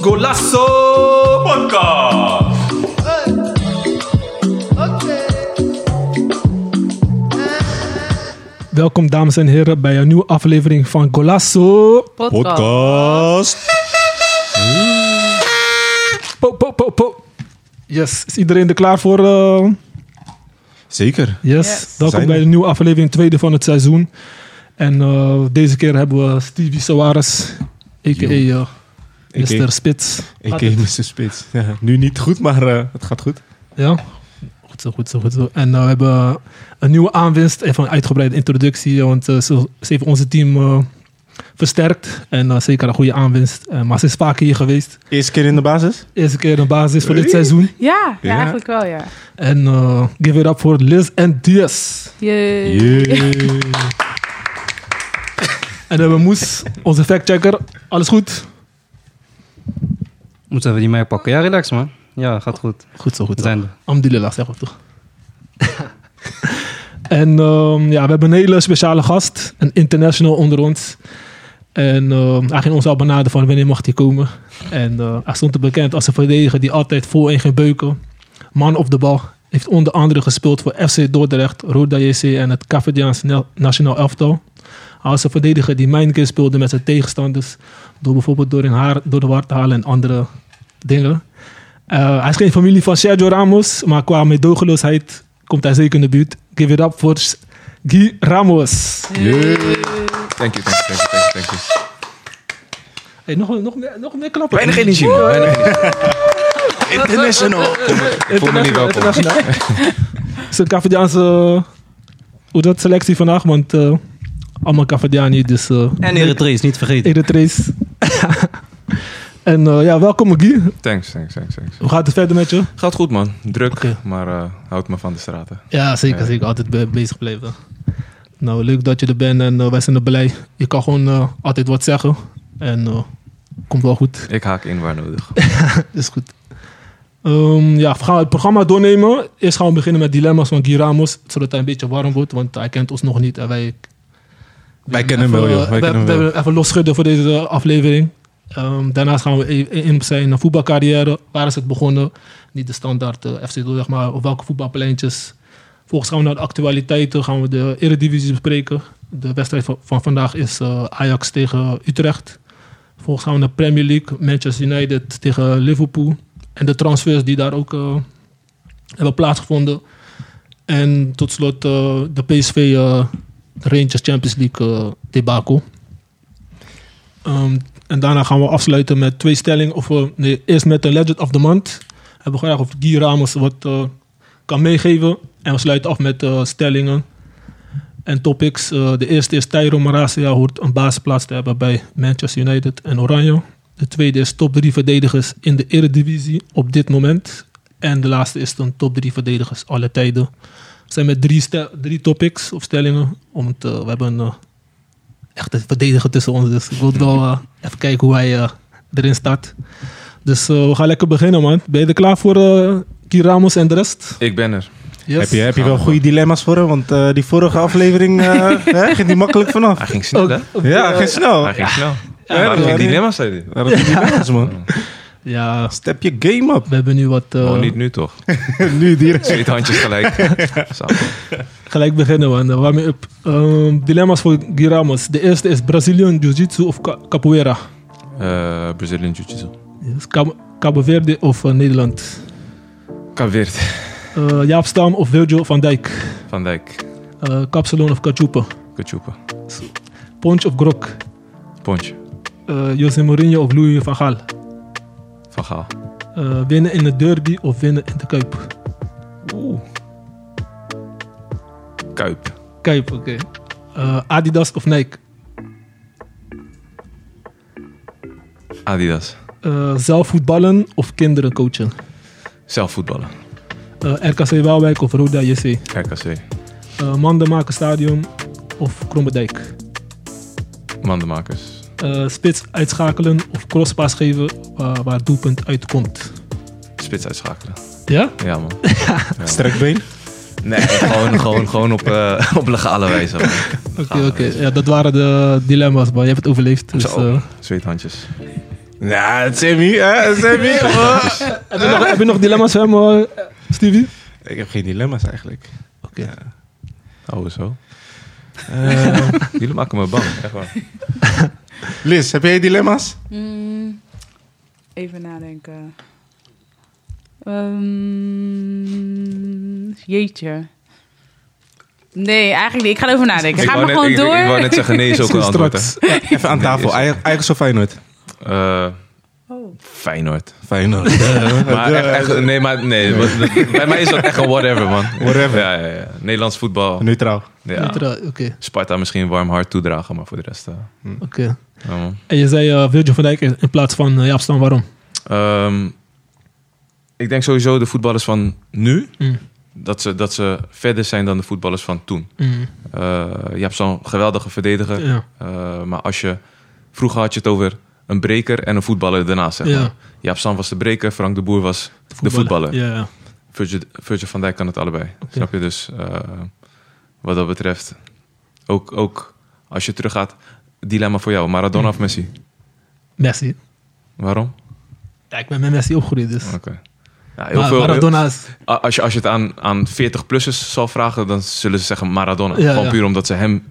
Golasso Podcast. Welkom dames en heren bij een nieuwe aflevering van Golasso. Podcast. Po, po, po, po. Yes, is iedereen er klaar voor? eh? Zeker. yes. Yes. welkom Zijn bij we. de nieuwe aflevering, tweede van het seizoen. En eh, deze keer hebben we Stevie Soares, a.k.a. eh, A.k.a. Mr. Spits. Ik ken Mr. Spits. Ja, nu niet goed, maar eh, het gaat goed. Ja, goed zo, goed zo, goed zo. En eh, we hebben een nieuwe aanwinst, even een uitgebreide introductie, want eh, ze, ze heeft onze team eh, versterkt. En eh, zeker een goede aanwinst. Eh, maar ze is vaker hier geweest. Eerste keer in de basis? Eerste keer een basis voor dit Hey. seizoen. Ja, ja, Ja. eigenlijk wel, ja. En eh, give it up voor Liz en Diaz. Jee. En dan hebben we Moes, onze factchecker. Alles goed? Moeten we die mij pakken? Ja, relax man. Ja, gaat goed. Goed zo, goed We zijn er. Alhamdulillah, zeggen we toch. en ehm, ja, we hebben een hele speciale gast. Een international onder ons. En ehm, hij ging ons al benaderen van wanneer mag hij komen. En eh, hij stond er bekend als een verdediger die altijd voor en ging beuken. Man op de bal. Heeft onder andere gespeeld voor FC Dordrecht, Roda JC en het Cavadiaans na- Nationaal Elftal. Hij was een verdediger die mijn keer speelde met zijn tegenstanders. Door bijvoorbeeld door, in haar, door de war te halen en andere dingen. Eh, hij is geen familie van Sergio Ramos, maar qua meedogenloosheid komt hij zeker in de buurt. Give it up voor S- Guy Ramos. Thank you, thank you, thank you, thank you. Thank you. Hey, nog, nog, meer- nog meer klappen. Weinig energie, man. Weinig energie. International. Ik voel me niet welkom. Het is een Cavadiaanse eh, hoe dat, selectie vandaag, want eh, allemaal Cavadiani, dus eh En Eritrees, niet vergeten. Eritrees. en eh, ja, welkom Guy. Thanks, thanks, thanks, thanks. Hoe gaat het verder met je? Gaat goed, man. Druk, Oké. maar eh houd me van de straten. Ja, zeker. Ja. zeker. Altijd be- bezig blijven. Nou, leuk dat je er bent en eh, wij zijn er blij. Je kan gewoon eh, altijd wat zeggen. En eh, komt wel goed. Ik haak in waar nodig. Is goed. Ehm, ja, we gaan het programma doornemen. Eerst gaan we beginnen met dilemma's van Guy Ramos. Zodat hij een beetje warm wordt, want hij kent ons nog niet. En wij, Wij kennen hem even, wel, joh. eh, Wij we kennen hem we wel. hebben even losschudden voor deze eh, aflevering. Ehm, daarnaast gaan we e- in op zijn voetbalcarrière. Waar is het begonnen? Niet de standaard eh, FC Dordrecht, maar op welke voetbalpleintjes. Volgens gaan we naar de actualiteiten. Gaan we de eredivisie bespreken. De wedstrijd van, van vandaag is eh, Ajax tegen Utrecht. Volgens gaan we naar Premier League, Manchester United tegen Liverpool. En de transfers die daar ook eh, hebben plaatsgevonden. En tot slot eh, de PSV eh, Rangers Champions League eh debacle. Ehm, en daarna gaan we afsluiten met twee stellingen. Of, we- nee, eerst met de Legend of the Month. Hebben we graag of Guy Ramos wat eh, kan meegeven. En we sluiten af met eh, stellingen en topics. Eh, de eerste is Tyro Maracia hoort een basisplaats te hebben bij Manchester United en Oranje. De tweede is top 3 verdedigers in de eredivisie op dit moment. En de laatste is dan top 3 verdedigers alle tijden. We zijn met drie, stel- drie topics of stellingen. Want eh, we hebben een eh, echte verdediger tussen ons. Dus ik wil wel eh, even kijken hoe hij eh, erin staat. Dus eh, we gaan lekker beginnen, man. Ben je er klaar voor, eh Guy Ramos en de rest? Ik ben er. Yes. Heb je, heb je Gaan wel we goede dilemma's voor hem? Want eh, die vorige aflevering eh, hè, ging die makkelijk vanaf. Hij ging snel, hè? Ja, ging snel. Hij ging snel. Oh. ja, Ja, waarom ja, geen nee. dilemma's, zei hij? Waarom die dilemma's, man? Ja, Step je game up. we hebben nu wat... eh, Oh, niet nu toch? nu direct. Zweet handjes gelijk. Samen. Gelijk beginnen, man. Waarmee op? Ehm, dilemma's voor Guy Ramos. De eerste is Brazilian Jiu-Jitsu of ca- capoeira? Eh Brazilian Jiu-Jitsu. Yes. Cabo- Cabo Verde of eh, Nederland? Kaveert. Eh, Jaap Stam of Virgil van Dijk? Van Dijk. Eh Kapsalon of Kachupa? Kachupa. Ponch of Grok? Pontje. Eh, Jose Mourinho of Louis van Gaal? Van Gaal. Eh, winnen in de derby of winnen in de Kuip? Oeh. Kuip. Kuip, oké. Eh, Adidas of Nike? Adidas. Eh, zelf voetballen of kinderen coachen? Zelf voetballen. Eh, RKC Waalwijk of Roda JC? RKC. Eh, Mandenmaker Stadium of Krommendijk? Mandenmakers. eh, spits uitschakelen of crosspaas geven eh, waar het doelpunt uitkomt. Spits uitschakelen. Ja? Ja, man. Strekbeen. Nee, gewoon, gewoon, gewoon op, eh, op legale wijze. man. Oké, Legale oké. wijze. Ja, dat waren de dilemma's, maar je hebt het overleefd. Dus, Ah, Zo, eh. zweethandjes. Nou, het Sammy, hè? Sammy. hoor. heb, je nog, heb je nog dilemma's voor hem, eh, Stevie? Ik heb geen dilemma's eigenlijk. Oké. Oh, zo. Eh, jullie maken me bang, echt waar. Liz, heb jij dilemma's? Mm, even nadenken. Ehm, jeetje. Nee, eigenlijk niet. Ik ga erover nadenken. Ga wou maar net- gewoon ik- door. Ik wou net zeggen, nee is ook een antwoord. hè. Straks. Even aan tafel. is- Eigen Eigen of Feyenoord? Eh, Oh. Feyenoord. Feyenoord. Maar echt, echt- nee, maar nee. want- Bij mij is dat echt een whatever, man. Whatever. Ja, ja, ja. Nederlands voetbal. Oh. Neutraal. Ja. Neutraal, Oké, oké. Sparta misschien een warm hart toedragen, maar voor de rest... eh, ja, man. En je zei eh, Virgil van Dijk in in plaats van eh, Jaap Stam, waarom? Ehm, ik denk sowieso de voetballers van nu, Mm, dat ze, dat ze verder zijn dan de voetballers van toen. mm, Eh, je hebt zo'n geweldige verdediger. ja. Eh, maar als je... Vroeger had je het over een breker en een voetballer daarnaast, zeg maar. Ja. Jaap Sam was de breker, Frank de Boer was de voetballer. Ja, ja. Virgil, Virgil van Dijk kan het allebei. Snap je? Dus eh, wat dat betreft, ook, ook als je teruggaat, dilemma voor jou. Maradona of Messi? Messi. Waarom? Ja, ik ben met Messi opgegroeid, dus. Oké. Ja, heel Maar veel, Maradona is... a- als, je, als je het aan, aan 40-plussers zal vragen, dan zullen ze zeggen Maradona. Ja, Gewoon ja. puur omdat ze hem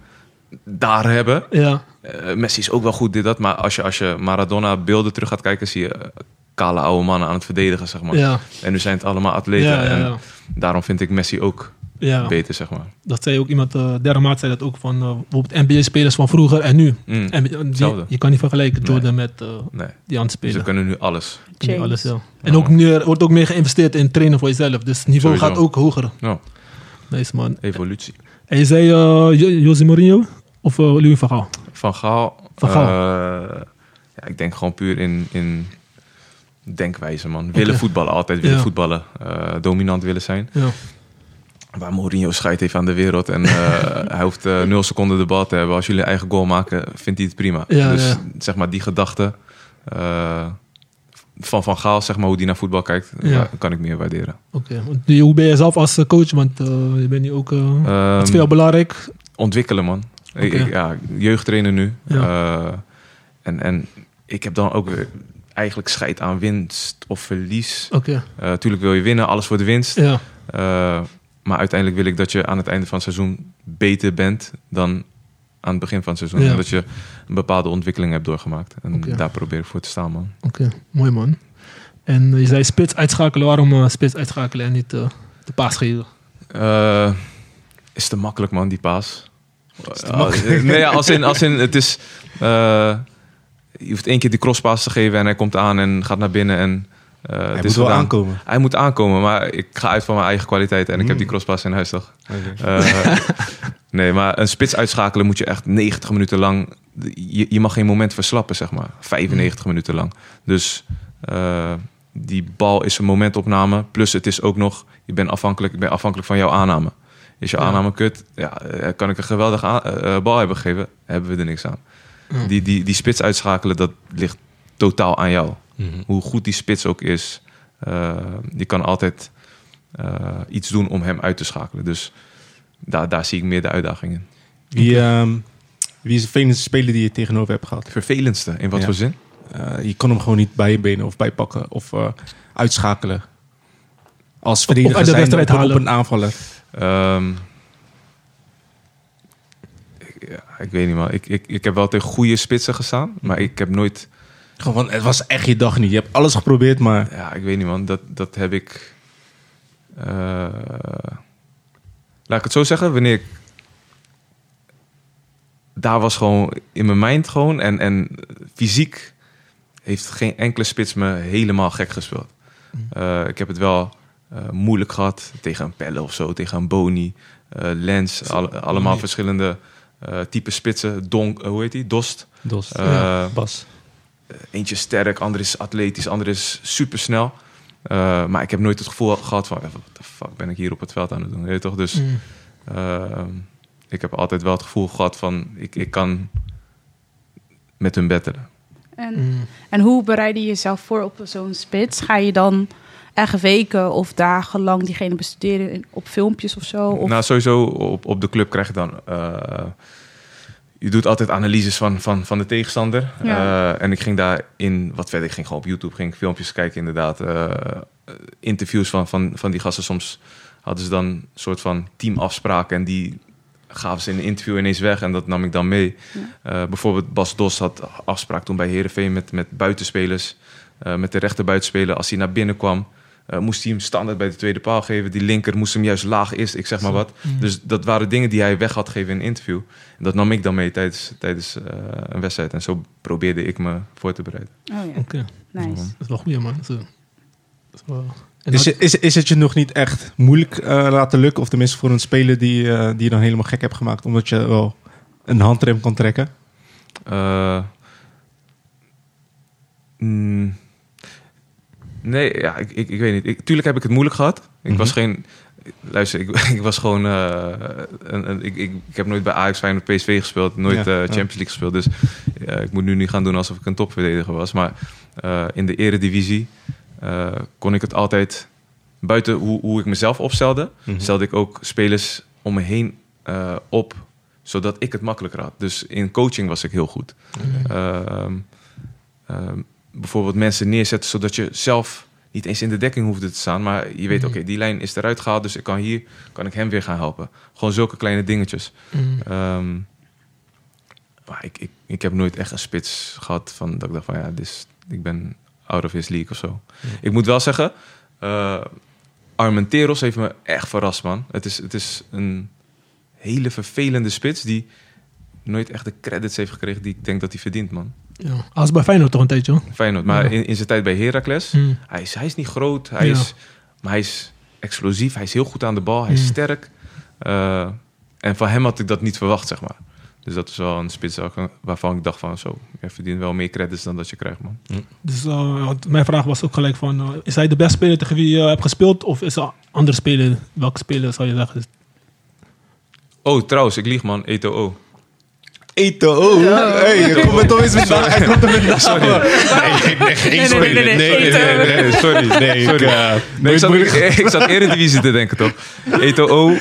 daar hebben. Ja, Eh, Messi is ook wel goed, dit, dat. Maar als je, als je Maradona beelden terug gaat kijken, zie je eh, kale oude mannen aan het verdedigen, zeg maar. ja. En nu zijn het allemaal atleten. Ja, ja, En ja. daarom vind ik Messi ook ja. beter, zeg maar. Dat zei ook iemand, eh derde maat zei dat ook van eh, bijvoorbeeld NBA-spelers van vroeger en nu. Mm. En die- Hetzelfde. je kan niet vergelijken Nee. Jordan met eh, Nee. Dus die aan het Ze spelen. kunnen nu alles. Kun je James. alles, ja. En ook meer, wordt ook meer geïnvesteerd in trainen voor jezelf. Dus het niveau Sowieso. gaat ook hoger. Nou, Nice man. evolutie. En je zei eh, Jo- Jose Mourinho of eh, Louis van Gaal? Van Gaal. Van eh, ja, ik denk gewoon puur in, in denkwijze, man. Willen Oké. voetballen, altijd willen Ja. voetballen. eh, dominant willen zijn. Ja. Waar Mourinho scheid heeft aan de wereld. En eh, hij hoeft eh, nul seconden de bal te hebben. Als jullie eigen goal maken, vindt hij het prima. Ja, dus ja. zeg maar die gedachte eh, van Van Gaal, zeg maar hoe die naar voetbal kijkt, Ja. wa- kan ik meer waarderen. Oké. Want die- Hoe ben je zelf als eh, coach? Want eh, je bent nu ook... eh, het is Ehm, veel belangrijk. ontwikkelen, man. Ik, Oké. ik- ja, jeugdtrainer nu. Ja. Eh, en, en ik heb dan ook weer eigenlijk scheid aan winst of verlies. Oké, Eh tuurlijk wil je winnen, alles voor de winst. ja. Eh, maar uiteindelijk wil ik dat je aan het einde van het seizoen beter bent dan aan het begin van het seizoen. Ja. Dat je een bepaalde ontwikkeling hebt doorgemaakt. En Oké. daar probeer ik voor te staan, man. Oké, mooi man. En eh, je zei spits uitschakelen. Waarom eh, spits uitschakelen en niet eh, de paas geven? Eh, is te makkelijk, man, die paas. Is te makkelijk. nee, ja, als in, als in het is. eh, je hoeft één keer die crosspaas te geven en hij komt aan en gaat naar binnen. En, eh, het Hij is moet wel gedaan. aankomen. Mm. Hij moet aankomen, maar ik ga uit van mijn eigen kwaliteit en ik heb die crosspaas in huis toch? Eh, nee, maar een spits uitschakelen moet je echt 90 minuten lang. Je, je mag geen moment verslappen, zeg maar. 95 minuten lang. Dus eh, die bal is een momentopname. Plus, het is ook nog. Je bent afhankelijk, ik ben afhankelijk van jouw aanname. Is je Ja. aanname kut? Ja, eh, kan ik een geweldige aan- eh, eh, bal hebben gegeven? Hebben we er niks aan. Ja. Die, die, die spits uitschakelen, dat ligt totaal aan jou hoe goed die spits ook is, eh, je kan altijd eh, iets doen om hem uit te schakelen. Dus daar, daar zie ik meer de uitdaging in. Wie, ehm, wie is de vervelendste speler die je tegenover hebt gehad? Vervelendste, in wat Ja. voor zin? Eh, je kon hem gewoon niet bijbenen of bijpakken of eh, uitschakelen. Als verdediger uit de zijn wedstrijd op, op halen. een aanvaller. Ehm, ik, ja, ik weet niet, man. Ik, ik, ik heb wel tegen goede spitsen gestaan, maar ik heb nooit... Gewoon, van, het was echt je dag niet. Je hebt alles geprobeerd, maar Ja, ik weet niet, man. Dat, dat heb ik... eh, laat ik het zo zeggen, wanneer ik... Daar was gewoon in mijn mind gewoon. En, en fysiek heeft geen enkele spits me helemaal gek gespeeld. Eh, ik heb het wel eh, moeilijk gehad tegen een Pelle of zo, tegen een Boni, eh, Lens. alle- allemaal Boni. verschillende eh type spitsen. Donk, eh, hoe heet die? Dost. Dos. Eh, Bas. eentje is sterk, ander is atletisch, ander is supersnel. Eh, maar ik heb nooit het gevoel gehad van, wat de fuck ben ik hier op het veld aan het doen? Weet je toch? Dus Mm. eh, ik heb altijd wel het gevoel gehad van, ik, ik kan met hun betteren. En, Mm. en hoe bereid je jezelf voor op zo'n spits? Ga je dan echt weken of dagenlang diegene bestuderen in- op filmpjes of zo. Of, Nou, sowieso op, op de club krijg je dan... eh, je doet altijd analyses van, van, van de tegenstander. Ja. Eh, en ik ging daarin wat verder. Ik ging gewoon op YouTube ging ik filmpjes kijken inderdaad. Eh, interviews van, van, van die gasten. Soms hadden ze dan een soort van teamafspraken. En die gaven ze in een interview ineens weg. En dat nam ik dan mee. Eh, bijvoorbeeld Bas Dos had afspraak toen bij Herenveen met, met buitenspelers. eh, met de rechter buitenspeler. Als hij naar binnen kwam, eh, moest hij hem standaard bij de tweede paal geven. Die linker moest hem juist laag eerst. Ik zeg maar wat. Dus dat waren dingen die hij weg had gegeven in een interview. En dat nam ik dan mee tijdens, tijdens eh, een wedstrijd. En zo probeerde ik me voor te bereiden. Oh ja, Oké, nice. dat is wel goed, man. Dat is, eh, dat is wel- En Is, dat- is, is het je nog niet echt moeilijk eh, laten lukken? Of tenminste voor een speler die, eh, die je dan helemaal gek hebt gemaakt, omdat je wel een handrem kan trekken? Eh, mm, nee, ja, ik, ik, ik weet niet. Ik, tuurlijk heb ik het moeilijk gehad. Ik Mhm. was geen... Luister, ik, ik was gewoon... eh, een, een- ik, ik, ik heb nooit bij Ajax, Feyenoord, PSV gespeeld. Nooit Ja, eh, ja. Champions League gespeeld. Dus eh, ik moet nu niet gaan doen alsof ik een topverdediger was. Maar eh, in de eredivisie eh, kon ik het altijd... Buiten hoe, hoe ik mezelf opstelde... Mhm. stelde ik ook spelers om me heen eh, op... zodat ik het makkelijker had. Dus in coaching was ik heel goed. Ehm, ehm, bijvoorbeeld mensen neerzetten zodat je zelf niet eens in de dekking hoefde te staan. Maar je weet, oké, die lijn is eruit gehaald, dus ik kan hier kan ik hem weer gaan helpen. Gewoon zulke kleine dingetjes. Mm. Ehm, maar ik, ik, ik heb nooit echt een spits gehad van dat ik dacht van ja, dit is, ik ben out of his league of zo. Ik moet wel zeggen, eh Armenteros heeft me echt verrast, man. Het is, het is een hele vervelende spits die nooit echt de credits heeft gekregen die ik denk dat hij verdient, man. ja. Als bij Feyenoord toch een tijdje, hoor. Feyenoord. Maar in, in zijn tijd bij Heracles, Mm. hij, is, hij is niet groot, hij Ja. is, maar hij is explosief, hij is heel goed aan de bal, hij is Mm. sterk. Eh, en van hem had ik dat niet verwacht, zeg maar. Dus dat is wel een spits waar- waarvan ik dacht van zo, je verdient wel meer credits dan dat je krijgt, man. Dus eh, want mijn vraag was ook gelijk van, eh, is hij de beste speler tegen wie je eh, hebt gespeeld? Of is er een andere speler? Welke speler zou je zeggen? Dus, Oh, trouwens, ik lieg, man. Eto'o. Eten, oh! Hey, kom er toch eens met Hij komt er met Nee, nee, nee, nee, nee, nee, Eto'o. nee, nee, sorry. Nee, ik, eh, Nee, ik, zat, moeilijk- ik, ik zat Eredivisie te denken, toch? Eto'o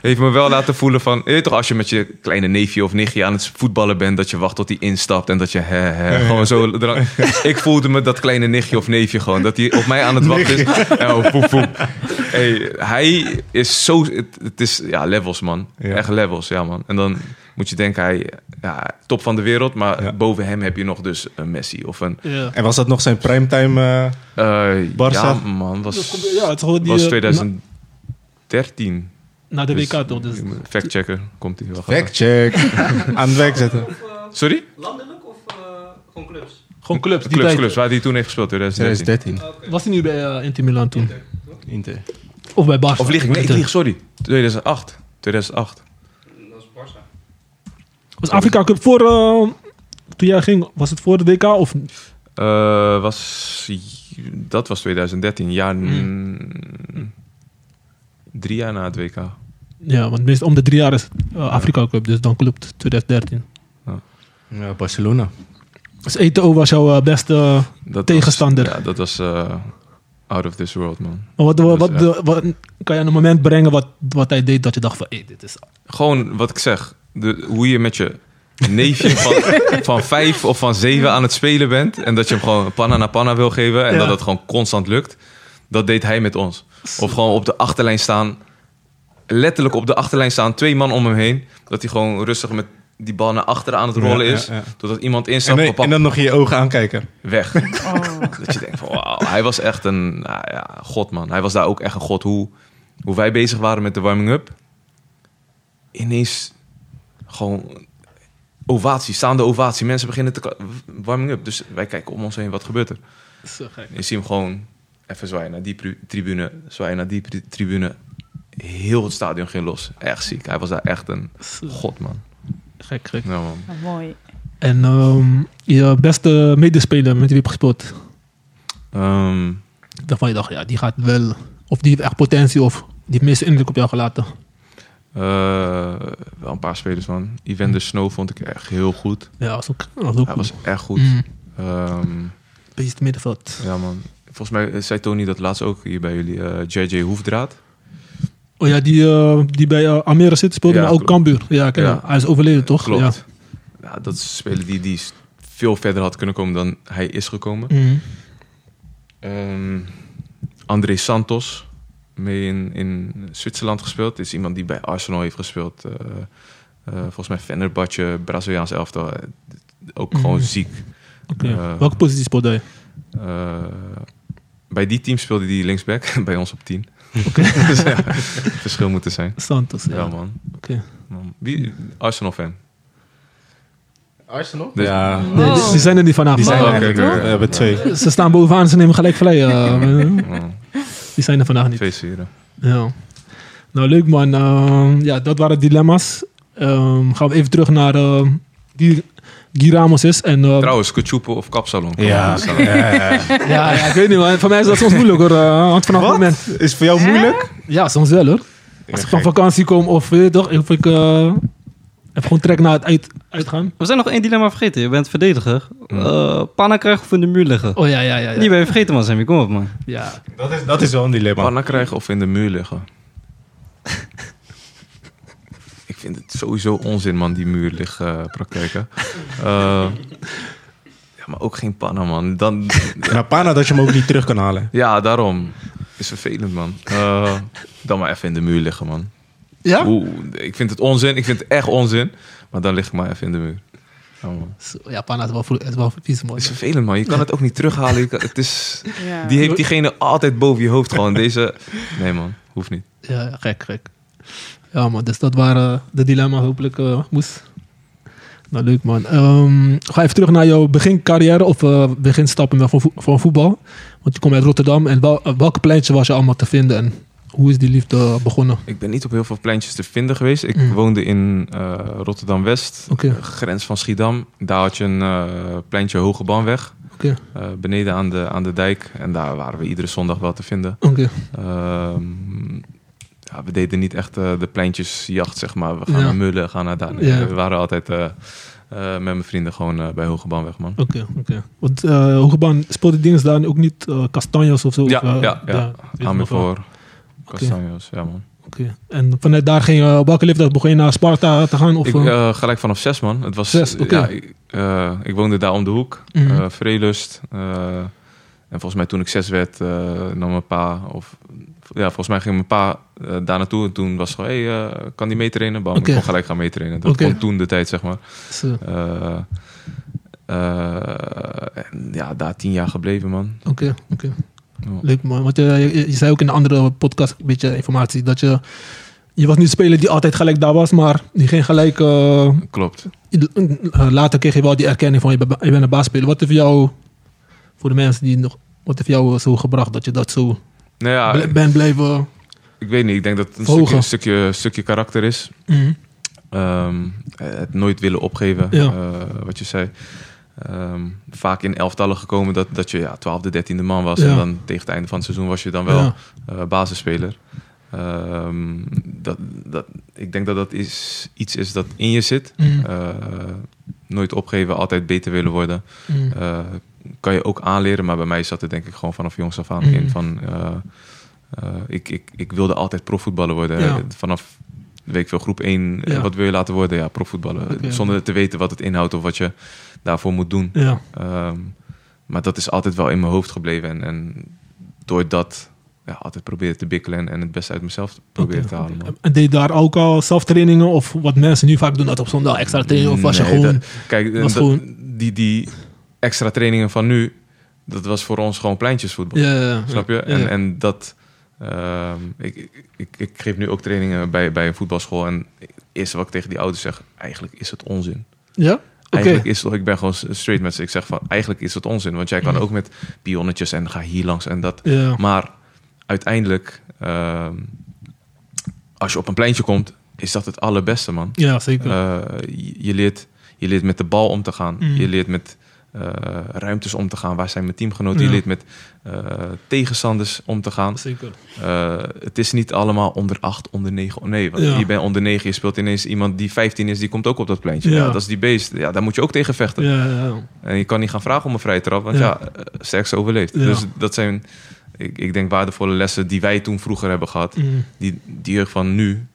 heeft me wel laten voelen van... Je weet toch, als je met je kleine neefje of nichtje aan het voetballen bent... dat je wacht tot hij instapt en dat je... Hè, hè, gewoon zo... eraan- Ik voelde me dat kleine nichtje of neefje gewoon. Dat hij op mij aan het wachten is. En oh, poep, poep. Hey, hij is zo... Het, het is ja, levels, man. Ja. Echt levels, ja, man. En dan moet je denken, hij... Ja, top van de wereld, maar Ja. boven hem heb je nog dus een Messi of een... Ja, En was dat nog zijn primetime? eh, eh Barca. Ja, man, was... ja het is gewoon die... was eh, 2013. Na, na de Dus, WK toch? Dus, ik moet- Factchecker komt hij wel. Factcheck. Aan het werk zetten. Sorry? Landelijk of gewoon clubs? gewoon clubs. Die Clubs, tijd. clubs, waar hij toen heeft gespeeld, 2013. 2013. Was hij nu bij eh, Inter Milan toen? Inter. Of bij Barca? Of lieg ik? Nee, ik Inter. lieg, sorry. 2008. 2008. Dat is Barca. Was Afrika Cup voor... eh, toen jij ging, was het voor de WK? Of, Eh, was, dat was 2013, jaar... Hmm. Drie jaar na het WK. ja, want meestal om de drie jaar is het, eh, Afrika Cup, dus dan klopt 2013. Ja, Barcelona. Dus Eto'o was jouw eh, beste... Dat Tegenstander. Was, ja, dat was eh, out of this world, man. Maar wat, is wat, wat, wat- kan je aan een moment brengen wat, wat hij deed dat je dacht van... Hey, dit is... Gewoon wat ik zeg. De, hoe je met je neefje van, van vijf of van zeven aan het spelen bent. En dat je hem gewoon panna na panna wil geven. En Ja. dat dat gewoon constant lukt. Dat deed hij met ons. Of gewoon op de achterlijn staan. Letterlijk op de achterlijn staan. Twee man om hem heen. Dat hij gewoon rustig met die bal naar achteren aan het rollen Ja, ja, is. ja. Totdat iemand En, instapt. nee, papa, en dan nog je ogen aankijken. Weg. Oh. Dat je denkt van wauw. Hij was echt een nou ja, god man. Hij was daar ook echt een god. Hoe, hoe wij bezig waren met de warming-up. Ineens gewoon ovatie, staande ovatie. Mensen beginnen te... kla- Warming-up. Dus wij kijken om ons heen, wat gebeurt er? Zo gek. Je ziet hem gewoon even zwaaien naar die pri- tribune. Zwaaien naar die pri- tribune. Heel het stadion ging los. Echt ziek. Hij was daar echt een god man. Gek, gek. Ja, man. Wat Oh, mooi. En ehm, je beste medespeler met wie je hebt gespeeld, Ehm, daarvan je dacht, ja, die gaat wel... Of die heeft echt potentie of die heeft meeste indruk op jou gelaten. eh, wel een paar spelers man. Evander Snow vond ik echt heel goed. Ja, dat was ook, dat was ook Hij was echt goed. Mm, Ehm, beest middenveld. ja, man. Volgens mij eh, zei Tony dat laatst ook hier bij jullie. eh, JJ Hoefdraad. Oh ja, die, eh, die bij eh, Almere City speelde, Ja, maar ook klopt. Cambuur. Ja, ik ken Ja. hem. Hij is overleden, toch? Klopt. Ja. Nou, dat is een speler die, die veel verder had kunnen komen dan hij is gekomen. Mhm. Ehm, André Santos, mee in, in Zwitserland gespeeld. Is iemand die bij Arsenal heeft gespeeld. Eh, eh, volgens mij Fenerbahce, Braziliaans elftal. Eh, Ook gewoon Mhm. ziek. Oké. Eh. Welke positie speelde hij? Eh, bij die team speelde hij linksback, bij ons op 10. dus ja, verschil moet er zijn. Santos. Ja, Ja, man. Oké. Man, Wie, Arsenal fan. Arsenal? Dus- ja, Wow. Nee, die, die zijn er niet vanaf. Ah. die zijn Wow. er Oké, eigenlijk oké, niet. oké. We hebben twee. Ze staan bovenaan, ze nemen gelijk vlei. eh. Man, die zijn er vandaag niet. twee sieren. Ja. Nou, leuk man. Ehm, ja, dat waren dilemma's. Ehm, gaan we even terug naar ehm, die Guy Ramos is. En, eh, Trouwens, Kutsupo of Kapsalon. Ja. ja, ja, ik weet niet man. Voor mij is dat soms moeilijk hoor. eh, want vanaf het moment... Is voor jou moeilijk? Ja, soms wel hoor. Als ik van vakantie kom of weet je toch, of ik eh, heb gewoon trek naar het uit, uitgaan. We zijn nog één dilemma vergeten. Je bent verdediger. Hmm. Eh panna krijgen of in de muur liggen. Oh ja, ja, ja. Die ja. ben je vergeten, man, Sammy. Kom op, man. ja. Dat is, dat is wel een dilemma. Pannen krijgen of in de muur liggen? ik vind het sowieso onzin, man, die muur liggen eh, praktijken. Eh, ja, maar ook geen pannen, man. Dan, Nou, Pana dat je hem ook niet terug kan halen. ja, daarom. Is vervelend, man. Eh, dan maar even in de muur liggen, man. Ja? Oeh, ik vind het onzin. Ik vind het echt onzin. Maar dan lig ik maar even in de muur. Ja, man. Zo, Ja, Pana is wel, vro- is wel vies man. Het is vervelend, man. Je kan het ook niet terughalen. Je kan- het is, Ja. die heeft diegene altijd boven je hoofd gewoon. Deze... Nee, man. Hoeft niet. Ja, ja, gek, gek. Ja, man, dus dat waren de dilemma's. Hopelijk eh, moest. Nou, leuk man. Ehm, ga even terug naar jouw begincarrière of eh, beginstappen met- van, vo- van voetbal. Want je komt uit Rotterdam. En wel, eh, welke pleintje was je allemaal te vinden? En hoe is die liefde begonnen? Ik ben niet op heel veel pleintjes te vinden geweest. Ik Mm. woonde in eh, Rotterdam-West, Oké, grens van Schiedam. Daar had je een eh, pleintje Hoge Baanweg, oké, eh, beneden aan de, aan de dijk. En daar waren we iedere zondag wel te vinden. oké. Ehm, ja, we deden niet echt eh, de pleintjesjacht, zeg maar. We gaan Ja. naar Mullen, gaan naar daar. Nee, Ja. We waren altijd eh, eh, met mijn vrienden gewoon eh, bij Hoge Baanweg, man. Oké, oké. Want eh Hogebaan speelde dingen daar ook niet eh kastanjes of zo? Ja, Of, eh, ja, ja. daar, weet ik nog wel. Amersfoort, Castanjos, ja man. Oké. En vanuit daar ging je, op welke leeftijd begon je naar Sparta te gaan? Of, Ik, eh, eh, gelijk vanaf zes, man. Het was, Zes, oké. ja, ik, eh, ik woonde daar om de hoek. eh Mhm. Vreelust. eh, en volgens mij toen ik zes werd, eh, nam mijn pa... Of, ja, volgens mij ging mijn pa eh, daar naartoe. En toen was het gewoon, hey, eh, kan die meetrainen? Bam, Oké. ik kon gelijk gaan meetrainen. Dat Oké. kon toen de tijd, zeg maar. zo, Oké, Eh, eh, en ja, daar tien jaar gebleven, man. oké. Leuk man, want eh, je, je zei ook in een andere podcast, een beetje informatie, dat je... Je was niet de speler die altijd gelijk daar was, maar die ging gelijk... eh, Klopt. eh, later kreeg je wel die erkenning van je, bent- je bent een baasspeler. Wat heeft jou, voor de mensen die nog... Wat heeft jou eh, zo gebracht dat je dat zo Nou ja, bl- bent blijven... ik weet niet. Ik denk dat het een Verhogen. stukje, stukje, stukje karakter is. Mm, Ehm, het nooit willen opgeven, Ja. eh, wat je zei. Ehm, vaak in elftallen gekomen dat, dat je ja, 12e, 13e man was. Ja. En dan tegen het einde van het seizoen was je dan wel Ja. eh, basisspeler. Ehm, dat, dat, ik denk dat dat is, iets is dat in je zit. mm, Eh, nooit opgeven, altijd beter willen worden. mm. Eh, kan je ook aanleren, maar bij mij zat het denk ik gewoon vanaf jongs af aan Mhm. in. Van, eh, eh, ik, ik, ik wilde altijd profvoetballer worden. Eh, Ja. Vanaf weet ik veel, groep 1, Ja. wat wil je laten worden? Ja, profvoetballer. Oké. Zonder te weten wat het inhoudt of wat je daarvoor moet doen. Ja, Ehm, maar dat is altijd wel in mijn hoofd gebleven. En, en door dat ja, altijd proberen te bikkelen en, en het beste uit mezelf te proberen oké. te halen. man. En deed je daar ook al zelftrainingen of wat mensen nu vaak doen, dat op zondag extra training of was je Nee, gewoon... dat- kijk, was dat- gewoon- die, die extra trainingen van nu, dat was voor ons gewoon pleintjesvoetbal. Ja, ja, ja. Snap je? Ja, En, ja. en dat. ehm, ik, ik, ik geef nu ook trainingen bij, bij een voetbalschool. En het eerste wat ik tegen die ouders zeg, eigenlijk is het onzin. Ja? Oké. Eigenlijk is het, ik ben gewoon straight met ze. Ik zeg van, eigenlijk is het onzin. Want jij kan Mhm. ook met pionnetjes en ga hier langs en dat. Ja. Maar uiteindelijk, ehm, als je op een pleintje komt, is dat het allerbeste, man. ja, zeker. Eh, je, je leert, je leert met de bal om te gaan. Mm. Je leert met eh, ruimtes om te gaan. Waar zijn mijn teamgenoten Ja. die lid met eh, tegenstanders om te gaan? Zeker. Eh, het is niet allemaal onder 8, onder 9. Nee, want Ja. je bent onder 9. Je speelt ineens iemand die 15 is, die komt ook op dat pleintje. Ja. Ja. dat is die beest. Ja, daar moet je ook tegen vechten. Ja, ja. En je kan niet gaan vragen om een vrije trap, want ja, Ja. eh, sterkste overleeft. Ja. Dus dat zijn, ik, ik denk, waardevolle lessen die wij toen vroeger hebben gehad. Mm, Die die jeugd van nu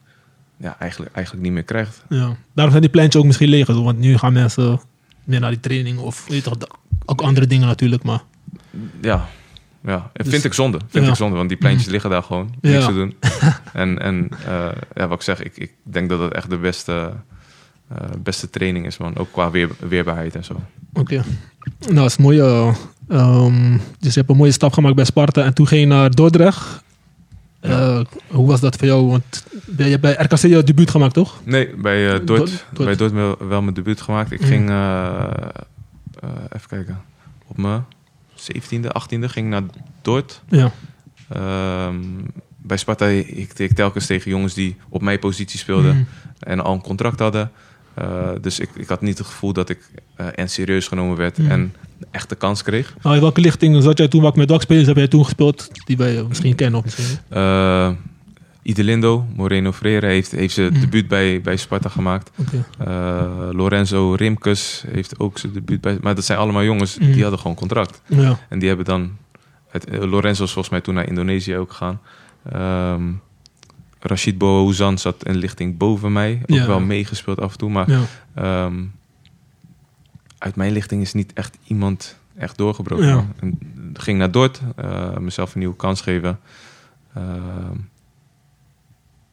ja, eigenlijk, eigenlijk niet meer krijgt. ja. Daarom zijn die pleintjes ook misschien leeg. Want nu gaan mensen meer naar die training of weet je toch, ook andere dingen natuurlijk. Maar Ja, ja. En Dus- vind ik zonde. Vind Ja. Mhm. ik zonde, want die pleintjes liggen daar gewoon. Ja. Niks te doen. en en eh, ja, wat ik zeg, ik, ik denk dat dat echt de beste, eh, beste training is, man. Ook qua weer, weerbaarheid en zo. oké. Nou, dat is mooi. eh, ehm, dus je hebt een mooie stap gemaakt bij Sparta en toen ging je naar Dordrecht. Ja. Eh, hoe was dat voor jou? Want je hebt bij RKC je debuut gemaakt, toch? Nee, bij eh Dort, Dort- Dort. Bij Dort wel, wel mijn debuut gemaakt. Ik Mm. ging, eh, eh, even kijken, op mijn 17e, 18e ging ik naar Dort. Ja. Ehm, bij Sparta hikte ik telkens tegen jongens die op mijn positie speelden Mm, en al een contract hadden. Eh, dus ik, ik had niet het gevoel dat ik eh, en serieus genomen werd Mm. en echt de kans kreeg. Nou, in welke lichting zat jij toen? Welke met welke spelers heb jij toen gespeeld? Die wij eh, misschien kennen of misschien niet? Eh Idelindo, Moreno Freire heeft, heeft zijn Mm. debuut bij, bij Sparta gemaakt. Oké. Eh, Lorenzo Rimkes heeft ook zijn debuut bij. Maar dat zijn allemaal jongens Mm. die hadden gewoon contract. Ja. En die hebben dan. Het, eh, Lorenzo is volgens mij toen naar Indonesië ook gegaan. Ehm Rashid Bouhouzan zat een lichting boven mij. Ook Ja. wel meegespeeld af en toe. Maar ja. ehm, uit mijn lichting is niet echt iemand echt doorgebroken. Ja. man. En ging naar Dort, eh, mezelf een nieuwe kans geven. Ehm,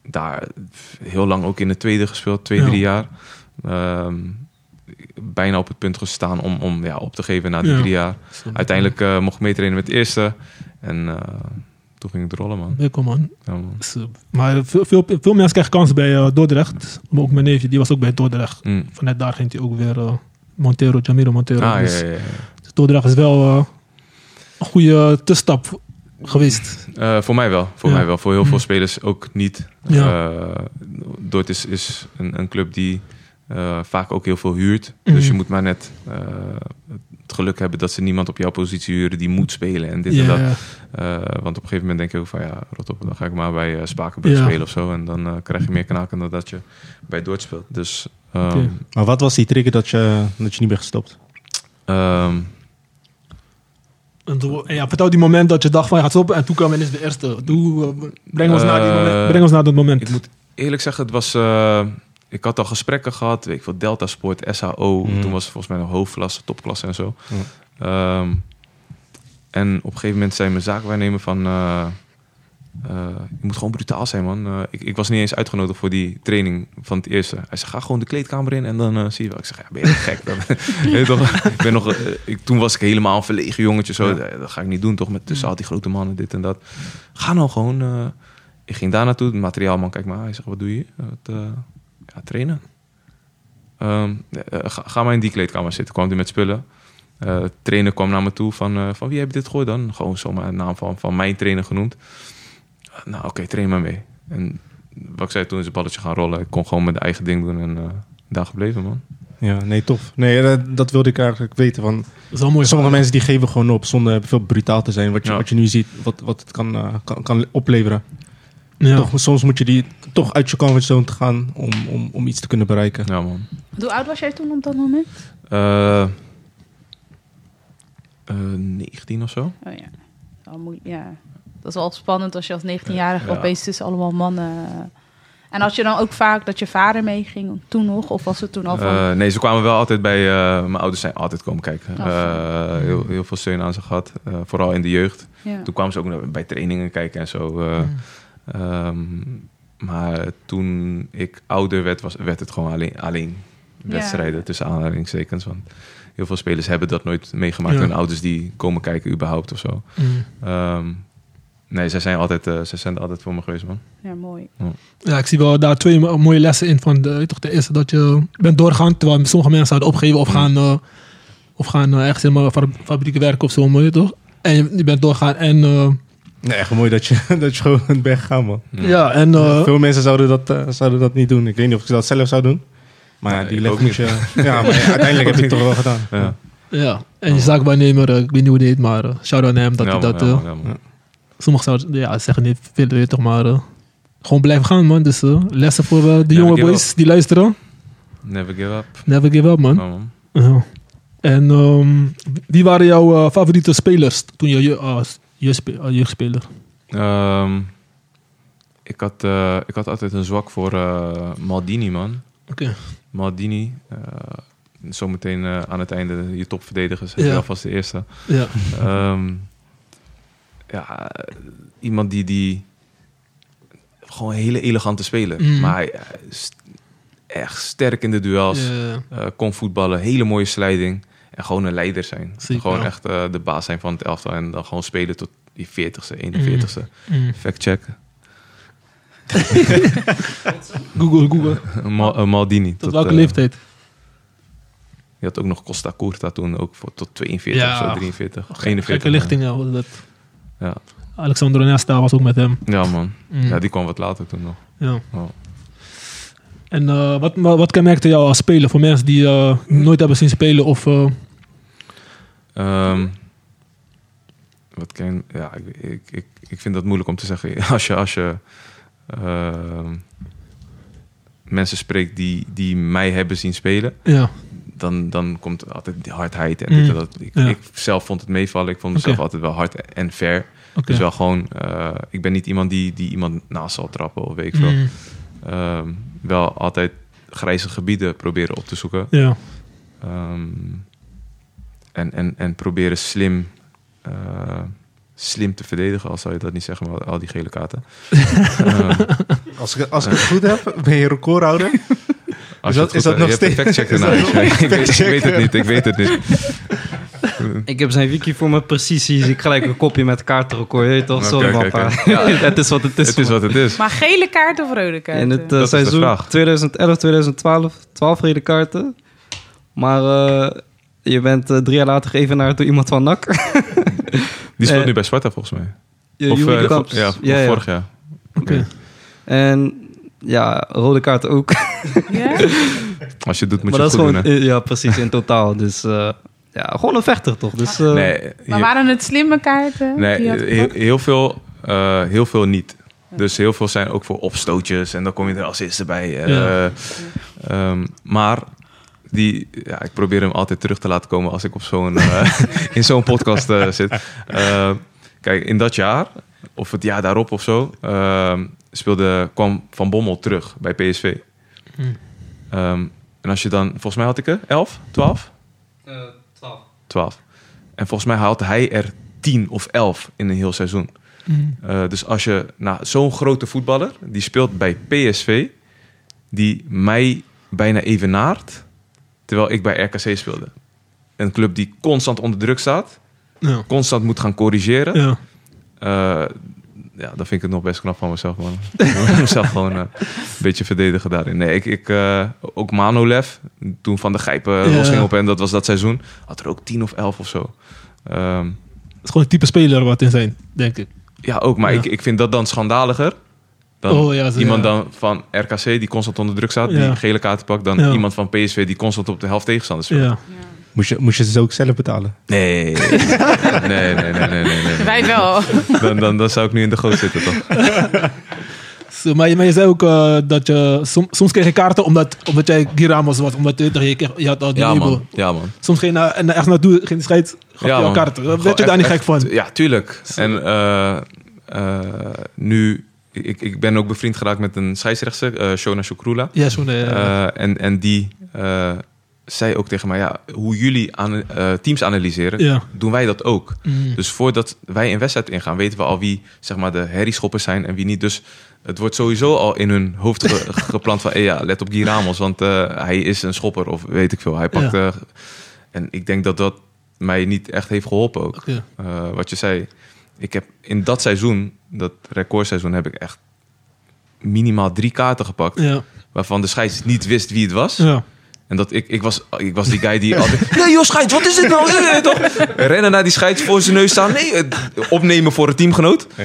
daar heel lang ook in de tweede gespeeld, twee, Ja. drie jaar. Ehm, bijna op het punt gestaan om, om ja, op te geven na die Ja. drie jaar. Uiteindelijk eh, mocht ik meetrainen met de eerste. En eh, toen ging het rollen, man. Leuk hoor, man. Ja, man. Dus, eh, Maar veel, veel, veel mensen krijgen kans bij eh, Dordrecht. Maar ook mijn neefje, die was ook bij Dordrecht. Mm. Vanuit daar ging hij ook weer eh, Montero, Jamiro Montero. Ah, ja, dus ja, ja. Dordrecht is wel eh, een goede tussenstap geweest. Eh, voor mij wel. Voor Ja. mij wel. Voor heel veel Mm. spelers ook niet. Ja. Eh, Dort is, is een, een club die eh, vaak ook heel veel huurt. Mhm. Dus je moet maar net eh, het geluk hebben dat ze niemand op jouw positie huren die moet spelen en dit en dat. Ja, ja. Eh, want op een gegeven moment denk je ook van ja, rot op, dan ga ik maar bij eh, Spakenburg Ja. spelen of zo. En dan eh, krijg je meer knaken dan dat je bij Dort speelt. Dus ehm, Oké. Maar wat was die trigger dat je, dat je niet bent gestopt? ehm, En toen- en ja, vertel die moment dat je dacht van je gaat stoppen en toen kwam en is de eerste. Doe, eh, breng, ons naar die Eh, moment- breng ons naar dat moment. Ik moet eerlijk zeggen, het was. eh, ik had al gesprekken gehad, weet ik veel, Delta Sport, SHO. Mm. Toen was het volgens mij een hoofdklasse, topklasse en zo. Mm. Ehm, en op een gegeven moment zei mijn zaakwaarnemer van... eh, eh, je moet gewoon brutaal zijn, man. Eh, ik, ik was niet eens uitgenodigd voor die training van het eerste. Hij zei, ga gewoon de kleedkamer in en dan eh, zie je wel. Ik zeg, ja, ben je toch gek? Dan, Weet je toch? ik ben nog, eh, ik, toen was ik helemaal een verlegen jongetje. Zo. Eh, Dat ga ik niet doen, toch? Met tussen al die grote mannen, dit en dat. Ga nou gewoon... eh, ik ging daar naartoe. De materiaalman kijkt me aan. Hij zegt, wat doe je? hier? Wat, eh, ja, trainen. Ehm, eh, ga, ga maar in die kleedkamer zitten. Kwam hij met spullen. Eh trainer kwam naar me toe van, eh, van wie heb je dit gegooid dan? Gewoon zomaar een naam van, van mijn trainer genoemd. Nou, oké, train maar mee. En wat ik zei, toen is het balletje gaan rollen. Ik kon gewoon mijn eigen ding doen en eh, daar gebleven, man. Ja, nee, tof. Nee, eh, dat, dat wilde ik eigenlijk weten. Want dat is wel mooi. sommige mensen die geven gewoon op zonder veel brutaal te zijn. Wat je, Ja. wat je nu ziet, wat, wat het kan, eh, kan, kan opleveren. ja. Toch, soms moet je die toch uit je comfortzone te gaan om, om, om iets te kunnen bereiken. Ja, man. Hoe oud was jij toen op dat moment? Eh, eh, 19 of zo. Oh ja. Al moe- ja. Dat is wel spannend als je als 19-jarige Ja. opeens tussen allemaal mannen... eh, En had je dan ook vaak dat je vader meeging toen nog? Of was het toen al van... Eh, nee, ze kwamen wel altijd bij... eh, mijn ouders zijn altijd komen kijken. Ah, Eh, heel, heel veel steun aan ze gehad. eh, vooral in de jeugd. ja. Toen kwamen ze ook naar- bij trainingen kijken en zo. eh, ehm, maar toen ik ouder werd, was, werd het gewoon alleen, alleen Ja. wedstrijden. Tussen aanhalingstekens. Want heel veel spelers hebben dat nooit meegemaakt. Ja. Hun ouders die komen kijken überhaupt of zo. Mm. Ehm, nee, zij zijn, altijd, eh, zij zijn er altijd voor me geweest, man. ja, mooi. Ja, ik zie wel daar twee mo- mooie lessen in. Van de, weet je toch, de eerste dat je bent doorgaan, terwijl sommige mensen zouden opgeven Mm. of gaan, eh, of gaan eh, ergens in mijn fabrieken werken of zo, maar weet je toch? En je, je bent doorgaan en eh, Nee, echt mooi dat je, dat je gewoon bent gegaan, man. Ja. ja. en eh, Veel mensen zouden dat, eh, zouden dat niet doen. Ik weet niet of ik dat zelf zou doen. Maar ja, Nee, die ik leg ook moet je... Ja, maar ja, uiteindelijk heb je het toch wel gedaan. Ja. Ja, en je zaakwaarnemer, eh, ik weet niet hoe die heet, maar eh, shout-out naar hem. Dat, hij Ja, man, dat, ja, eh, man, ja, man. sommigen zouden ja, zeggen niet veel, weet je toch, maar eh, gewoon blijven gaan, man. Dus eh, lessen voor eh, de Ja, jonge give boys die luisteren. Never give up. Never give up, man. Ja, man. Ja. En ehm, wie waren jouw eh, favoriete spelers toen je, je, eh, je spe- eh, jeugdspeler? Ehm, ik, had, eh, ik had altijd een zwak voor eh, Maldini, man. Oké. Maldini. eh, zometeen eh, aan het einde je topverdedigers. Ja. Ja. Alvast de eerste. Ja. Ehm, ja, eh, iemand die, die gewoon een hele elegante speler. Mm. Maar hij eh, is echt sterk in de duels. Ja. eh, kon voetballen, hele mooie slijding. En gewoon een leider zijn. Zeker. Gewoon echt eh, de baas zijn van het elftal. En dan gewoon spelen tot die 40ste, 41ste. Mm. Fact check. Google, Google. Ma- eh, Maldini. Tot welke eh, leeftijd? Je had ook nog Costa Curta toen, ook voor, tot 42 Ja. of zo, 43. Gekke 41. lichtingen. was dat. Ja. Alexander Nesta was ook met hem. Ja, man. Mm. Ja, die Oh. kwam wat later toen nog. Ja. Ja. En eh, wat, wat, wat kenmerkte jou als speler? Voor mensen die eh, nooit hebben zien spelen of... eh, Ehm, wat ken Ja, ik, ik, ik, ik vind dat moeilijk om te zeggen. Als je, als je ehm, mensen spreekt die, die mij hebben zien spelen, ja, dan, dan komt altijd die hardheid en Mm. dit en dat. Ik, Ja. ik zelf vond het meevallen. Ik vond mezelf Oké. altijd wel hard en fair. oké. Dus wel gewoon, eh, ik ben niet iemand die, die iemand naast zal trappen of weet ik veel. Mm, Ehm, wel altijd grijze gebieden proberen op te zoeken. ja. Ehm, en, en, en proberen slim, eh, slim te verdedigen, al zou je dat niet zeggen, maar al die gele kaarten. Ehm, Als ik, als ik het goed heb, ben je recordhouder. dat- als je het is dat goed- nog je hebt een steeds- factcheck is dat ernaast. nog Ik weet- Ik weet het factchecken? niet, ik weet het niet. Ik heb zijn wiki voor mijn precies. Ik gelijk een kopje met kaartenrecord. Je weet toch? Oké, Sorry, oké, papa. oké. Ja. het is wat het is. Het is man. wat het is. Maar gele kaart of rode kaart? In het eh, Dat is de seizoen vraag. 2011, 2012, 12 rode kaarten. Maar eh, je bent eh, drie jaar later geëvenaard door iemand van NAC. Die speelt Eh, nu bij Sparta volgens mij. Eh, Of, Yuri eh, Kamps. ja, of vorig jaar. Oké. En ja, rode kaarten ook. Ja? Als je het doet, moet maar dat is je het goed gewoon, doen. hè? eh, ja, precies, in totaal. Dus eh, ja, gewoon een vechter toch? Dus, eh, Nee, Maar je- waren het slimme kaarten? Nee, die je had heel, gepakt? heel veel, eh, heel veel niet. Dus heel veel zijn ook voor opstootjes en dan kom je er als eerste bij. eh, Ja. ehm, maar die, ja, ik probeer hem altijd terug te laten komen als ik op zo'n, eh, in zo'n podcast eh, zit. Eh, kijk, in dat jaar, of het jaar daarop of zo, ehm, speelde, kwam Van Bommel terug bij PSV. Hmm. Ehm, en als je dan, volgens mij had ik er 11, 12? Eh 12. 12. En volgens mij haalt hij er 10 of 11 in een heel seizoen. Mm, Eh, dus als je nou, zo'n grote voetballer, die speelt bij PSV, die mij bijna evenaart, terwijl ik bij RKC speelde. Een club die constant onder druk staat, ja. constant moet gaan corrigeren. Eh, Ja. Ja, dan vind ik het nog best knap van mezelf, man. Ik mezelf gewoon eh, een beetje verdedigen daarin. Nee, ik, ik eh, ook Manolev, toen Van de Gijpen eh, Ja. losging op hem, dat was dat seizoen, had er ook 10 of 11 of zo. Ehm, Het is gewoon het type speler wat in zijn, denk ik. ja, ook, maar Ja. Ik, ik vind dat dan schandaliger. Dan Oh, ja, zo, iemand ja. dan van RKC die constant onder druk staat, die Ja. een gele kaarten pakt, dan Ja. iemand van PSV die constant op de helft tegenstanders speelt. Ja. Ja. Moest je, moest je ze ook zelf betalen? Nee. nee, nee, nee, nee, nee, nee, nee. Wij wel. Dan, dan, dan zou ik nu in de goot zitten, toch? Zo, maar, je, maar je zei ook eh, dat je... som- soms kreeg je kaarten omdat, omdat jij Giramos was. Omdat je, je, kreeg, je had al die Ja, label. man. Ja, man. Soms ging je naar- en echt naartoe, geen scheid, gaf ja, je al man. kaarten. Daar Gewoon Werd je daar echt- niet gek van? echt- Ja, tuurlijk. En eh, eh, nu, ik, ik ben ook bevriend geraakt met een scheidsrechter, eh Shona Shukrula. Ja, zo'n... eh, Eh, en, en die eh, zei ook tegen mij, ja, hoe jullie aan, eh, teams analyseren, ja. doen wij dat ook. Mm. Dus voordat wij een wedstrijd ingaan, weten we al wie zeg maar, de herrieschoppers zijn en wie niet. Dus het wordt sowieso al in hun hoofd ge- geplant van... Hey ja, let op Guy Ramos, want eh, hij is een schopper of weet ik veel. Hij pakt... eh, en ik denk dat dat mij niet echt heeft geholpen ook. Oké. Eh, wat je zei, ik heb in dat seizoen, dat recordseizoen, heb ik echt minimaal drie kaarten gepakt... Ja. waarvan de scheids niet wist wie het was. Ja. En dat ik, ik, was, ik was die guy die altijd... Nee joh, scheids, wat is dit nou? Eh, eh, toch? Rennen naar die scheids, voor zijn neus staan. Nee, eh, opnemen voor een teamgenoot. Ja.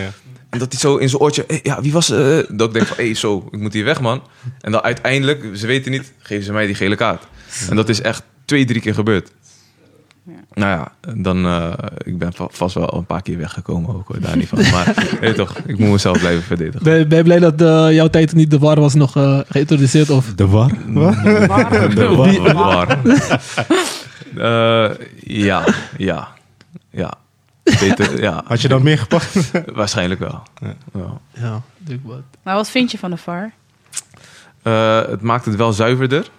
En dat hij zo in zijn oortje... eh, ja, wie was... eh, dat ik denk van, hé, zo, ik moet hier weg, man. En dan uiteindelijk, ze weten niet, geven ze mij die gele kaart. En dat is echt twee, drie keer gebeurd. Ja. Nou ja, dan, eh, ik ben va- vast wel een paar keer weggekomen ook, hoor, daar niet van. Maar weet je toch, ik moet mezelf blijven verdedigen. Ben, ben je blij dat eh, jouw tijd niet de war was nog eh, geïntroduceerd? Of De war? Maar- De war. De war. Eh, ja, ja, ja. Beter, ja, Had je dat meer gepakt? waarschijnlijk wel. Ja. Ja. ja, denk wat. Maar wat vind je van de VAR? Eh, het maakt het wel zuiverder.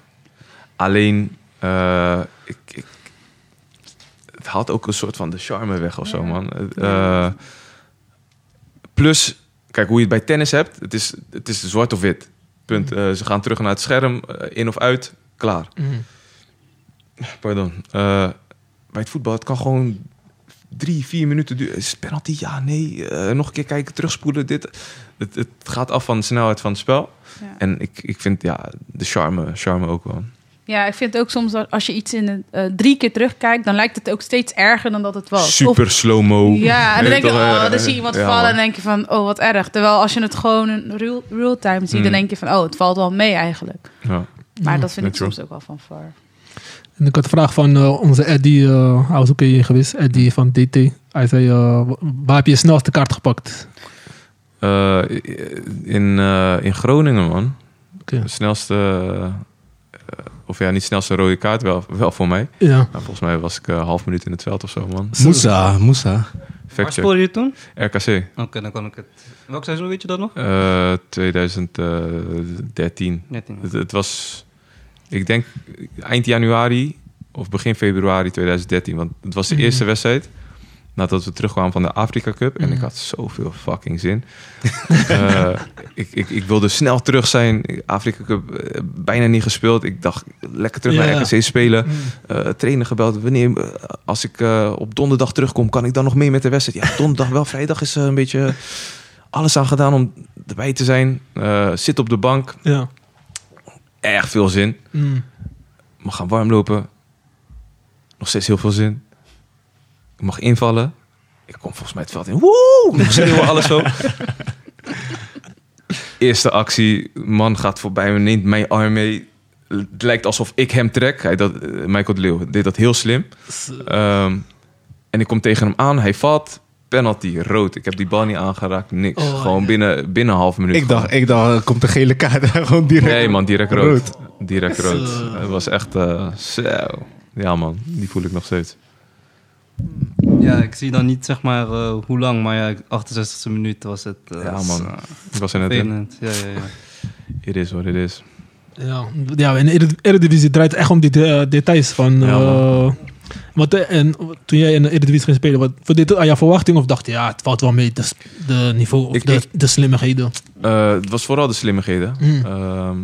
Alleen, eh, ik, ik, het haalt ook een soort van de charme weg of zo, man. Eh, eh, plus, kijk hoe je het bij tennis hebt. Het is, het is zwart of wit. Punt. Eh, ze gaan terug naar het scherm, eh, in of uit, klaar. Pardon. Eh, bij het voetbal, het kan gewoon drie, vier minuten duren. Is het penalty? Ja, nee. Eh, nog een keer kijken, terugspoelen, dit. Het, het gaat af van de snelheid van het spel. Ja. En ik, ik vind ja, de charme, charme ook wel. Ja, ik vind het ook soms dat als je iets in een, eh, drie keer terugkijkt, dan lijkt het ook steeds erger dan dat het was. Of- Super slow-mo. ja, en dan Weet denk je, je toch, oh, eh, dan zie je iemand ja, vallen en man. denk je van, oh, wat erg. Terwijl als je het gewoon in real- real-time ziet, dan Mm. denk je van, oh, het valt wel mee eigenlijk. Ja. Maar dat vind ik natural. soms ook wel van VAR. En ik had een vraag van eh, onze Eddie, eh, hij was ook hier geweest, Eddie van DT. Hij zei, eh, wa- waar heb je snelst de kaart gepakt? Eh, in, eh, in Groningen, man. Oké. De snelste... eh, of ja, niet snelste rode kaart, wel, wel voor mij. Ja. Nou, volgens mij was ik eh, een half minuut in het veld of zo, man. Moussa, Moussa. Waar Fact check. speelde je toen? RKC. Oké, dan kan ik het. Welk seizoen weet je dat nog? eh, 2013. Net in. Het, het was, ik denk, eind januari of begin februari 2013. Want het was de Mhm. eerste wedstrijd nadat we terugkwamen van de Afrika Cup. En ik Mhm. had zoveel fucking zin. Eh, ik, ik, ik wilde snel terug zijn. Afrika Cup eh, bijna niet gespeeld. Ik dacht, lekker terug Ja, Mhm. naar ja. RKC spelen. Mm. Eh, trainer gebeld. Wanneer, eh, als ik eh, op donderdag terugkom, kan ik dan nog mee met de wedstrijd? Ja, donderdag wel. Vrijdag is eh, een beetje alles aan gedaan om erbij te zijn. Eh, zit op de bank. Ja. Mm. Erg veel zin. mag gaan warmlopen. Nog steeds heel veel zin. Ik mag invallen. Ik kom volgens mij het veld in. Woe! Nog schreeuwen, alles zo. Eerste actie. Man gaat voorbij me, neemt mijn arm mee. Het lijkt alsof ik hem trek. Hij dat, eh, Michael de Leeuw deed dat heel slim. Ehm, en ik kom tegen hem aan. Hij valt. Penalty, rood. Ik heb die bal niet aangeraakt. Niks. Oh, Gewoon ja. binnen, binnen een half minuut. Ik dacht, ik dacht, er komt de gele kaart gewoon direct. Nee man, direct rood. Rood. Direct rood. Zo. Het was echt eh, zo. Ja man, die voel ik nog steeds. Ja, ik zie dan niet zeg maar eh, hoe lang, maar ja, 68e minuut was het. eh, Ja, was, man. eh, Ik was er net in. vervelend. Ja, ja, ja. It is what it is. Ja, ja in de Eredi- Eredivisie draait het echt om die de- details van... Ja, man. eh, want eh, en, toen jij in de Eredivisie ging spelen, wat, voldeed het aan jouw verwachting? Of dacht je, ja, het valt wel mee, de, s- de niveau of Ik- de, ik- de slimmigheden? Eh, het was vooral de slimmigheden. Mm. Ehm,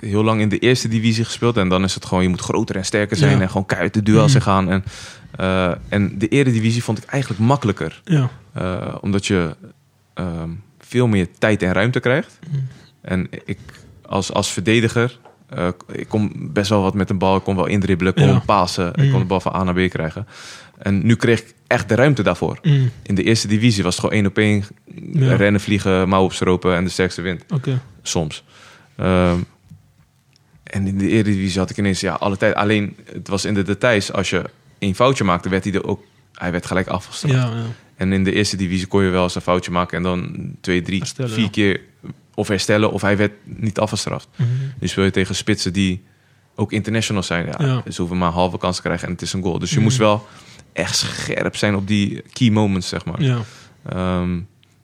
heel lang in de eerste divisie gespeeld. En dan is het gewoon, je moet groter en sterker zijn. Ja. En gewoon keihard de duels Mm. in gaan. En, eh, en de eredivisie vond ik eigenlijk makkelijker. Ja. Eh, omdat je ehm, veel meer tijd en ruimte krijgt. Mm. En ik als, als verdediger, eh, ik kom best wel wat met een bal. Ik kon wel indribbelen, ik kon Ja. pasen. Ik Mm. kon de bal van A naar B krijgen. En nu kreeg ik echt de ruimte daarvoor. Mm, In de eerste divisie was het gewoon één op één. Ja. Rennen, vliegen, mouw opstropen en de sterkste wint. Oké. Soms. Ehm, en in de Eredivisie had ik ineens ja, alle tijd. Alleen, het was in de details. Als je een foutje maakte, werd hij er ook... Hij werd gelijk afgestraft. Ja, ja. En in de eerste divisie kon je wel eens een foutje maken en dan twee, drie, Herstellen, vier ja. keer of herstellen of hij werd niet afgestraft. Mhm. Nu speel je tegen spitsen die ook international zijn. Ja, Ja. Ze hoeven maar een halve kans te krijgen en het is een goal. Dus je Mm. moest wel echt scherp zijn op die key moments, zeg maar. Ja, Ehm,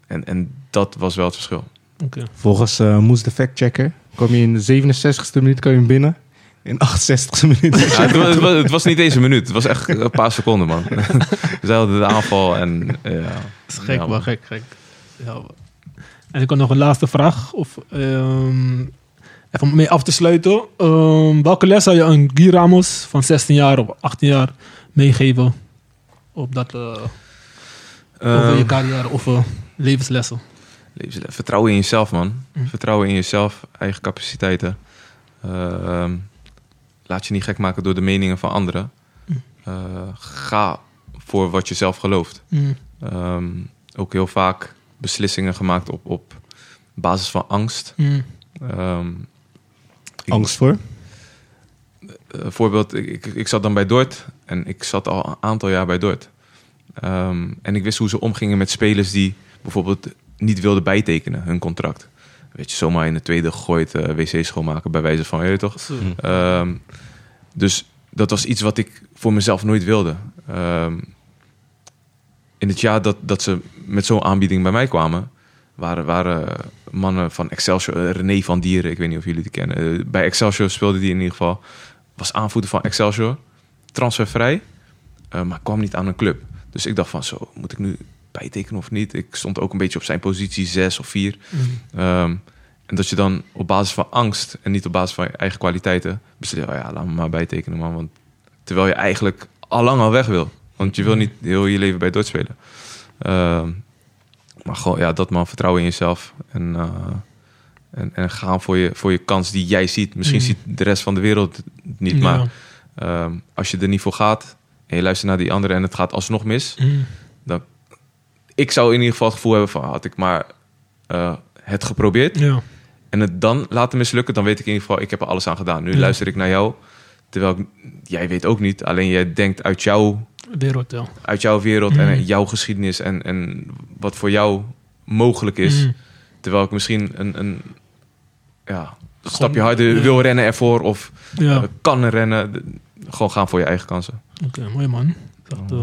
en, en dat was wel het verschil. oké. Volgens eh Moes de factchecker kom je in de 67ste minuut kan je hem binnen. In 68ste minuut. Ja, het, wa- het was, het was niet eens een minuut, het was echt een paar seconden, man. Ze hadden de aanval en eh, ja. Dat is gek, Ja, man. maar gek, gek. Ja, man. En ik had nog een laatste vraag. Of, ehm, even om mee af te sluiten. Ehm, welke les zou je aan Guy Ramos van 16 jaar of 18 jaar meegeven? Op dat, eh, over je Ehm, carrière of eh, levenslessen? Levens- Vertrouwen in jezelf, man. Mm. Vertrouwen in jezelf, eigen capaciteiten. Ehm, laat je niet gek maken door de meningen van anderen. Mm. Eh, ga voor wat je zelf gelooft. Mm, Ehm, ook heel vaak beslissingen gemaakt op, op basis van angst. mm, Ehm, ik- Angst voor. eh, voorbeeld, ik, ik, ik zat dan bij Dort. En ik zat al een aantal jaar bij Dort. Ehm, en ik wist hoe ze omgingen met spelers die bijvoorbeeld niet wilden bijtekenen hun contract. Weet je, zomaar in de tweede gegooid eh, wc schoonmaken bij wijze van, je weet toch? Ehm, dus dat was iets wat ik voor mezelf nooit wilde. Ehm, in het jaar dat, dat ze met zo'n aanbieding bij mij kwamen, waren, waren mannen van Excelsior, eh, René van Dieren, ik weet niet of jullie die kennen. Eh, bij Excelsior speelde die in ieder geval. Was aanvoerder van Excelsior, transfervrij, eh, maar kwam niet aan een club. Dus ik dacht van zo, moet ik nu bijtekenen of niet? Ik stond ook een beetje op zijn positie, zes of vier. Mm. Ehm, en dat je dan op basis van angst en niet op basis van je eigen kwaliteiten beslist, oh ja, laat me maar bijtekenen, man. Want terwijl je eigenlijk allang al weg wil. Want je Mm. wil niet heel je leven bij Dordt spelen. Ehm, maar gewoon, ja, dat man, vertrouwen in jezelf. En, eh, en, en gaan voor je, voor je kans die jij ziet. Misschien Mm. ziet de rest van de wereld het niet, Ja. maar Ehm, als je er niet voor gaat en je luistert naar die anderen en het gaat alsnog mis. Mm. Ik zou in ieder geval het gevoel hebben van had ik maar eh, het geprobeerd Ja. en het dan laten mislukken, dan weet ik in ieder geval ik heb er alles aan gedaan. Nu Ja. luister ik naar jou, terwijl ik- jij weet ook niet. Alleen jij denkt uit jouw, Wereld, ja. uit jouw wereld Mm. en jouw geschiedenis en, en wat voor jou mogelijk is. Mm. Terwijl ik misschien een, een ja, Gewoon- stapje harder ja. wil rennen ervoor of Ja, eh, kan rennen. De- Gewoon gaan voor je eigen kansen. oké, mooi man. Dat is echt, eh,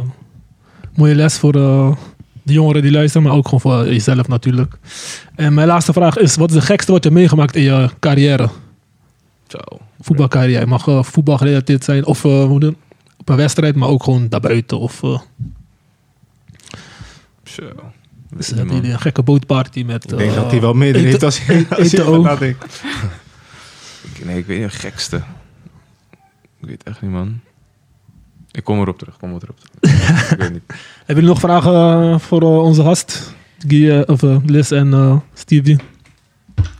mooie les voor eh, de jongeren die luisteren, maar ook gewoon voor jezelf natuurlijk. En mijn laatste vraag is, wat is de gekste wat je hebt meegemaakt in je carrière? Zo. Voetbalcarrière. Het mag eh, voetbal gerelateerd zijn of eh, hoe dan- op een wedstrijd, maar ook gewoon daarbuiten. Of eh, Zo. is Weet dat niet, man. die een gekke bootparty met... Ik denk eh, dat hij wel mede eten- heeft als, als je eten erover ook. nadenkt. Ik- Nee, ik weet niet, een gekste. Ik weet echt niet, man. Ik kom erop terug, kom erop terug. ik weet niet. Hebben jullie nog vragen eh, voor eh, onze gast? Guy, eh, of eh, Liz en eh, Stevie?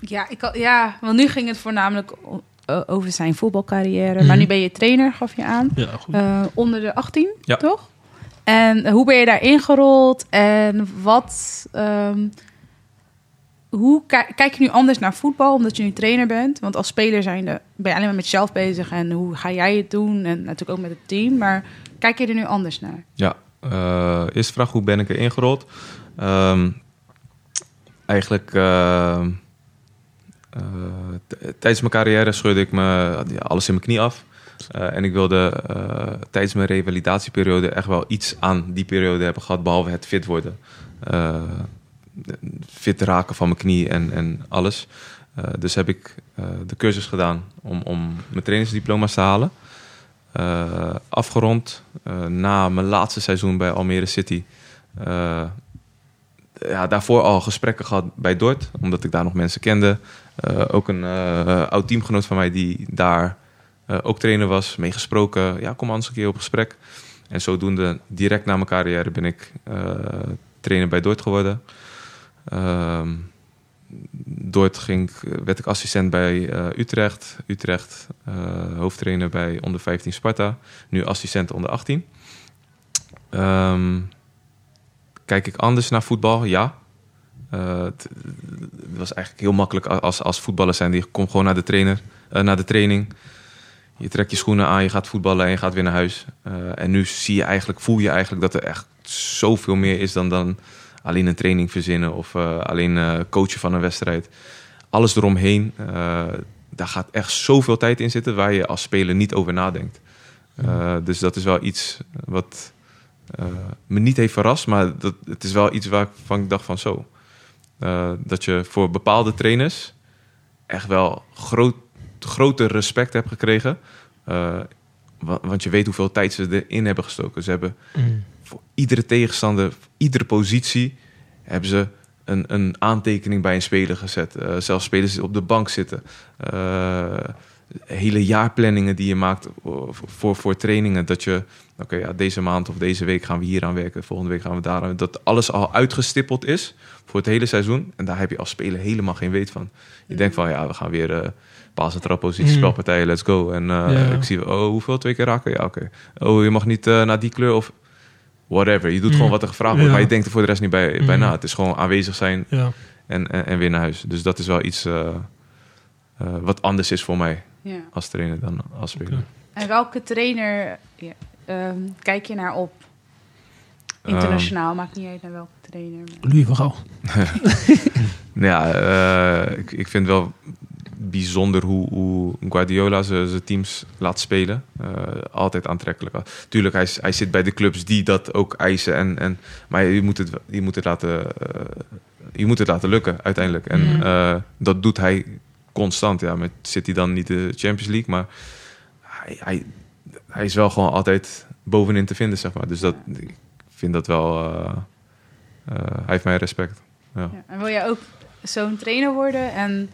Ja, ik al- ja, want nu ging het voornamelijk o- o- over zijn voetbalcarrière. Mm. Mhm. Maar nu ben je trainer, gaf je aan. Ja, goed. Eh, onder de 18, Ja. toch? En eh, hoe ben je daar ingerold? En wat... ehm, hoe ki- kijk je nu anders naar voetbal, omdat je nu trainer bent? Want als speler zijnde ben je alleen maar met jezelf bezig. En hoe ga jij het doen? En natuurlijk ook met het team. Maar kijk je er nu anders naar? Ja, eh eerste vraag, hoe ben ik er ingerold? Ehm, eigenlijk, ehm, eh, t- tijdens mijn carrière scheurde ik me, had- ja, alles in mijn knie af. Eh, en ik wilde eh, tijdens mijn revalidatieperiode echt wel iets aan die periode hebben gehad, behalve het fit worden. Eh, fit raken van mijn knie en, en alles. Eh, dus heb ik eh, de cursus gedaan om, om mijn trainersdiploma's te halen. Eh, afgerond eh, na mijn laatste seizoen bij Almere City. eh, ja, daarvoor al gesprekken gehad bij Dort, omdat ik daar nog mensen kende. Eh, ook een eh, oud teamgenoot van mij die daar eh, ook trainer was, meegesproken. Ja, kom anders een keer op gesprek. En zodoende, direct na mijn carrière, ben ik eh, trainer bij Dort geworden. Ehm Dort ging, ik- werd ik assistent bij eh, Utrecht. Utrecht, eh, hoofdtrainer bij onder 15 Sparta. Nu assistent onder 18. Ehm, kijk ik anders naar voetbal? Ja. Eh, het, het was eigenlijk heel makkelijk a- als, als voetballer zijn. Je komt gewoon naar de, trainer, eh, naar de training. Je trekt je schoenen aan, je gaat voetballen en je gaat weer naar huis. Eh, en nu zie je eigenlijk, voel je eigenlijk dat er echt zoveel meer is dan, dan alleen een training verzinnen of eh, alleen eh, coachen van een wedstrijd. Alles eromheen, eh, daar gaat echt zoveel tijd in zitten waar je als speler niet over nadenkt. Eh, dus dat is wel iets wat eh, me niet heeft verrast, maar dat, het is wel iets waarvan ik dacht van zo. Eh, dat je voor bepaalde trainers echt wel groot, groter respect hebt gekregen. Eh, wa- want je weet hoeveel tijd ze erin hebben gestoken. Ze hebben Mm. voor iedere tegenstander, voor iedere positie hebben ze een, een aantekening bij een speler gezet. Eh, zelfs spelers die op de bank zitten. Eh, hele jaarplanningen die je maakt voor, voor, voor trainingen. Dat je, oké, ja, deze maand of deze week gaan we hier aan werken. Volgende week gaan we daar aan Dat alles al uitgestippeld is voor het hele seizoen. En daar heb je als speler helemaal geen weet van. Je denkt van, ja, we gaan weer eh paas en trappositie, Mm. spelpartijen, let's go. En eh, Ja. ik zie, oh, hoeveel? Twee keer raken? Ja, oké. Oh, je mag niet eh, naar die kleur of whatever. Je doet Mm. gewoon wat er gevraagd wordt, Ja. maar je denkt er voor de rest niet bij, bij Mm. na. Het is gewoon aanwezig zijn Ja. en, en, en weer naar huis. Dus dat is wel iets eh, eh, wat anders is voor mij Ja. als trainer dan als speler. Oké. En welke trainer ja, ehm, kijk je naar op? Ehm, Internationaal, maakt niet uit naar welke trainer. maar- Louis van Gaal. Nou ja, eh, ik, ik vind wel bijzonder hoe, hoe Guardiola zijn teams laat spelen. Eh, altijd aantrekkelijk. Tuurlijk, hij, is- hij zit bij de clubs die dat ook eisen. En, en, maar je moet het, wel- je moet het, laten, eh, je moet het laten lukken uiteindelijk. En Mm. eh, dat doet hij constant. Ja, met City dan niet de Champions League. Maar hij, hij, hij is wel gewoon altijd bovenin te vinden, zeg maar. Dus dat, ik vind dat wel... eh, eh, hij heeft mijn respect. Ja. En wil jij ook zo'n trainer worden? En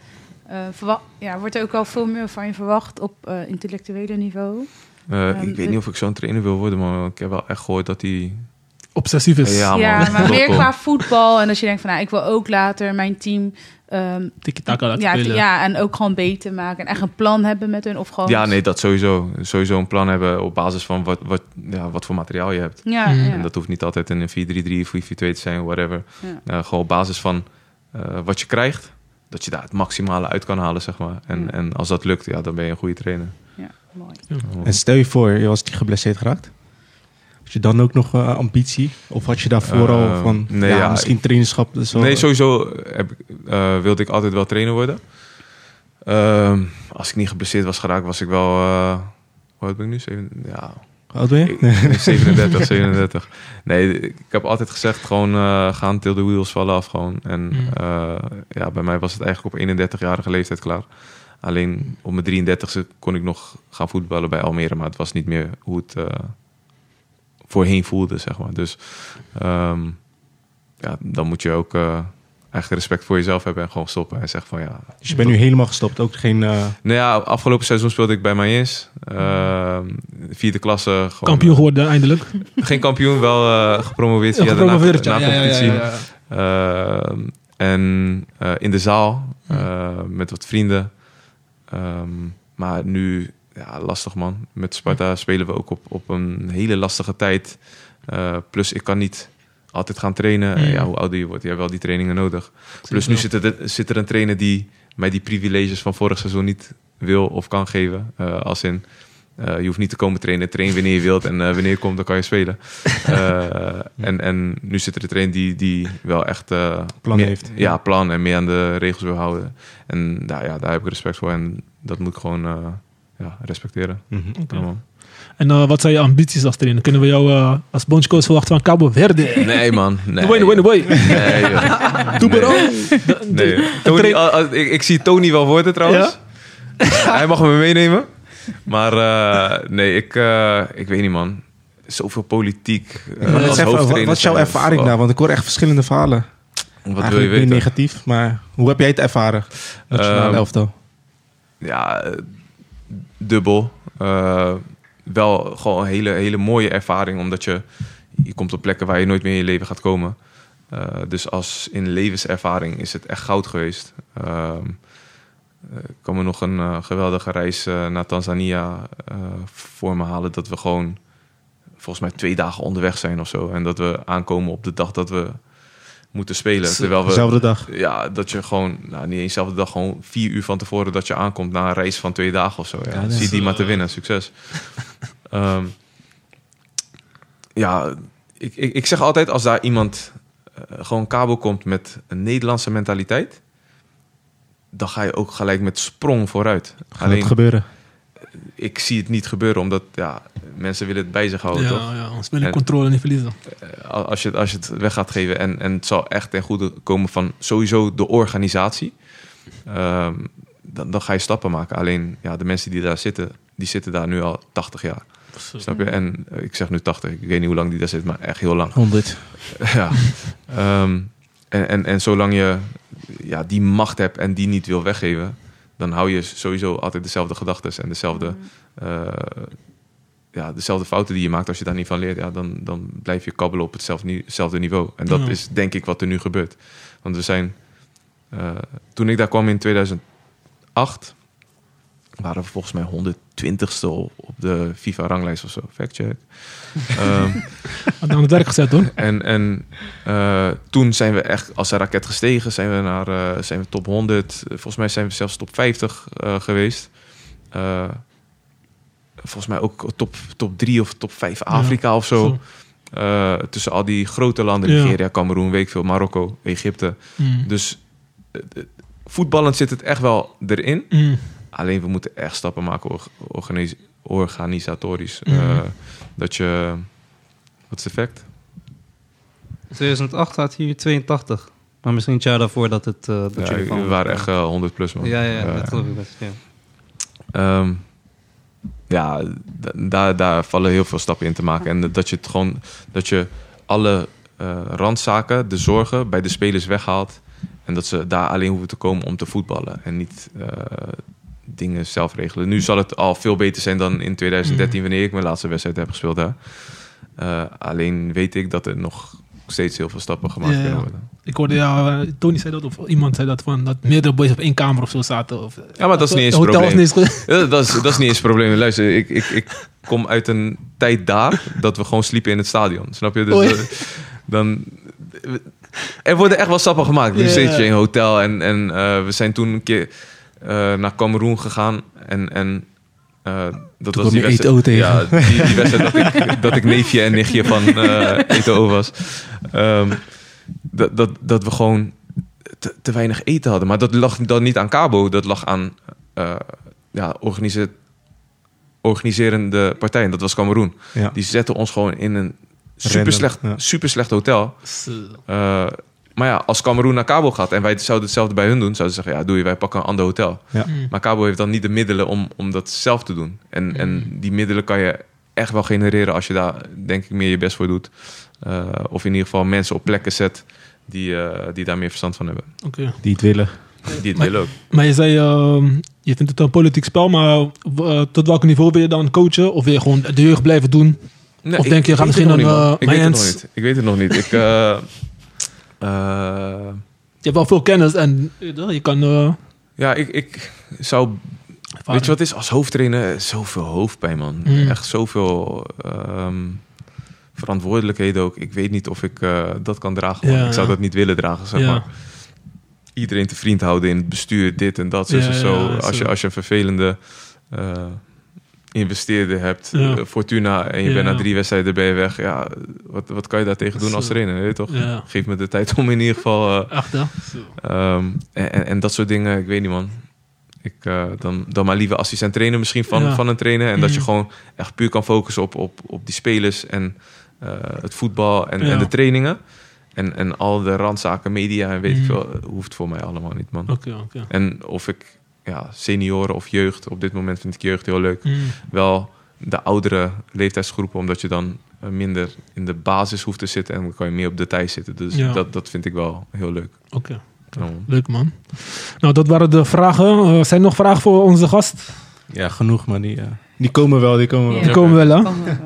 eh, verwa- ja, wordt er ook wel veel meer van je verwacht op eh, intellectuele niveau? Eh, Ehm, ik weet de- niet of ik zo'n trainer wil worden, maar ik heb wel echt gehoord dat hij... Obsessief is. Ja, man. ja, maar Klopt, meer hoor. qua voetbal. En dat je denkt van, nou, ik wil ook later mijn team... ehm, Tiki-taka laten ja, spelen. ja, en ook gewoon beter maken. En echt een plan hebben met hun. Of gewoon... Ja, nee, dat sowieso. Sowieso een plan hebben op basis van wat, wat, ja, wat voor materiaal je hebt. Ja, Mm. ja. En dat hoeft niet altijd in een 4-3-3 of 4-4-2 te zijn, whatever. Ja. Eh, gewoon op basis van eh, wat je krijgt, dat je daar het maximale uit kan halen, zeg maar. En, Ja. en als dat lukt, ja, dan ben je een goede trainer. ja, mooi. En stel je voor, je was die geblesseerd geraakt. Had je dan ook nog eh, ambitie? Of had je daarvoor al Eh, van, nee, ja, ja, misschien trainerschap? dat is wel- Nee, sowieso heb, ik- eh, wilde ik altijd wel trainer worden. Ehm, als ik niet geblesseerd was geraakt, was ik wel... eh hoe oud ben ik nu? Zeven, ja, Hoe eh, oud ben je? Nee. Ik- 37, 37. Nee, ik heb altijd gezegd, gewoon eh, gaan till de wheels vallen af gewoon. En Mm. eh, ja, bij mij was het eigenlijk op 31-jarige leeftijd klaar. Alleen op mijn 33ste kon ik nog gaan voetballen bij Almere. Maar het was niet meer hoe het eh, voorheen voelde, zeg maar. Dus ehm, ja, dan moet je ook eh, echt respect voor jezelf hebben. En gewoon stoppen en zeggen van ja, Dus je bent nu helemaal gestopt. Ook geen... eh, nou ja, afgelopen seizoen speelde ik bij Mayens. Ehm vierde klasse. Gewoon, Kampioen geworden eindelijk. geen kampioen, wel eh, gepromoveerd. Ja, via de gepromoveerd. na- Ja, ja, ja, na-competitie. ja, ja. Ehm, en eh, in de zaal eh, met wat vrienden. Ehm, maar nu, ja, lastig man. Met Sparta spelen we ook op, op een hele lastige tijd. Eh, plus ik kan niet altijd gaan trainen. En Mm. ja, hoe ouder je wordt, je hebt wel die trainingen nodig. het Plus nu wel. zit er, zit er een trainer die mij die privileges van vorig seizoen niet wil of kan geven. Eh, als in, eh, je hoeft niet te komen trainen. Train wanneer je wilt en eh, wanneer je komt, dan kan je spelen. Eh, en, en nu zit er een trainer die, die wel echt... eh, Plan meer- heeft. Ja, plan en meer aan de regels wil houden. En nou, ja, daar heb ik respect voor. En dat moet ik gewoon eh, ja, respecteren. mhm. Oké. Ja, man. En eh, wat zijn je ambities als trainer? Kunnen we jou eh, als bondscoach verwachten van Cabo Verde? Nee, man. Nee, Wait, wait, wait. Nee, joh. nee. Nee. Tony, Een tra- al- al- ik, ik zie Tony wel worden trouwens. Hij mag me meenemen. Maar eh, nee, ik, eh, ik weet niet, man. Zoveel politiek. eh, Maar als dat is even- wat, hoofdtrainer wat is jouw zijn. ervaring daar? Want ik hoor echt verschillende verhalen. Wat wil je Eigenlijk weten? niet negatief, maar hoe heb jij het ervaren? Nationale Ehm, elftal. ja, eh, dubbel. Eh, wel gewoon een hele, hele mooie ervaring, omdat je, je komt op plekken waar je nooit meer in je leven gaat komen. Eh, dus als in levenservaring is het echt goud geweest. Ehm, eh, ik kan me nog een eh, geweldige reis eh, naar Tanzania eh, voor me halen. Dat we gewoon volgens mij twee dagen onderweg zijn of zo. En dat we aankomen op de dag dat we moeten spelen. Terwijl we Dezelfde dag. ja, dat je gewoon, nou niet eens zelfde dag, gewoon vier uur van tevoren dat je aankomt na een race van twee dagen of zo. Ja. Ja, dat Zie is, eh, die maar te winnen, succes. Ehm, ja, ik, ik, ik zeg altijd als daar iemand eh, gewoon kabel komt met een Nederlandse mentaliteit, dan ga je ook gelijk met sprong vooruit. Gaat Alleen het gebeuren? ik zie het niet gebeuren, omdat ja, mensen willen het bij zich houden. toch? Ja, ja, anders wil ik En- controle niet verliezen. Al- als je, het- als je het weg gaat geven. En, en het zal echt ten goede komen van sowieso de organisatie. Ehm, dan, dan ga je stappen maken. Alleen ja, de mensen die daar zitten, die zitten daar nu al 80 jaar. Snap je? En eh, ik zeg nu 80, ik weet niet hoe lang die daar zit, maar echt heel lang. 100. ja. Ehm, en, en, en zolang je ja, die macht hebt en die niet wil weggeven, dan hou je sowieso altijd dezelfde gedachten en dezelfde, eh, ja, dezelfde fouten die je maakt. Als je daar niet van leert, ja, dan, dan blijf je kabbelen op hetzelfde, ni- hetzelfde niveau. En dat Ja. is denk ik wat er nu gebeurt. Want we zijn, eh, toen ik daar kwam in 2008, waren we volgens mij 120ste op op de FIFA-ranglijst of zo. Fact check. Ehm, Had aan het werk gezet hoor. en, en eh, toen zijn we echt als een raket gestegen. Zijn we naar eh, zijn we top 100. Volgens mij zijn we zelfs top 50 eh, geweest. Eh, volgens mij ook top, top drie of top vijf Afrika of zo. Eh, tussen al die grote landen, Ja. Nigeria, Cameroen, weet ik veel, Marokko, Egypte. Mm. Dus eh, eh, voetballend zit het echt wel erin. Mm. Alleen we moeten echt stappen maken org- organis- organisatorisch. Mhm. Eh, dat je. Wat is het effect? 2008 had hier 82. Maar misschien het jaar daarvoor dat het... eh dat Ja, jullie we kwamen. waren echt eh, 100 plus man. Ja, ja, ja, Eh, dat geloof ik best. Ja. ehm, ja, da- daar, daar vallen heel veel stappen in te maken. En dat je het gewoon. Dat je alle eh, randzaken, de zorgen bij de spelers weghaalt. En dat ze daar alleen hoeven te komen om te voetballen. En niet. eh, dingen zelf regelen. Nu zal het al veel beter zijn dan in 2013 wanneer ik mijn laatste wedstrijd heb gespeeld daar. Eh, alleen weet ik dat er nog steeds heel veel stappen gemaakt Ja, ja. kunnen worden. Ik hoorde, ja, eh, Tony zei dat, of iemand zei dat, van, dat meerdere boys op één kamer of zo zaten. Of, Ja, maar dat is niet eens een een hotel probleem. is niet eens goed. Ja, Dat is, dat is niet eens het probleem. Luister, ik, ik, ik kom uit een tijd daar dat we gewoon sliepen in het stadion. Snap je? Dus Oei. eh, dan, er worden echt wel stappen gemaakt. Nu Ja. zit je in een hotel en, en eh, we zijn toen een keer eh, naar Cameroen gegaan. En, en eh, dat Toen was die kwam je wedstrijd, Eto'o tegen. Ja, die, die wedstrijd dat ik, dat ik neefje en nichtje van eh Eto'o was. Ehm, dat, dat, dat we gewoon te, te weinig eten hadden. Maar dat lag dan niet aan Cabo, dat lag aan eh, ja, organise- organiserende partijen. Dat was Cameroen. Ja. Die zetten ons gewoon in een super slecht, ja. super slecht hotel. Eh, maar ja, als Cameroen naar Cabo gaat en wij zouden hetzelfde bij hun doen, zouden ze zeggen: ja, doe je, wij pakken een ander hotel. Ja. Mm. Maar Cabo heeft dan niet de middelen om, om dat zelf te doen. En, en die middelen kan je echt wel genereren als je daar, denk ik, meer je best voor doet. Eh, of in ieder geval mensen op plekken zet die, eh, die daar meer verstand van hebben. Oké. Die het willen. Die het Maar- willen ook. Maar je zei, ehm, je vindt het een politiek spel, maar eh, tot welk niveau wil je dan coachen? Of wil je gewoon de jeugd blijven doen? Nee, Of ik- denk je, ik ga weet misschien het nog een, niet, man. eh, Ik weet het nog Mayans? niet. Ik weet het nog niet. Ik, eh, eh, Je hebt wel veel kennis en eh, je kan... eh, ja, ik, ik zou... Weet ervaring- je wat het is? Als hoofdtrainer, eh, zoveel hoofdpijn, man. Mm. Echt zoveel ehm, verantwoordelijkheden ook. Ik weet niet of ik eh, dat kan dragen. man. Ja, ik zou ja. dat niet willen dragen, zeg Ja. maar. Iedereen te vriend houden in het bestuur, dit en dat, zo Ja, en ja, zo. ja, als, zo. je, als je een vervelende... eh, investeerder hebt, Ja. eh, Fortuna, en je Ja, bent na ja. drie wedstrijden ben je weg. Ja, wat, wat kan je daartegen doen Zo. als trainer, weet je toch? Ja, Geef me de tijd om in ieder geval. eh, echt hè? ehm, en, en- en dat soort dingen, ik weet niet, man. Ik, eh, dan, dan maar liever assistent trainer misschien van, Ja. van een trainer. En dat je Mm. gewoon echt puur kan focussen op, op, op die spelers en eh, het voetbal en, Ja. en de trainingen. En, en al de randzaken, media en weet ik Mm. veel, eh, hoeft voor mij allemaal niet, man. Oké, oké. En of ik ja, senioren of jeugd, op dit moment vind ik jeugd heel leuk. Mm. Wel de oudere leeftijdsgroepen, omdat je dan eh, minder in de basis hoeft te zitten en dan kan je meer op detail zitten. Dus Ja. dat, dat vind ik wel heel leuk. Oké, Ja, man. leuk man. Nou, dat waren de vragen. Eh, zijn er nog vragen voor onze gast? Ja, genoeg, maar die, eh, die komen wel, die komen wel. Ja. Die komen wel hè? Kan wel, eh.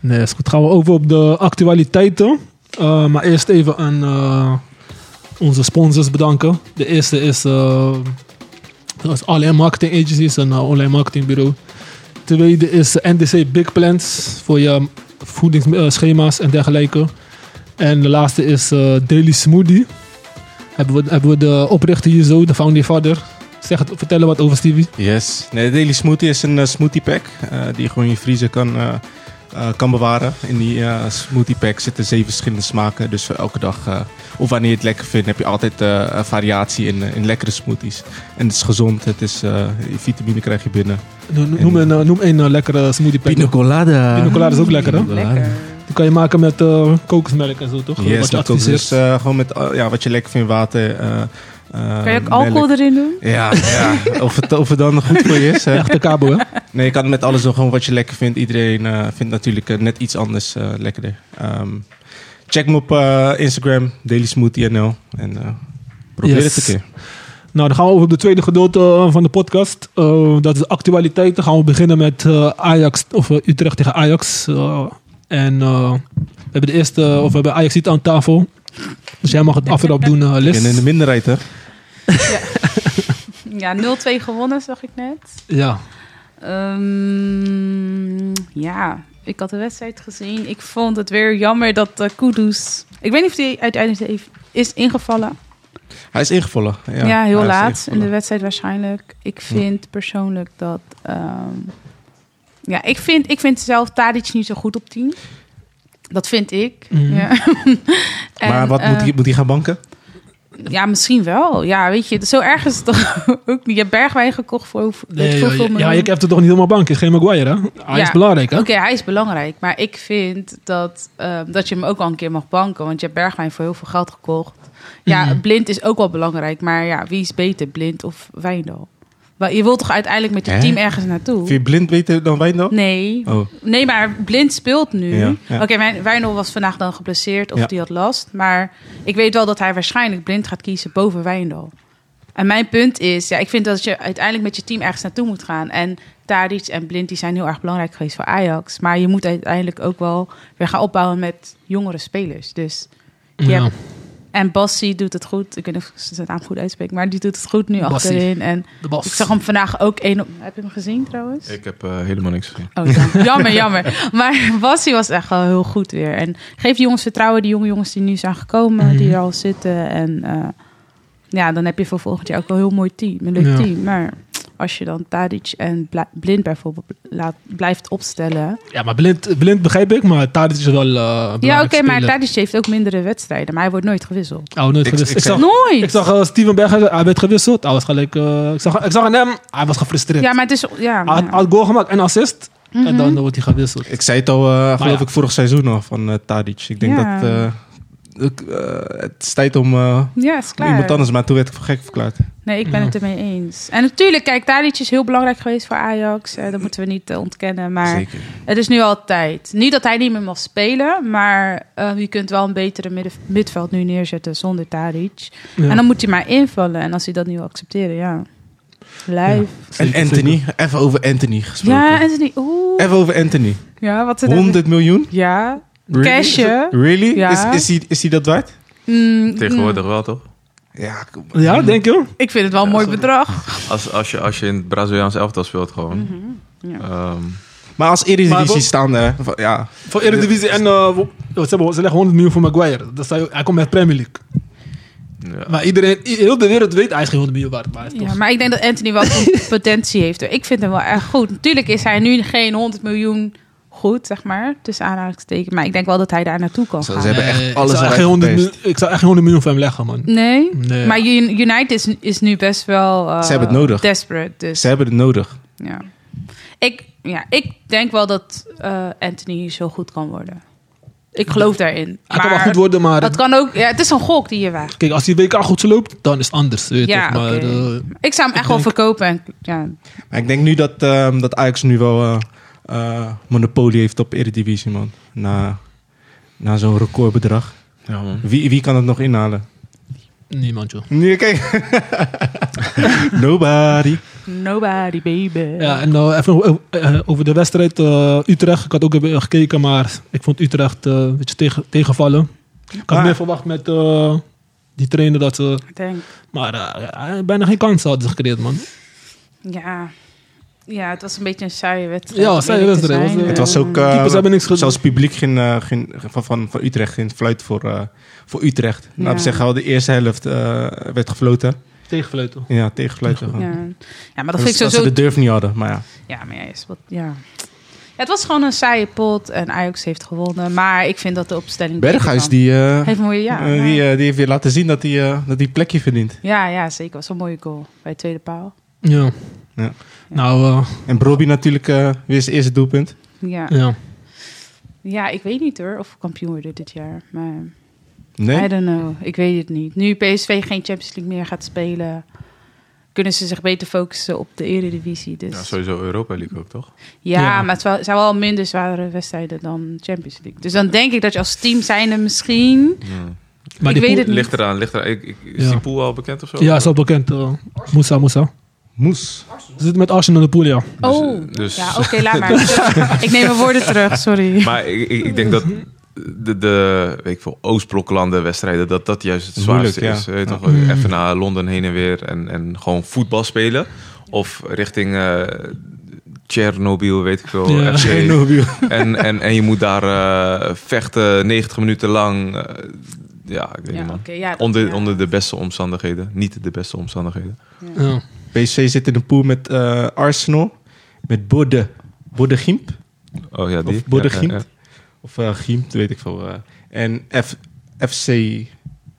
Nee, is goed. Gaan we over op de actualiteiten. Eh, maar eerst even aan eh, onze sponsors bedanken. De eerste is, eh dat is Alien Marketing Agencies, een eh, online marketingbureau. Tweede is eh, NDC Big Plans voor je voedingsschema's en dergelijke. En de laatste is eh, Daily Smoothie. Hebben we, hebben we de oprichter hier zo, de founding father. Zeg het, vertel er wat over Stevie. Yes. Nee, de Daily Smoothie is een eh, smoothie pack eh, die je gewoon in je vriezer kan, eh, eh, kan bewaren. In die eh, smoothie pack zitten zeven verschillende smaken. Dus voor elke dag, eh, of wanneer je het lekker vindt, heb je altijd eh, een variatie in, eh, in lekkere smoothies. En het is gezond, het is, eh, je vitamine krijg je binnen. Noem, noem, een, eh, noem een eh, lekkere smoothie pack. colada. Pina colada is ook lekker hè? Lekker. Die kan je maken met eh kokosmelk en zo, toch? Yes, Wat je met ook adviseert. dus eh, gewoon met eh, ja, wat je lekker vindt, water. eh, eh, Kan je ook melk. alcohol erin doen? Ja, ja. Of, het, of het dan goed voor je is. Hè? Echte kabo, hè? Nee, je kan met alles doen, gewoon wat je lekker vindt. Iedereen eh, vindt natuurlijk eh, net iets anders eh, lekkerder. Ehm, check me op eh, Instagram, dailysmoothie.nl. En eh, probeer Yes. het een keer. Nou, dan gaan we over op de tweede gedeelte eh, van de podcast. Eh, dat is de actualiteit. Dan gaan we beginnen met eh, Ajax, of eh, Utrecht tegen Ajax. Eh, en eh, we hebben de eerste, eh, of we hebben Ajax niet aan tafel. Dus jij mag het aftrap doen, eh Ik Lis. ben in de minderheid, hè? Ja, 0-2 gewonnen, zag ik net. Ja. Ehm, ja, ik had de wedstrijd gezien. Ik vond het weer jammer dat eh Kudus... Ik weet niet of hij uiteindelijk heeft- is ingevallen. Hij is ingevallen. Ja, Ja, heel hij is laat in ingevallen. de wedstrijd waarschijnlijk. Ik vind persoonlijk dat... ehm, Ja, ik vind, ik vind zelf Tadic niet zo goed op 10. Dat vind ik. Mhm. Ja. En, maar wat moet, eh, hij, moet hij gaan banken? Ja, misschien wel. Ja, weet je, zo erg is het toch ook niet. Je hebt Bergwijn gekocht voor hoeveel weet ik Nee, hoeveel joh, ja, miljoen. ik heb het toch niet helemaal bank. Is geen Maguire, hè? Hij is Ja. belangrijk, hè? Oké, hij is belangrijk. Maar ik vind dat, eh, dat je hem ook al een keer mag banken. Want je hebt Bergwijn voor heel veel geld gekocht. Ja, Mhm. blind is ook wel belangrijk. Maar ja, wie is beter, blind of Wijndal? Wel, Je wilt toch uiteindelijk met je Hè? team ergens naartoe? Vind je blind beter dan Wijndal? Nee. Oh, Nee, maar Blind speelt nu. Ja, ja. Oké, Wijn- Wijnal was vandaag dan geblesseerd of Ja. die had last. Maar ik weet wel dat hij waarschijnlijk Blind gaat kiezen boven Wijndal. En mijn punt is, ja, ik vind dat je uiteindelijk met je team ergens naartoe moet gaan. En Tadic en Blind die zijn heel erg belangrijk geweest voor Ajax. Maar je moet uiteindelijk ook wel weer gaan opbouwen met jongere spelers. Dus, je Ja. hebt- en Bassi doet het goed. Ik weet niet of ik zijn naam goed uitspreek, maar die doet het goed nu Bassi. achterin. En De bas. ik zag hem vandaag ook één op... Heb je hem gezien trouwens? Ik heb eh, helemaal niks gezien. Oh, ja. jammer, jammer. Maar Bassie was echt wel heel goed weer. En geef die jongens vertrouwen, die jonge jongens die nu zijn gekomen, Mhm. die er al zitten. En eh, ja, dan heb je voor volgend jaar ook wel een heel mooi team, een leuk Ja. team. Maar als je dan Tadic en Bla- Blind bijvoorbeeld laat, blijft opstellen. Ja, maar blind, blind begrijp ik, maar Tadic is wel eh Ja, oké, maar Tadic... Tadic heeft ook mindere wedstrijden, maar hij wordt nooit gewisseld. Oh, nooit Ik- gewisseld. ik Ik, zag, Nooit! ik zag eh, Steven Berger, hij werd gewisseld. Hij was gelijk... eh, ik, zag, ik zag aan hem, hij was gefrustreerd. ja, Mhm. maar het is... Ja, Hij had, ja. hij had goal gemaakt en assist. En dan wordt hij gewisseld. ik zei het al, eh, geloof ja. ik, vorig seizoen al van eh, Tadic. Ik denk Ja. dat eh, ik, eh, het is tijd om eh, Ja, is klaar. iemand anders, maar toen werd ik voor gek verklaard. Nee, ik ben Ja. het ermee eens. En natuurlijk, kijk, Tadic is heel belangrijk geweest voor Ajax. Eh, dat moeten we niet eh, ontkennen. Maar Zeker. Het is nu al tijd. Niet dat hij niet meer mag spelen, maar eh, je kunt wel een betere midden- middenveld nu neerzetten zonder Tadic. Ja. En dan moet hij maar invallen. En als hij dat nu wil accepteren, ja. Lijf. En Zeker, Anthony, even over Anthony gesproken. Ja, en ze niet. Oeh. Even over Anthony. Ja, wat ze 100 miljoen? Ja. Really? Cashje. Really? Ja. Is, is, hij, is hij dat waard? Mm, Tegenwoordig wel, toch? Ja, kom zeker. Ja, denk je? mm. Ik vind het wel een mooi bedrag. Als, als, je, als je in het Braziliaans elftal speelt gewoon. Mhm, ja. Ehm, Maar als Maar Eredivisie wat- staande, van- ja. Voor Eredivisie en... eh, wo- ze, hebben, ze leggen 100 miljoen voor Maguire. Dat zou, hij komt met Premier League. ja. Maar iedereen, i- heel de wereld weet, hij is geen 100 miljoen waard. Maar hij is Ja, toch... maar ik denk dat Anthony wel potentie heeft. hoor. Ik vind hem wel erg goed. Natuurlijk is hij nu geen 100 miljoen goed, zeg maar. Tussen aanhalingstekens. Maar ik denk wel dat hij daar naartoe kan Ze gaan. hebben echt Nee, ik alles zou echt eruit geen 100 gepest. miljoen- Ik zou echt geen 100 miljoen voor hem leggen, man. Nee? Nee. Maar Un- United is, is nu best wel... eh, Ze hebben het nodig. Desperate, dus Ze hebben het nodig. ja. Ik, ja, ik denk wel dat eh, Anthony zo goed kan worden. Ik geloof daarin. hij kan wel Maar goed worden, maar... Dat kan ook... Ja, het is een gok die je waagt. Kijk, als die WK goed loopt, dan is het anders. Weet je Ja, toch? Maar, oké. eh, Ik zou hem echt wel denk- verkopen. En, ja. Maar ik denk nu dat, ehm, dat Ajax nu wel eh, eh, monopolie heeft op Eredivisie, man. Na, na zo'n recordbedrag. Ja, man. Wie, wie kan het nog inhalen? eh, niemand, joh. Nee, kijk. Nobody. Nobody, baby. Ja, en eh, even o- eh, over de wedstrijd eh, Utrecht. Ik had ook even gekeken, maar ik vond Utrecht eh, een beetje tegen, tegenvallen. Ik had Maar- meer verwacht met eh, die trainer dat ze... Ik denk... Maar eh, eh, bijna geen kansen hadden ze gecreëerd, man. Ja. Ja, het was een beetje een saaie wedstrijd. Ja, om saaie eerlijk te wedstrijd. zijn. Was, eh, Het was ook... eh, Keepers hebben niks gedaan. Zelfs het publiek ging, eh, ging- van, van, van Utrecht ging fluit voor, eh, voor Utrecht. Laten we Ja. zeggen, al de eerste helft eh, werd gefloten. Tegenfluiten. Ja, tegenfluiten. Ja. gewoon. ja, maar dat Als- vind ik als ze sowieso de durf niet hadden, maar ja. Ja, maar ja, is wat, ja. ja. Het was gewoon een saaie pot en Ajax heeft gewonnen. Maar ik vind dat de opstelling... beter Berghuis, kan. die, eh, Heeft een mooie, ja. eh, die, eh, die heeft weer laten zien dat hij eh, dat hij plekje verdient. ja, ja, zeker. was een mooie goal bij de tweede paal. Ja. Ja. Nou, eh, En Broby natuurlijk eh, weer zijn eerste doelpunt. Ja. ja. ja, ik weet niet hoor of we kampioen worden dit jaar. Maar I Nee? don't know. Ik weet het niet. Nu PSV geen Champions League meer gaat spelen... kunnen ze zich beter focussen op de eredivisie. Dus Ja, ja, sowieso Europa League ook, toch? Ja. maar het wel- zijn wel minder zware wedstrijden dan Champions League. Dus dan denk ik dat je als team zijnde misschien... Ja. Maar Ik die weet het niet. Ligt eraan, ligt eraan. Ik, ik- is Ja. die pool al bekend of zo? pool- Ja, is al bekend. eh, Moussa, Moussa. Moes. Ze zitten met Arsenal in de pool, ja. Dus, oh, dus- ja, oké, laat maar. Dus, ik neem mijn woorden terug, sorry. Maar ik, ik, ik denk dat de, de weet ik veel, Oostbloklanden wedstrijden, dat dat juist het Moeilijk, zwaarste is. ja. Weet je Ja. toch? Even naar Londen heen en weer en, en gewoon voetbal spelen. Of richting eh Tsjernobyl, weet ik veel. Ja. FC. Chernobyl. En, en, en je moet daar eh, vechten 90 minuten lang. eh, ja, ik weet Ja, niet man. oké, ja, dat- Onder, ja. onder de beste omstandigheden. Niet de beste omstandigheden. ja. PSV zit in de pool met eh, Arsenal, met Bode, Bodegimp. Oh ja, die. Of Bodegimp. Ja, ja, Of eh Gimp, weet ik veel. eh. en F, FCZ.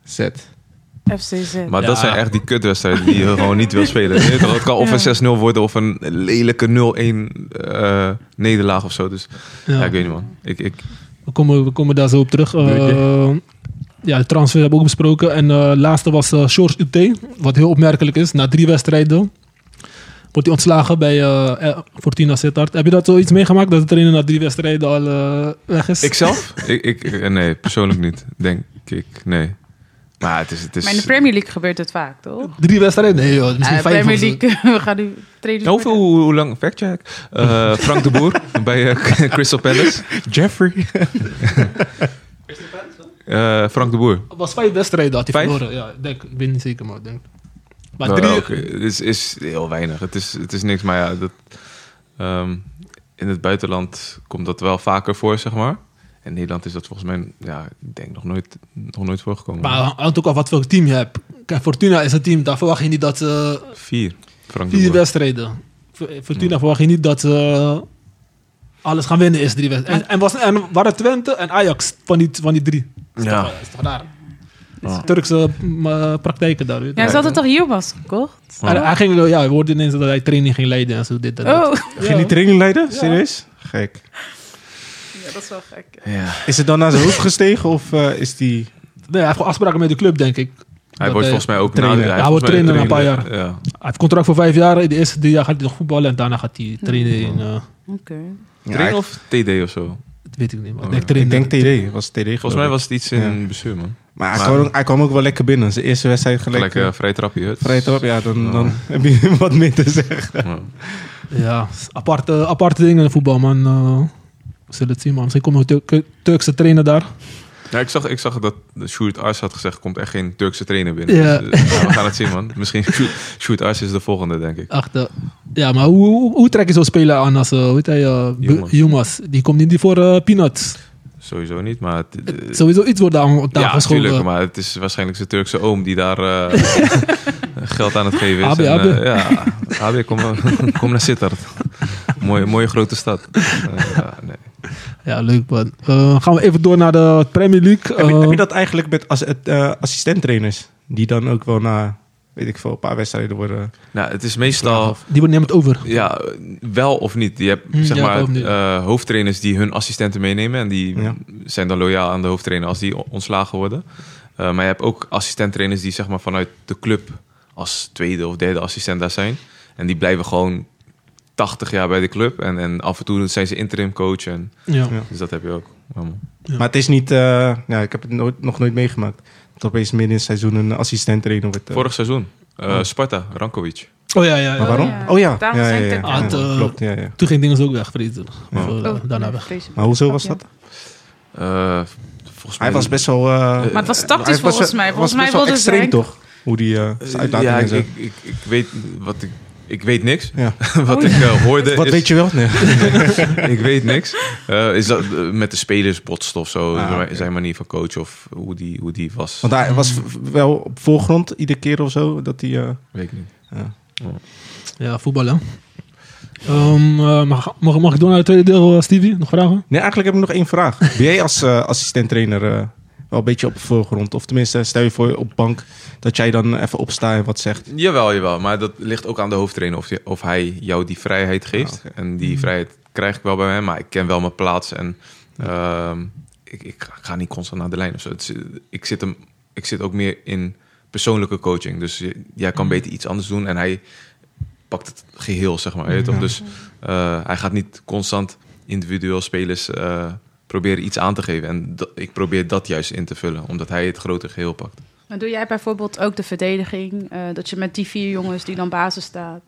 FCZ. ja. Maar Ja. dat zijn echt die kutwedstrijden die je gewoon niet wil spelen. Je weet toch, Het kan of Ja. een 6-0 worden of een lelijke 0-1 eh, nederlaag of zo. Dus ja. ik weet niet man. Ik, ik, We komen, we komen daar zo op terug. Eh, ja, de transfer hebben we ook besproken. En eh laatste was eh Shores UT. Wat heel opmerkelijk is. Na drie wedstrijden wordt hij ontslagen bij eh, eh, Fortuna Sittard. Heb je dat zoiets meegemaakt? Dat de trainer na drie wedstrijden al eh, weg is? ik zelf? ik, ik, eh, nee, persoonlijk niet. Denk ik. Nee. Maar het is... Het is Maar in de Premier League gebeurt het vaak, toch? Drie wedstrijden? Nee joh, misschien Ja, vijf. Eh, Premier of zo. League, we gaan nu trainers Nou, hoeveel, hoe, hoe lang? Factcheck. Eh Frank de Boer bij eh, Crystal Palace. Jeffrey. Eh, Frank de Boer. Het was vijf wedstrijden had hij Vijf? verloren. Ja, ik denk, ik weet niet zeker, maar ik denk. Maar Nou, drie, oké, Het is, is heel weinig. Het is, het is niks, maar ja, dat, ehm, in het buitenland komt dat wel vaker voor, zeg maar. In Nederland is dat volgens mij, ja, ik denk nog nooit, nog nooit voorgekomen. maar hangt ook af wat voor team je hebt. Kijk, Fortuna is een team, daar verwacht je niet dat ze Vier. Frank de vier Boer. wedstrijden. V- Fortuna verwacht je niet dat ze eh, alles gaan winnen is drie wedstrijden. En, en, was, en waren Twente en Ajax van die, van die drie. Is Ja. toch- is toch raar? Turkse m, eh, praktijken daar. weet je. Ja, ze hadden toch Hielmas gekocht? En hij ging, eh, ja, hij hoorde ineens dat hij training ging leiden en zo dit en dat. Oh, Ging die training leiden? Serieus? Gek. ja, dat is wel gek. Ja. Is het dan naar zijn hoofd gestegen of eh, is die... Nee, hij heeft gewoon afspraken met de club, denk ik. Hij Dat wordt hij- volgens mij ook... trainer. na- Hij heeft wordt volgens mij trainer na een trainer- Ja. Hij heeft contract voor vijf jaar. In de eerste drie jaar gaat hij nog voetballen en daarna gaat hij trainen in... eh, Oké. Trainer of TD of zo? dat weet ik niet, maar Oh, ik ja. denk Ik trainen. denk TD. Was TD Volgens mij was het iets in bestuur, man. Maar hij, kwam, ook- hij kwam ook wel lekker binnen. Zijn eerste wedstrijd gelijk... Gelijk eh, eh, vrij trapje. het- Vrij top, ja, dan, Ja. dan heb je wat meer te zeggen. Ja. Ja, s- aparte, aparte dingen in de voetbal, man. Eh, we zullen het zien, man. Misschien komen we Turk- Turkse trainer daar. Ja, ik zag, ik zag dat Sjoerd Ars had gezegd, er komt echt geen Turkse trainer binnen. Ja. Dus, eh, ja, we gaan het zien, man. Misschien Sjoerd- Sjoerd Ars is de volgende, denk ik. Ach, de- ja, maar hoe, hoe, hoe trek je zo'n speler aan als, eh, hoe heet hij, eh, Bu- Yilmaz. Yilmaz? Die komt niet voor eh, peanuts. Sowieso niet, maar... het- eh, Sowieso iets wordt daar aan tafel ja, geschoven. tuurlijk, maar het is waarschijnlijk zijn Turkse oom die daar eh, geld aan het geven is. Abi, eh, abi. ja, Abi, kom, maar- kom naar Sittard. mooie, mooie grote stad. Eh, ja, nee. Ja, leuk, man. Eh, gaan we even door naar de Premier League. heb, je, Eh, heb je Oh. dat eigenlijk met as, het, eh, assistenttrainers? Die dan ook wel na, weet ik veel, een paar wedstrijden worden... Nou, het is meestal... Die wordt neemt over. Ja, wel of niet. Je hebt Hmm, Hm, zeg ja, wel of maar niet. eh, hoofdtrainers die hun assistenten meenemen. En die Ja. zijn dan loyaal aan de hoofdtrainer als die o- ontslagen worden. Eh, maar je hebt ook assistenttrainers die zeg maar vanuit de club als tweede of derde assistent daar zijn. En die blijven gewoon 80 jaar bij de club. En, en af en toe zijn ze interim coach. En, Ja. Ja. dus dat heb je ook. Allemaal. Ja. Maar het is niet... eh, ja, ik heb het nooit, nog nooit meegemaakt. Dat opeens midden in het seizoen een assistenttrainer wordt... eh, Vorig seizoen, eh, Sparta, Rankovic. Oh ja, ja. ja. Maar waarom? Oh ja. Oh ja. Daarom ja, ja, zijn ja, het ja. ook- Ja, Ah, het, eh, Klopt, ja, ja. Toen ging dingen ook weg, Frieden. Of, Oh. eh, Oh, daarna nee, weg. vreselijk. Maar hoezo was Ja. dat? Eh, volgens mij Hij was best wel... eh, Maar het was hij tactisch was- volgens mij. Volgens was mij best wel wilde ze extreem, Henk- toch? Hoe die eh, zijn uitlatingen ja, en ik, zo. ik, ik, ik weet wat ik... Ik weet niks. Ja. Wat ik eh, hoorde Wat is- weet je wel? Nee. ik weet niks. Eh, is dat eh, met de spelers botst of zo? Ah, zijn oké. Zijn manier van coach of hoe die, hoe die was? Want hij was v- wel op voorgrond iedere keer of zo. Dat hij... eh, Weet ik niet. Ja, voetballen. Ehm eh, mag, mag, mag ik door naar het tweede deel, eh, Stevie? Nog vragen? Nee, eigenlijk heb ik nog één vraag. Ben jij als eh assistent-trainer eh, wel een beetje op de voorgrond? Of tenminste, stel je voor je op bank dat jij dan even opstaat en wat zegt. Jawel, jawel. Maar dat ligt ook aan de hoofdtrainer of, je- of hij jou die vrijheid geeft. Ah, oké. En die vrijheid krijg ik wel bij hem. Maar ik ken wel mijn plaats en ehm, ik, ik ga- ga niet constant naar de lijn of zo. Het is, eh, ik, zit hem, ik zit ook meer in persoonlijke coaching. Dus je- jij Mhm. kan beter iets anders doen en hij pakt het geheel, zeg maar. weet je toch? Ja. Dus eh, hij gaat niet constant individueel spelers eh, proberen iets aan te geven. En dat- ik probeer dat juist in te vullen, omdat hij het grote geheel pakt. Maar doe jij bijvoorbeeld ook de verdediging? eh, dat je met die vier jongens die dan basis staat,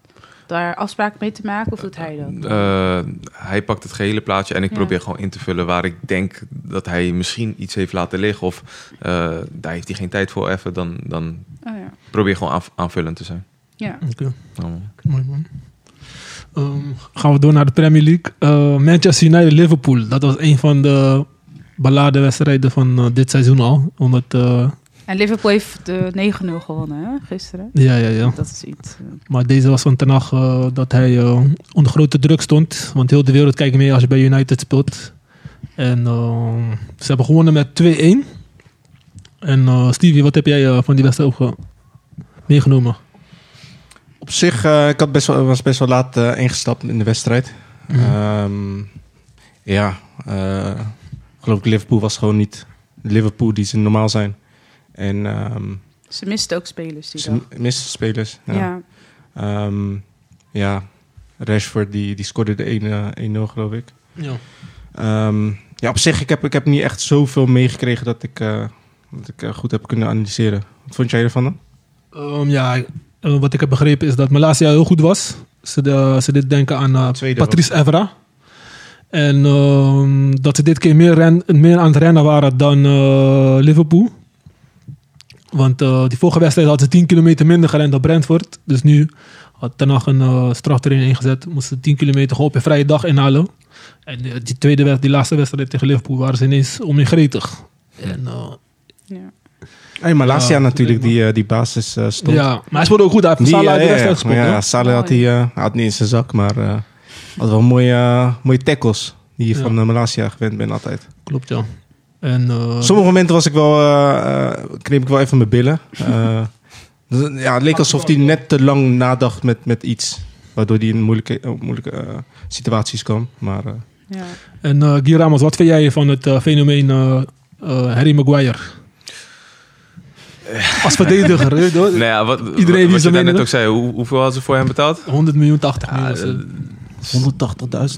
daar afspraken mee te maken? Of doet hij dat? Eh, hij pakt het gehele plaatje en ik Ja. probeer gewoon in te vullen waar ik denk dat hij misschien iets heeft laten liggen. Of eh, daar heeft hij geen tijd voor even. Dan, dan Oh ja. probeer gewoon aanv- aanvullend te zijn. ja. Oké, Nou, mooi man. Ehm, gaan we door naar de Premier League. Eh, Manchester United-Liverpool. Dat was een van de beladen wedstrijden van eh, dit seizoen al. Omdat eh, En Liverpool heeft de 9-0 gewonnen hè, gisteren. Ja, ja, ja. Dat is iets. eh, Maar deze was van Ten Hag eh, dat hij eh, onder grote druk stond. Want heel de wereld kijkt mee als je bij United speelt. En eh, ze hebben gewonnen met 2-1. En eh, Stevie, wat heb jij eh, van die wedstrijd opge- meegenomen? Op zich, eh, ik had best wel, was best wel laat eh, ingestapt in de wedstrijd. Mhm. Ehm, ja, eh, geloof ik, Liverpool was gewoon niet de Liverpool die ze normaal zijn. En ehm Ze misten ook spelers die ze dag. misten spelers. Ja. Ja. ja. Ehm, ja, Rashford die, die scoorde de 1, eh, 1-0 geloof ik. Ja. Ehm, ja, op zich, ik heb, ik heb niet echt zoveel meegekregen dat ik, eh, dat ik eh, goed heb kunnen analyseren. Wat vond jij ervan dan? Ehm, ja, eh, wat ik heb begrepen is dat Malasia heel goed was. Ze, de- ze dit denken aan eh, Tweede Patrice Evra. En ehm, dat ze dit keer meer, ren, meer aan het rennen waren dan eh, Liverpool. Want eh, die vorige wedstrijd hadden ze 10 kilometer minder gerend dan Brentford. Dus nu had Ten Hag een eh straftraining ingezet. Moesten ze 10 kilometer gewoon op een vrije dag inhalen. En eh, die tweede wedstrijd, die laatste wedstrijd tegen Liverpool waren ze ineens oningretig. En eh, Hey, Malasia Ja, natuurlijk, tuurlijk, die, eh, die basis eh, stond. ja, maar hij speelde ook goed. Hij heeft Die, Salah uit eh, de ja, wedstrijd ja, gespeeld. ja, hè? ja, Salah had, die, eh, had niet in zijn zak, maar eh, had wel mooie, eh, mooie tackles. Die je Ja. van eh, Malasia gewend bent altijd. Klopt, ja. En, eh, Sommige momenten was ik wel, eh, eh, kneep ik wel even mijn billen. Eh, dus, ja, het leek alsof hij net te lang nadacht met, met iets. Waardoor hij in moeilijke, eh, moeilijke eh, situaties kwam. Maar eh, en eh Guy Ramos, wat vind jij van het eh, fenomeen eh, eh, Harry Maguire? Eh. Als verdediger, weet je wel? Nou ja, wat, die wat, wat je zijn daar net mening- ook zei, hoe, hoeveel hadden ze voor hem betaald? 100 miljoen, 80 miljoen. Ja, eh, was het.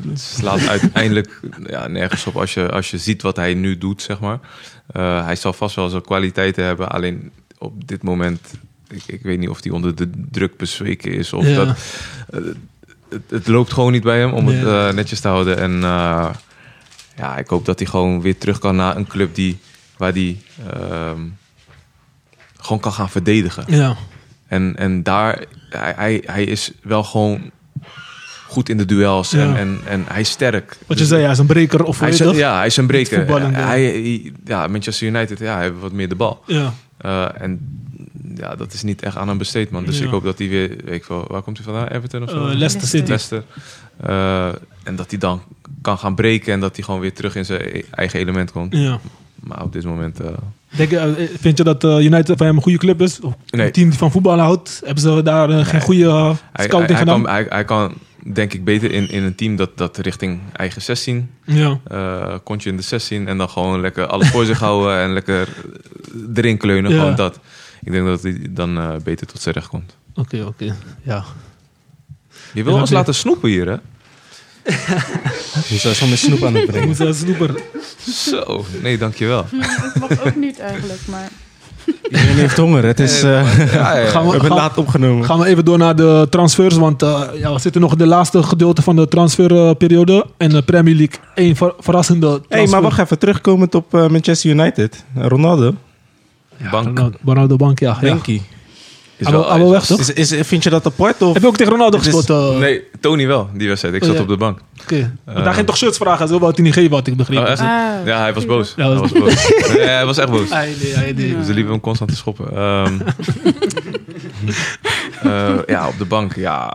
180.000 slaat uiteindelijk ja, nergens op als je, als je ziet wat hij nu doet, zeg maar. Eh, hij zal vast wel zijn kwaliteiten hebben, alleen op dit moment... Ik, ik weet niet of hij onder de druk bezweken is of Ja. dat... eh, het, het loopt gewoon niet bij hem om het Nee. eh, netjes te houden. En eh, ja, ik hoop dat hij gewoon weer terug kan naar een club die, waar hij ehm, gewoon kan gaan verdedigen. Ja, En, en daar, hij, hij, hij is wel gewoon goed in de duels en, Ja. en, en hij is sterk. wat je Dus zei, hij is een breker of hij weet is, je toch? ja, hij is een Niet breker. voetballende. Hij, hij- ja, Manchester United ja, hebben wat meer de bal. Ja. Eh, en ja, dat is niet echt aan hem besteed, man. Dus Ja. ik hoop dat hij weer, weet ik wel, waar komt hij vandaan? Everton of Eh, zo? Leicester City. Leicester. Eh, en dat hij dan kan gaan breken en dat hij gewoon weer terug in zijn e- eigen element komt. Ja. Maar op dit moment... eh, Denk, je, eh, vind je dat eh, United van hem een goede club is? Of Nee. Een team die van voetbal houdt? Hebben ze daar eh, geen Nee. goede eh, hij, hij, scouting hij gedaan? kan, hij, hij kan, denk ik, beter in, in een team dat, dat richting eigen 16 ja. eh kontje in de 16 en dan gewoon lekker alles voor zich houden en lekker erin kleunen. Ja. Gewoon dat. Ik denk dat hij dan eh, beter tot zijn recht komt. Oké, oké. Ja. Je wil Ja, ons dat- laten snoepen hier, hè? Je zou zo met snoep aan het Ik brengen. moet eh, snoeper. Zo, nee, dankjewel. Dat mag ook niet eigenlijk, maar... Iedereen heeft honger. Het is, eh, Ja, ja, ja. Gaan we we, hebben gaan, het laat opgenomen. Gaan we even door naar de transfers, want eh, ja, we zitten nog in de laatste gedeelte van de transferperiode. En de Premier League, één ver- verrassende transfer. Hé, hey, maar wacht even. Terugkomend op eh, Manchester United. Eh, Ronaldo. Bank Ronaldo, Ronaldo Bank, ja. ja. Henky. is Hij wil- hij wil weg, toch? Is, is, vind je dat apart? Of? Heb je ook tegen Ronaldo Het is- gespeeld? eh? Nee, Tony wel, die wedstrijd. Ik Oh, zat ja. op de bank. Oké. Eh. Want Daar ging toch shirts vragen, zo wou hij niet geven, had ik begrepen. Oh, echt? Ah, Ja, hij was boos. Ja, Hij was- Ah, was boos. Nee, hij was echt boos. Hij deed, hij deed. Dus ze liepen hem constant te schoppen. Ehm, eh, ja, op de bank. Ja,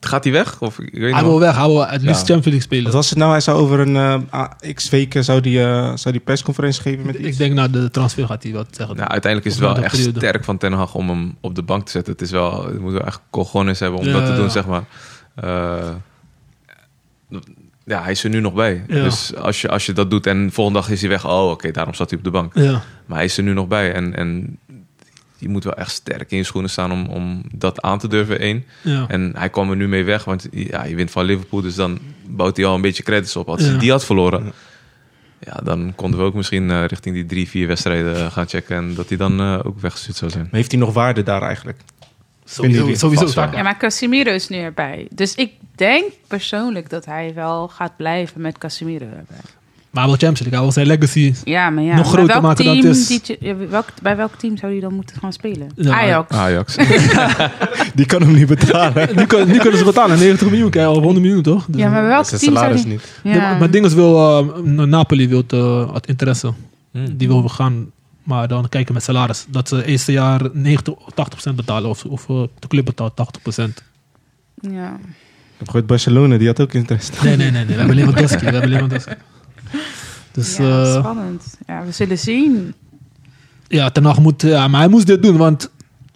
gaat hij weg? Of, ik weet Hij nog- wil weg, hij wil het liefst Ja. Champions League Wat spelen. was het nou? Hij zou over een eh, ah, x weken zou die, eh, zou die persconferentie geven met Ik iets. denk na de transfer gaat hij wat zeggen. Nou, uiteindelijk is het Of na wel de echt periode. sterk van Ten Hag om hem op de bank te zetten. Het is wel, het moet wel echt cojones hebben om Ja, dat te doen, ja. zeg maar. Eh, ja, hij is er nu nog bij. Ja. Dus als je, als je dat doet en volgende dag is hij weg, oh oké, daarom zat hij op de bank. ja. Maar hij is er nu nog bij en, en je moet wel echt sterk in je schoenen staan om, om dat aan te durven, één. Ja. En hij kwam er nu mee weg, want ja, je wint van Liverpool, dus dan bouwt hij al een beetje credits op. Als hij Ja. die had verloren, ja, dan konden we ook misschien eh, richting die drie, vier wedstrijden eh, gaan checken en dat hij dan eh, ook weggestuurd zou zijn. Maar heeft hij nog waarde daar eigenlijk? Vinden Sowieso, jullie- sowieso. Vast wel. Ja, maar Casemiro is nu erbij. Dus ik denk persoonlijk dat hij wel gaat blijven met Casemiro erbij. Maar hij wil Champions League, hij wil zijn legacy. Ja, maar ja. Nog maar groter welk maken dan team het is. die- ja, welk- bij welk team zou hij dan moeten gaan spelen? Ja, Ah, Ajax. Ajax. Die kan hem niet betalen. Nu, kun- nu kunnen ze betalen, 90 miljoen, kijk, of 100 miljoen toch? Dus- Ja, maar welk Dat is team zijn salaris zou die... niet. Nee, Ja. Hmm. maar- maar Dinges wil, eh, Napoli wil het eh, het interesse. Die wil gaan Maar dan kijken met salaris. Dat ze eerste jaar 90, 80% betalen. Of, of eh, de club betaalt 80%. Ja. Ik heb gehoord Barcelona, die had ook interesse. Nee, nee, nee. nee. We hebben Lewandowski. We hebben Lewandowski. Dus Ja, ja, spannend. Ja, we zullen zien. ja, Ten Hag moet... Ja, maar hij moest dit doen, want...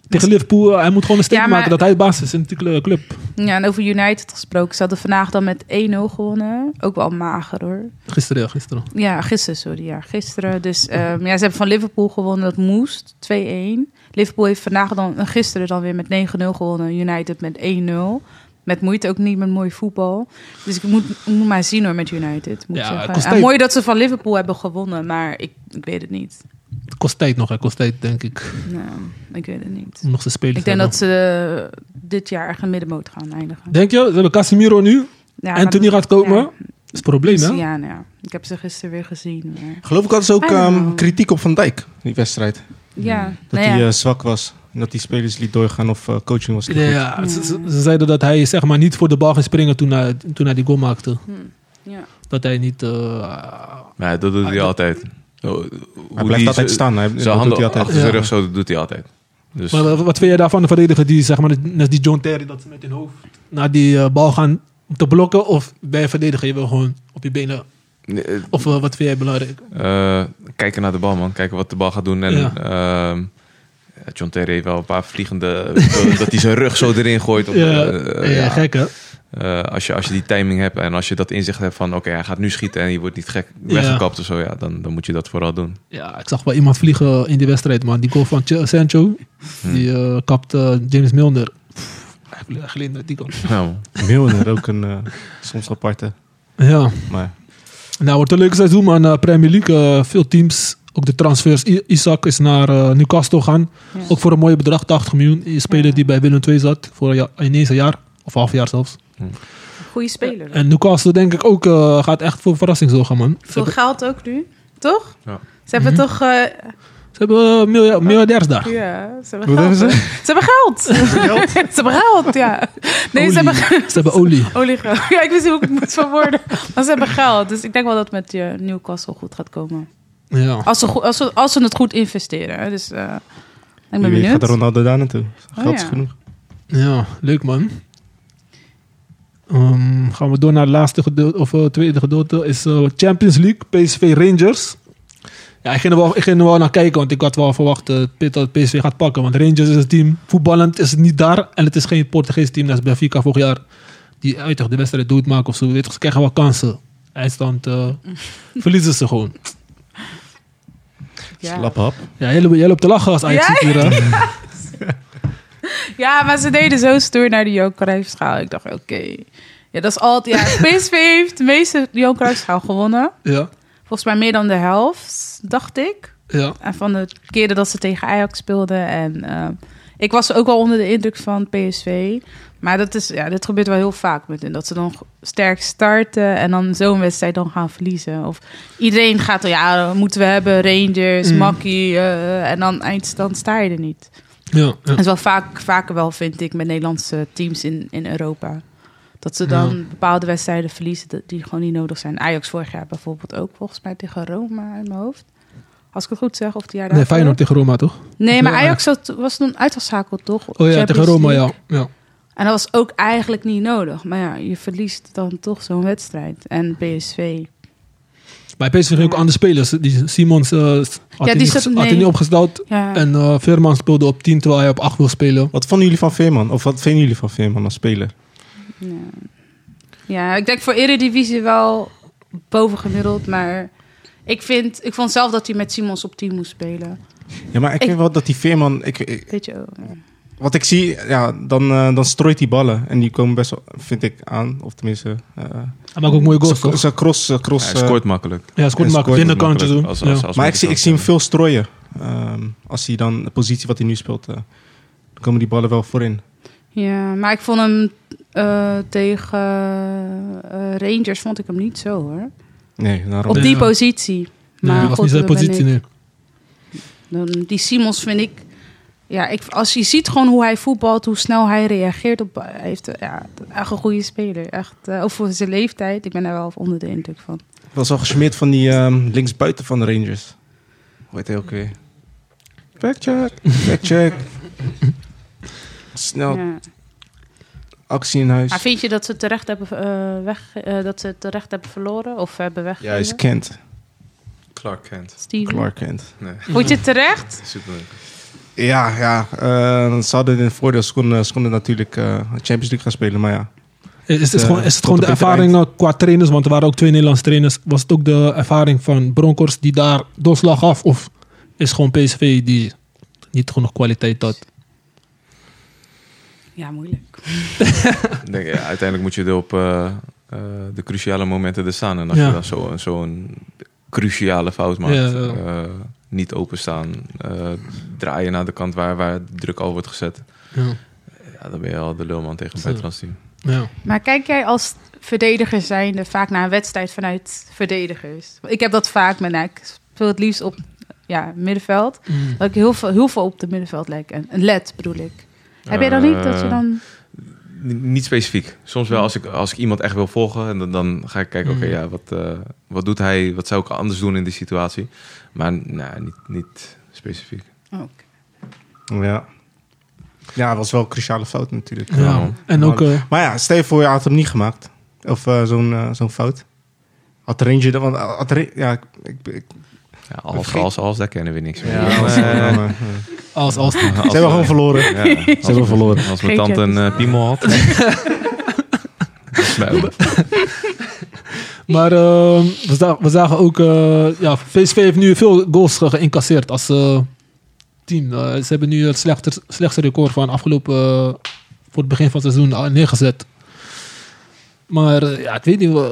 Tegen Liverpool, eh, hij moet gewoon een steek Ja, maar- maken dat hij basis is in de cl- club. Ja, en over United gesproken. Ze hadden vandaag dan met 1-0 gewonnen. Ook wel mager hoor. Gisteren, ja, gisteren. Ja, gisteren, sorry. Ja, gisteren. Dus ehm, ja, ze hebben van Liverpool gewonnen. Dat moest. 2-1. Liverpool heeft vandaag dan, en gisteren dan weer met 9-0 gewonnen. United met 1-0. Met moeite ook niet, met mooi voetbal. Dus ik moet, ik moet maar zien hoor met United. Moet Ja, ja, kost zeggen. En tijd. mooi dat ze van Liverpool hebben gewonnen. Maar ik, ik weet het niet. Het kost tijd nog, hè. kost tijd, denk ik. Nou, ik weet het niet. Om nog te spelen. Ik denk dat ze eh, dit jaar echt een middenmoot gaan eindigen. Denk je? Ze hebben Casemiro nu. Ja, Anthony gaat komen. Ja. is het probleem, hè? Ja, nou ja. Ik heb ze gisteren weer gezien. maar- Geloof ik hadden ze ook I don't ehm, know. kritiek op Van Dijk, die wedstrijd. Ja, Dat nou ja. hij eh, zwak was. En dat hij spelers liet doorgaan of eh, coaching was. niet Ja, goed. ja, Ze, ze- ze zeiden dat hij zeg maar, niet voor de bal ging springen toen hij, toen hij die goal maakte. ja. Dat hij niet... eh, Nee, dat doet Ah, hij dat- altijd. Hoe Hij die blijft altijd z- staan. Hij, dat Zijn doet hij handen altijd. achter zijn Ja. rug, zo dat doet hij altijd. Dus maar wat vind jij daarvan, de verdediger die, zeg maar, net als die John Terry, dat ze met hun hoofd naar die eh, bal gaan om te blokken? Of bij een verdediger, je wil gewoon op je benen? eh, Of eh, wat vind jij belangrijk? eh, kijken naar de bal, man. Kijken wat de bal gaat doen. En Ja. ehm, ja, John Terry heeft wel een paar vliegende... dat hij zijn rug zo erin gooit. Op, Ja, eh, eh, ja, ja. gek hè? Eh, als, je, als je die timing hebt en als je dat inzicht hebt van... Oké, hij gaat nu schieten en je wordt niet gek weggekapt of zo. Ja, dan, dan moet je dat vooral doen. Ja, ik zag wel iemand vliegen in die wedstrijd, man. Die goal van Ch- Sancho, Hm. die eh kapte James Milner. Pff, hij gl- hij glindert die goal. Ja, man. Milner ook een eh, soms aparte. Ja, Maar nou wordt een leuk seizoen, man. Eh, Premier League, eh, veel teams. Ook de transfers. I- Isaac is naar eh, Newcastle gaan. Ja. Ook voor een mooie bedrag, 80 miljoen. Een speler Ja. die bij Willem II zat, voor een ja- ineens een jaar. Of half jaar zelfs. Goede speler. En Newcastle denk ik ook eh, gaat echt voor verrassing zorgen, man. Ze Veel hebben, geld ook nu, toch? Ja. Ze hebben Mhm. toch... eh, ze hebben eh, milja- miljardairs daar. ja, ze hebben Wat geld. hebben hè? Ze hebben geld. ze hebben geld, ja. Nee, ze hebben Olie. Ze hebben olie. oliegeld. Ja, ik wist niet hoe ik het moet verwoorden. Maar ze hebben geld. Dus ik denk wel dat het met je Newcastle goed gaat komen. Ja. Als ze, go- als ze, als ze het goed investeren. hè. Dus eh, ik ben wie weet gaat benieuwd. Oh Ronaldo daar naartoe? Geld is ja. genoeg. Ja, leuk man. Ehm, gaan we door naar het laatste gedeelte, of eh, tweede gedeelte, is eh, Champions League, PSV Rangers. Ja, ik ging, er wel, ik ging er wel naar kijken, want ik had wel verwacht eh, Pit dat PSV gaat pakken. Want Rangers is een team, voetballend is het niet daar. En het is geen Portugees team, dat is Benfica vorig jaar. Die uitig de wedstrijd doodmaken of zo, weet je, ze krijgen wel kansen. Eindstand eh, verliezen ze gewoon. Ja. Slaphap. Ja, jij, lo- jij loopt te lachen als Ajax Ja, hier. hè? ja, maar ze deden zo stoer naar de Johan Cruijffschaal. Ik dacht, oké. Ja, dat is altijd... Ja, PSV heeft de meeste Johan Cruijffschaal gewonnen. Ja, Volgens mij meer dan de helft, dacht ik. ja. En van de keren dat ze tegen Ajax speelden. En eh, ik was ook wel onder de indruk van PSV. Maar dat is, ja, dit gebeurt wel heel vaak met hun. Dat ze dan sterk starten en dan zo'n wedstrijd dan gaan verliezen. Of iedereen gaat, er, ja, dat moeten we hebben, Rangers, Mm. Makkie. eh, en dan eindstand sta je er niet. ja, ja. Dat is wel vaak, vaker wel, vind ik, met Nederlandse teams in, in Europa. Dat ze dan bepaalde wedstrijden verliezen dat- die gewoon niet nodig zijn. Ajax vorig jaar bijvoorbeeld ook, volgens mij tegen Roma in mijn hoofd. Als ik het goed zeg, of die Nee, jaar daarvoor. Feyenoord tegen Roma toch? Nee, maar Ja. Ajax had- was toen uitgeschakeld, toch? Oh ja, Champions tegen Roma, League. ja. ja. En dat was ook eigenlijk niet nodig. Maar ja, je verliest dan toch zo'n wedstrijd. En PSV. Bij PSV ging ook andere spelers. Die Simons eh, had, hij die niet, zat- ges- had hij nee. niet opgesteld. Ja. En eh Veerman speelde op 10 terwijl hij op 8 wil spelen. Wat vonden jullie van Veerman? Of wat vinden jullie van Veerman als speler? ja. ja, ik denk voor Eredivisie wel bovengemiddeld. Maar ik, vind, ik vond zelf dat hij met Simons op team moest spelen. Ja, maar ik, Ik- vind wel dat die Veerman... Ik, ik- Weet je ook. wat ik zie, ja, dan, eh, dan strooit die ballen. En die komen best wel, vind ik, aan. Of tenminste... eh, Hij maakt ook mooie goals. zijn toch? zijn cross... zijn cross Hij eh, scoort makkelijk. Ja, scoort en maakt scoort binnenkantje Makkelijk doen. als- als- ja. als maar ik we zie, die ik zie hem kans veel strooien. Ehm, als hij dan de positie wat hij nu speelt... eh, dan komen die ballen wel voorin. Ja, maar ik vond hem eh, tegen eh, Rangers vond ik hem niet zo hoor. Nee, daarom. Op die Ja. positie. Nee, Maar dat was goed, niet zijn dat ben positie nu. ik. Dan, die Simons vind ik, ja, ik. Als je ziet gewoon hoe hij voetbalt, hoe snel hij reageert op. Hij heeft eh, ja, echt een goede speler. Echt, eh, ook voor zijn leeftijd. Ik ben daar wel onder de indruk van. Ik was al gesmeerd van die ehm, linksbuiten van de Rangers. Hoe heet hij ook weer? Backcheck, backcheck. Snel Ja. actie in huis. Maar vind je dat ze het terecht hebben, eh, weg, eh, dat ze het terecht hebben verloren of hebben Ja, is weggegeven? Kent. Clark Kent. Steven. Clark Kent. Nee, Vond je het terecht? super. Ja, ja. eh, ze hadden een voordeel. Ze konden, ze konden natuurlijk eh, Champions League gaan spelen, maar ja. Is, is het Eh, gewoon, is het tot gewoon de op het ervaring eh, qua trainers? Want er waren ook twee Nederlandse trainers. Was het ook de ervaring van Broncos die daar doorslag gaf? Of is gewoon PSV die niet genoeg kwaliteit had? Ja, moeilijk. Ik denk, ja, uiteindelijk moet je er op eh, eh, de cruciale momenten er staan. En als Ja. je dan zo- zo'n cruciale fout maakt, Ja, ja. eh, niet openstaan, eh, draaien naar de kant waar, waar druk al wordt gezet. Ja. Ja, dan ben je al de lulman tegen een Zo. buitenlands team. Ja. Maar kijk jij als verdediger zijnde vaak naar een wedstrijd vanuit verdedigers? Ik heb dat vaak met, nou, ik speel het liefst op ja, middenveld. Mm. Dat ik heel veel, heel veel op de middenveld lijk. En en let bedoel ik. heb jij dan niet dat je Eh, dan... N- Niet specifiek. Soms wel als ik, als ik iemand echt wil volgen. En dan, dan ga ik kijken, Mm. oké, ja, wat, eh, wat doet hij? Wat zou ik anders doen in die situatie? Maar nou, niet, niet specifiek. Eh, oh, Ja. Ja, het was wel een cruciale fout natuurlijk. Ja. En ook... eh, Maar ja, stel je voor, je had hem niet gemaakt. Of eh, zo'n eh, zo'n fout. Had Ranger... dan- Want, eh, had Ra- ja, ik, ik, ik- Ja, als, Vergeet- als, als, daar kennen we niks meer. ja, Eh, was- ja, maar, ja. eh, als, als, als- Ze hebben gewoon verloren. Ja, als Ze hebben mijn- verloren. Als mijn Geen tante een eh, piemel had. Dat is mij ook. Maar ehm, we, za- we zagen ook, eh, ja, VSV heeft nu veel goals ge- geïncasseerd als eh, team. Eh, ze hebben nu het slechter, slechtste record van afgelopen, eh, voor het begin van het seizoen al neergezet. Maar eh, ja, ik weet niet, eh,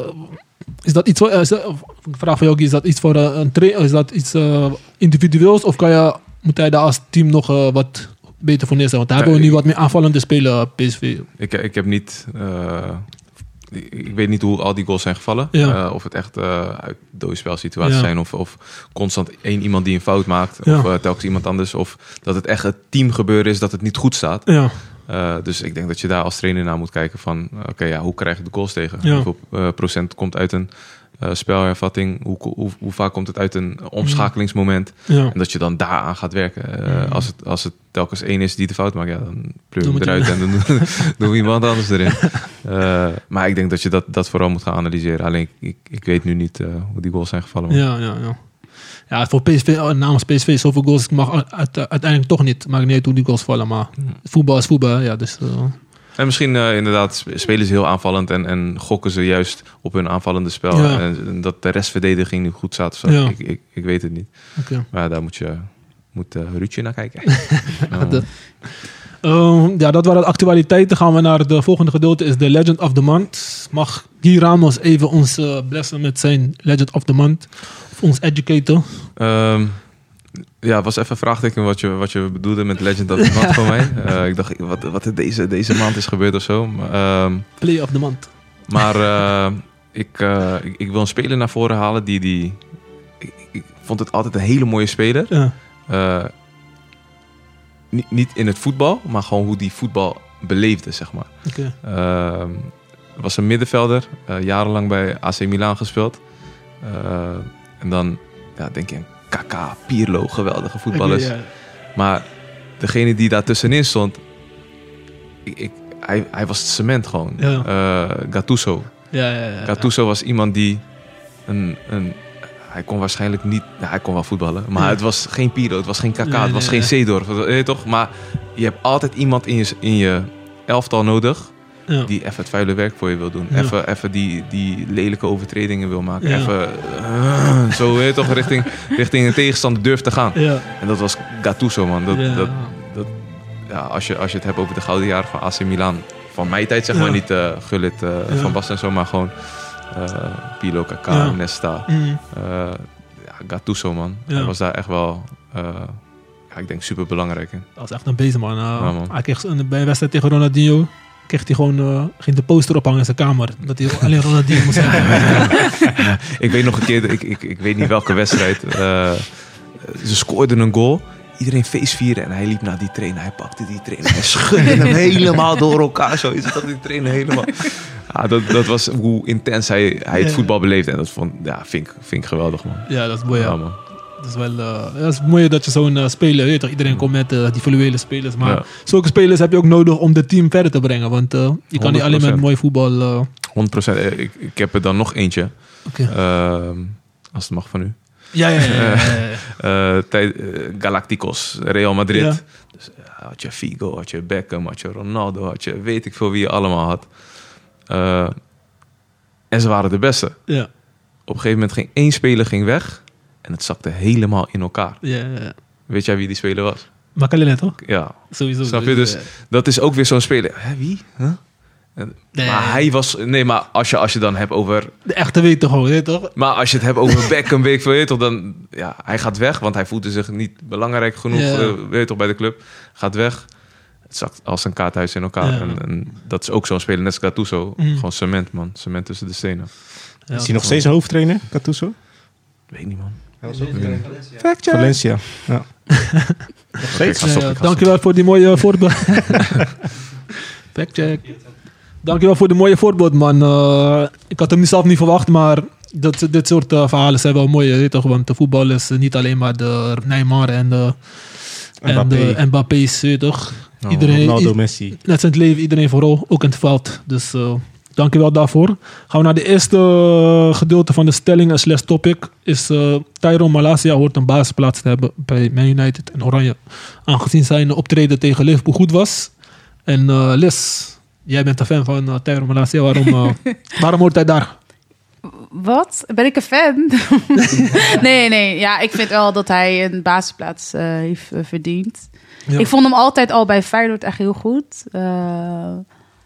is dat iets, voor- eh, is dat- of- ik vraag van Yogi, is dat iets voor eh, een trainer, is dat iets eh, individueels of kan je, moet hij daar als team nog eh, wat beter voor neerzetten? Want daar Ja, hebben we nu ik- wat meer aanvallende eh, spelen, PSV. Ik, ik heb niet. eh, ik- ik weet niet hoe al die goals zijn gevallen. Ja. Eh, of het echt eh uit doodspelsituaties Ja. zijn. Of, of constant één iemand die een fout maakt. Ja. Of eh, telkens iemand anders. Of dat het echt het team gebeuren is dat het niet goed staat. Ja, Eh, dus ik denk dat je daar als trainer naar moet kijken van... eh, Oké, ja, hoe krijg ik de goals tegen? Ja. Hoeveel eh, procent komt uit een eh, spelhervatting? Hoe, hoe, hoe vaak komt het uit een omschakelingsmoment? ja. En dat je dan daaraan gaat werken. Eh, Mm. als, het, als het telkens één is die de fout maakt, ja, dan Dan pleur je hem moet je- eruit en dan doen- doen we iemand anders erin. Eh, maar ik denk dat je dat, dat vooral moet gaan analyseren. Alleen ik, ik weet nu niet eh, hoe die goals zijn gevallen. maar- Ja, ja, ja. Ja, voor PSV, eh, namens PSV zoveel goals ik mag u- uit- uiteindelijk toch niet. Maakt niet uit hoe die goals vallen, maar voetbal is voetbal. hè. Ja, dus, eh, En misschien eh, inderdaad sp- spelen ze heel aanvallend en, en gokken ze juist op hun aanvallende spel. Ja. En, en dat de restverdediging nu goed staat. of zo. Ja. Ik, ik, ik weet het niet. oké. Maar daar moet je moet, eh, Ruudje naar kijken. De- Ehm, ja, dat waren de actualiteiten. Gaan we naar de volgende gedeelte, is de Legend of the Month. Mag Guy Ramos even ons eh, blessen met zijn Legend of the Month? Of ons educator? Ehm, ja, was even een vraagteken wat je, wat je bedoelde met Legend of the Month voor mij. Eh, ik dacht, wat, wat er deze, deze maand is gebeurd of zo. Maar, ehm, Play of the Month. maar eh, ik, eh, ik, ik wil een speler naar voren halen die... die ik, ik vond het altijd een hele mooie speler. Ja, Eh, niet, niet in het voetbal, maar gewoon hoe die voetbal beleefde, zeg maar. oké. Ehm, was een middenvelder, eh, jarenlang bij AC Milan gespeeld. Eh, en dan ja, denk je aan Kaka, Pirlo, geweldige voetballers. Oké, ja. Maar degene die daar tussenin stond, ik, ik- hij, hij was cement gewoon. Ja. Eh, Gattuso. Ja, ja, ja, ja. Gattuso was iemand die een, een hij kon waarschijnlijk niet, nou, hij kon wel voetballen, maar Ja. het was geen Piro, het was geen Kaká, Nee, het was nee, geen Seedorf, weet je toch? Maar je hebt altijd iemand in je, in je elftal nodig Ja. die even het vuile werk voor je wil doen, Ja. even, even die, die lelijke overtredingen wil maken, Ja. even eh, zo weet je toch richting, richting een tegenstander durft te gaan. Ja, En dat was Gattuso man, dat, ja. dat, ja, als, je, als je het hebt over de gouden jaren van AC Milan. Van mijn tijd zeg Ja. maar. Niet eh Gullit, eh, Ja. Van Basten en zo. Maar gewoon eh Pilo, Kaká, Ja. Nesta. Mm, eh, ja, Gattuso man. Ja. Hij was daar echt wel... eh, ja, ik denk super belangrijk in. Dat was echt een bezig man. Eh, man. Hij kreeg een, bij een wedstrijd tegen Ronaldinho kreeg hij gewoon eh, ging de poster ophangen in zijn kamer. Dat hij alleen Ronaldinho moest hebben. Ik weet nog een keer... Ik, ik, ik weet niet welke wedstrijd. eh, ze scoorden een goal. Iedereen feestvieren en hij liep naar die trainer. Hij pakte die trainer en schudde hem helemaal door elkaar. Zo is dat die trainer helemaal. Ja, dat, dat was hoe intens hij, hij het Ja. voetbal beleefde. En dat vond, ja, vind, ik- vind ik geweldig, man. Oh Ja, dat is mooi. ja. man. Dat is wel eh, ja, het is mooi dat je zo'n eh, speler, weet je toch, iedereen komt met eh, die fluwele spelers. Maar Ja. zulke spelers heb je ook nodig om het team verder te brengen. Want eh, je kan niet alleen met 100%. mooi voetbal. eh, 100%. Eh, Ik, ik heb er dan nog eentje. oké. Ehm, als het mag van u. ja, ja, ja, ja, ja, ja. Eh, tijd- eh, Galacticos, Real Madrid. Ja. Dus, ja, had je Figo, had je Beckham, had je Ronaldo, had je weet ik veel wie je allemaal had. Eh, en ze waren de beste. Op Ja, een gegeven moment ging één speler ging weg en het zakte helemaal in elkaar. ja, ja, ja. Weet jij wie die speler was? Maar kan je net toch? Ja, Sowieso. Snap je? Dus- dat is ook weer zo'n speler. Hè, wie? Huh? En- Nee. Maar hij was... Nee, maar als je, als je dan hebt over... De echte weten gewoon, weet je toch? Maar als je het hebt over Beckham, weet ik veel, weet je toch, dan... Ja, hij gaat weg, want hij voelde zich niet belangrijk genoeg, Ja. eh, weet je toch, bij de club. Gaat weg. Het zakt als een kaarthuis in elkaar. Ja. En, en dat is ook zo'n speler, net als Gattuso. Mm. Gewoon cement, man. Cement tussen de stenen. Ja. Is hij nog steeds een hoofdtrainer, Catuso? Weet niet, man. Valencia. Ja. Nog steeds? Ja, ja, dankjewel voor die mooie voorbeeld. Factcheck. Dankjewel voor de mooie voorbeeld, man. Eh, ik had hem zelf niet verwacht, maar dat, dit soort eh, verhalen zijn wel mooi, weet je toch? Want de voetbal is niet alleen maar de Neymar en de, en Mbappé. Nou, de Mbappé's, weet je toch? iedereen, Ronaldo, Messi. net zijn het leven, iedereen vooral, ook in het veld. Dus eh dankjewel daarvoor. Gaan we naar de eerste eh, gedeelte van de stelling en slash topic. Is eh Tyrone Malasia hoort een basisplaats te hebben bij Man United en Oranje. Aangezien zijn optreden tegen Liverpool goed was. En eh, Liz, jij bent een fan van eh, Tyrone Malasia. Waarom, eh, waarom hoort hij daar? Wat? Ben ik een fan? nee, nee. Ja, ik vind wel dat hij een basisplaats eh, heeft eh, verdiend. Ja. Ik vond hem altijd al bij Feyenoord echt heel goed. Eh,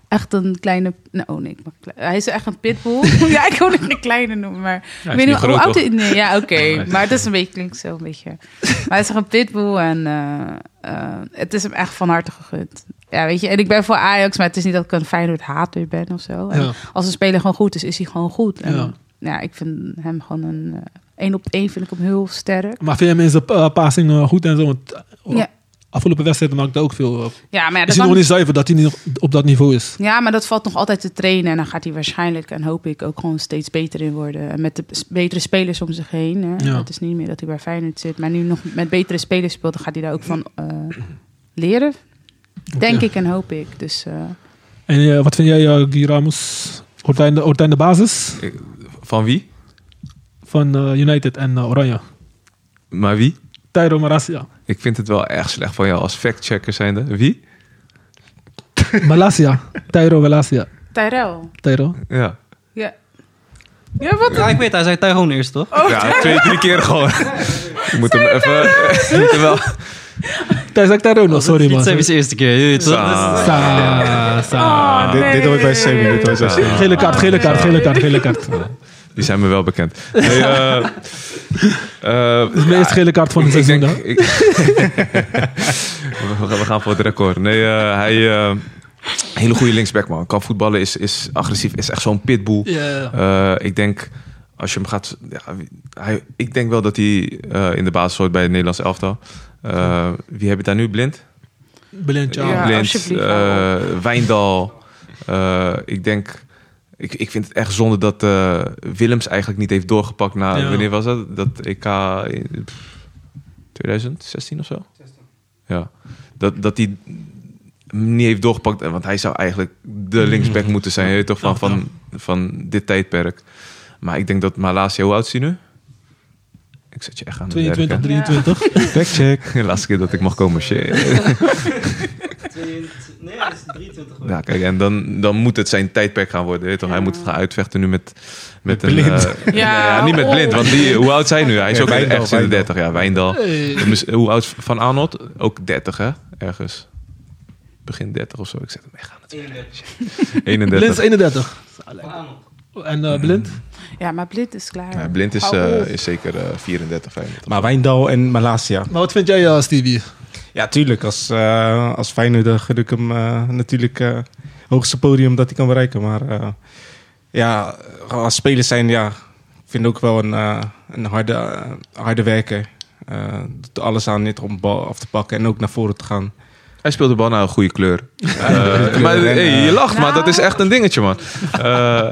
echt een kleine... Nee, oh nee, ik mag kle- hij is echt een pitbull. ja, ik wil hem een kleine noemen, maar... ik Ja, weet is niet niet hoe groot, oud toch? hij... Nee, ja, oké. Nee. Maar het is een beetje, klinkt zo een beetje... Maar hij is echt een pitbull en eh, eh, het is hem echt van harte gegund. Ja, weet je. En ik ben voor Ajax, maar het is niet dat ik een Feyenoord hater ben of zo. En Ja. als een speler gewoon goed is, is hij gewoon goed. En, Ja. ja. ik vind hem gewoon een... eh, één op één vind ik hem heel sterk. Maar vind je hem in zijn eh, passing eh, goed en zo? Want, eh, Ja. Afgelopen wedstrijd maakte hij ook veel. eh, Ja, maar ja, is hij dat nog kan- niet zuiver dat hij niet op dat niveau is? Ja, maar dat valt nog altijd te trainen. En dan gaat hij waarschijnlijk, en hoop ik, ook gewoon steeds beter in worden. En met de s- betere spelers om zich heen. Hè. Ja. Het is niet meer dat hij bij Feyenoord zit. Maar nu nog met betere spelers speelt, dan gaat hij daar ook van eh, leren. Denk Oké. ik en hoop ik. Dus eh, En eh, wat vind jij, eh, Guy Ramos? Hoort hij, in de, hoort hij in de basis Van wie? van eh, United en eh, Oranje? Maar wie? Tyro Malasia. Ik vind het wel erg slecht van jou als factchecker zijnde. Wie? Malasia. Tyro Malasia. Tyrell. Tyro. Ja. Ja. Ja, wat? Ja, ik weet, hij zei Tyrone eerst, toch? Oh. ja, twee, drie keer gewoon. ik moet hem even... ik moet hem wel... Hij zegt Tyro nog, sorry man. Dit zijn de eerste keer. je weet toch? Sa- Sa, sa. Oh, Dit, dit hoor ik bij Sammy. Dit hoor ik bij Sammy. Gele kaart, gele kaart, gele kaart, gele kaart. Dat Die zijn me wel bekend. Nee, eh, eh, is de ja, eerste gele kaart van het ik seizoen. denk- hè? ik- we, gaan- we gaan voor het record. Nee, eh, hij... eh, hele goede linksback, man. Kan voetballen, is, is agressief. Is echt zo'n pitbull. Ja. Eh, ik denk... Als je hem gaat... Ja, wie- hij, ik denk wel dat hij eh, in de basis hoort bij het Nederlands elftal. Eh, wie heb je daar nu? Blind? Blind, ja. Ja. Blind, alsjeblieft, eh, Wijndal. Eh, ik denk... Ik, ik vind het echt zonde dat eh, Willems eigenlijk niet heeft doorgepakt na... Ja. Wanneer was dat? Dat EK... in- pff, 2016 of zo? 16. Ja. Dat, dat hij hem niet heeft doorgepakt. eh, Want hij zou eigenlijk de linksback moeten zijn. je weet toch, van, van, van dit tijdperk. Maar ik denk dat Malasia... Hoe oud is hij nu? Ik zet je echt aan de 22, werken. 23. Factcheck. De laatste keer dat ik mag komen. Shit. Dus- 22, nee, hij is 23 geworden. Ja, kijk, en dan, dan moet het zijn tijdperk gaan worden. Weet je toch? Hij Ja. moet het gaan uitvechten nu met, met Met een... Blind. eh, nee, Ja, ja, niet met oh. Blind, want die, hoe oud zijn nu? Hij is Ja, ook Wijndal, ergens in de Wijndal. 30, ja, Wijndal. Hey. Mis- Hoe oud is Van Arnold? Ook 30, hè? Ergens. Begin 30 of zo. Ik zet hem echt aan 31. het Blind is 31. 31. Aan. En eh, Blind? Ja, maar Blit is klaar. Ja, blind is, Hou eh, op. is zeker eh, 34, 35. Maar Wijndal en Malasia. Maar wat vind jij, eh, Stevie? Ja, tuurlijk. Als, eh als Feyenoorder gun ik hem eh, natuurlijk eh, het hoogste podium dat hij kan bereiken. Maar eh, ja, als spelers zijn, ja, ik vind ook wel een, eh, een harde, eh, harde werker. Eh, doet er alles aan dit om de bal af te pakken en ook naar voren te gaan. Hij speelt de bal naar een goede kleur. Eh, maar en, hey, eh, je lacht, maar Nou. dat is echt een dingetje, man. Eh,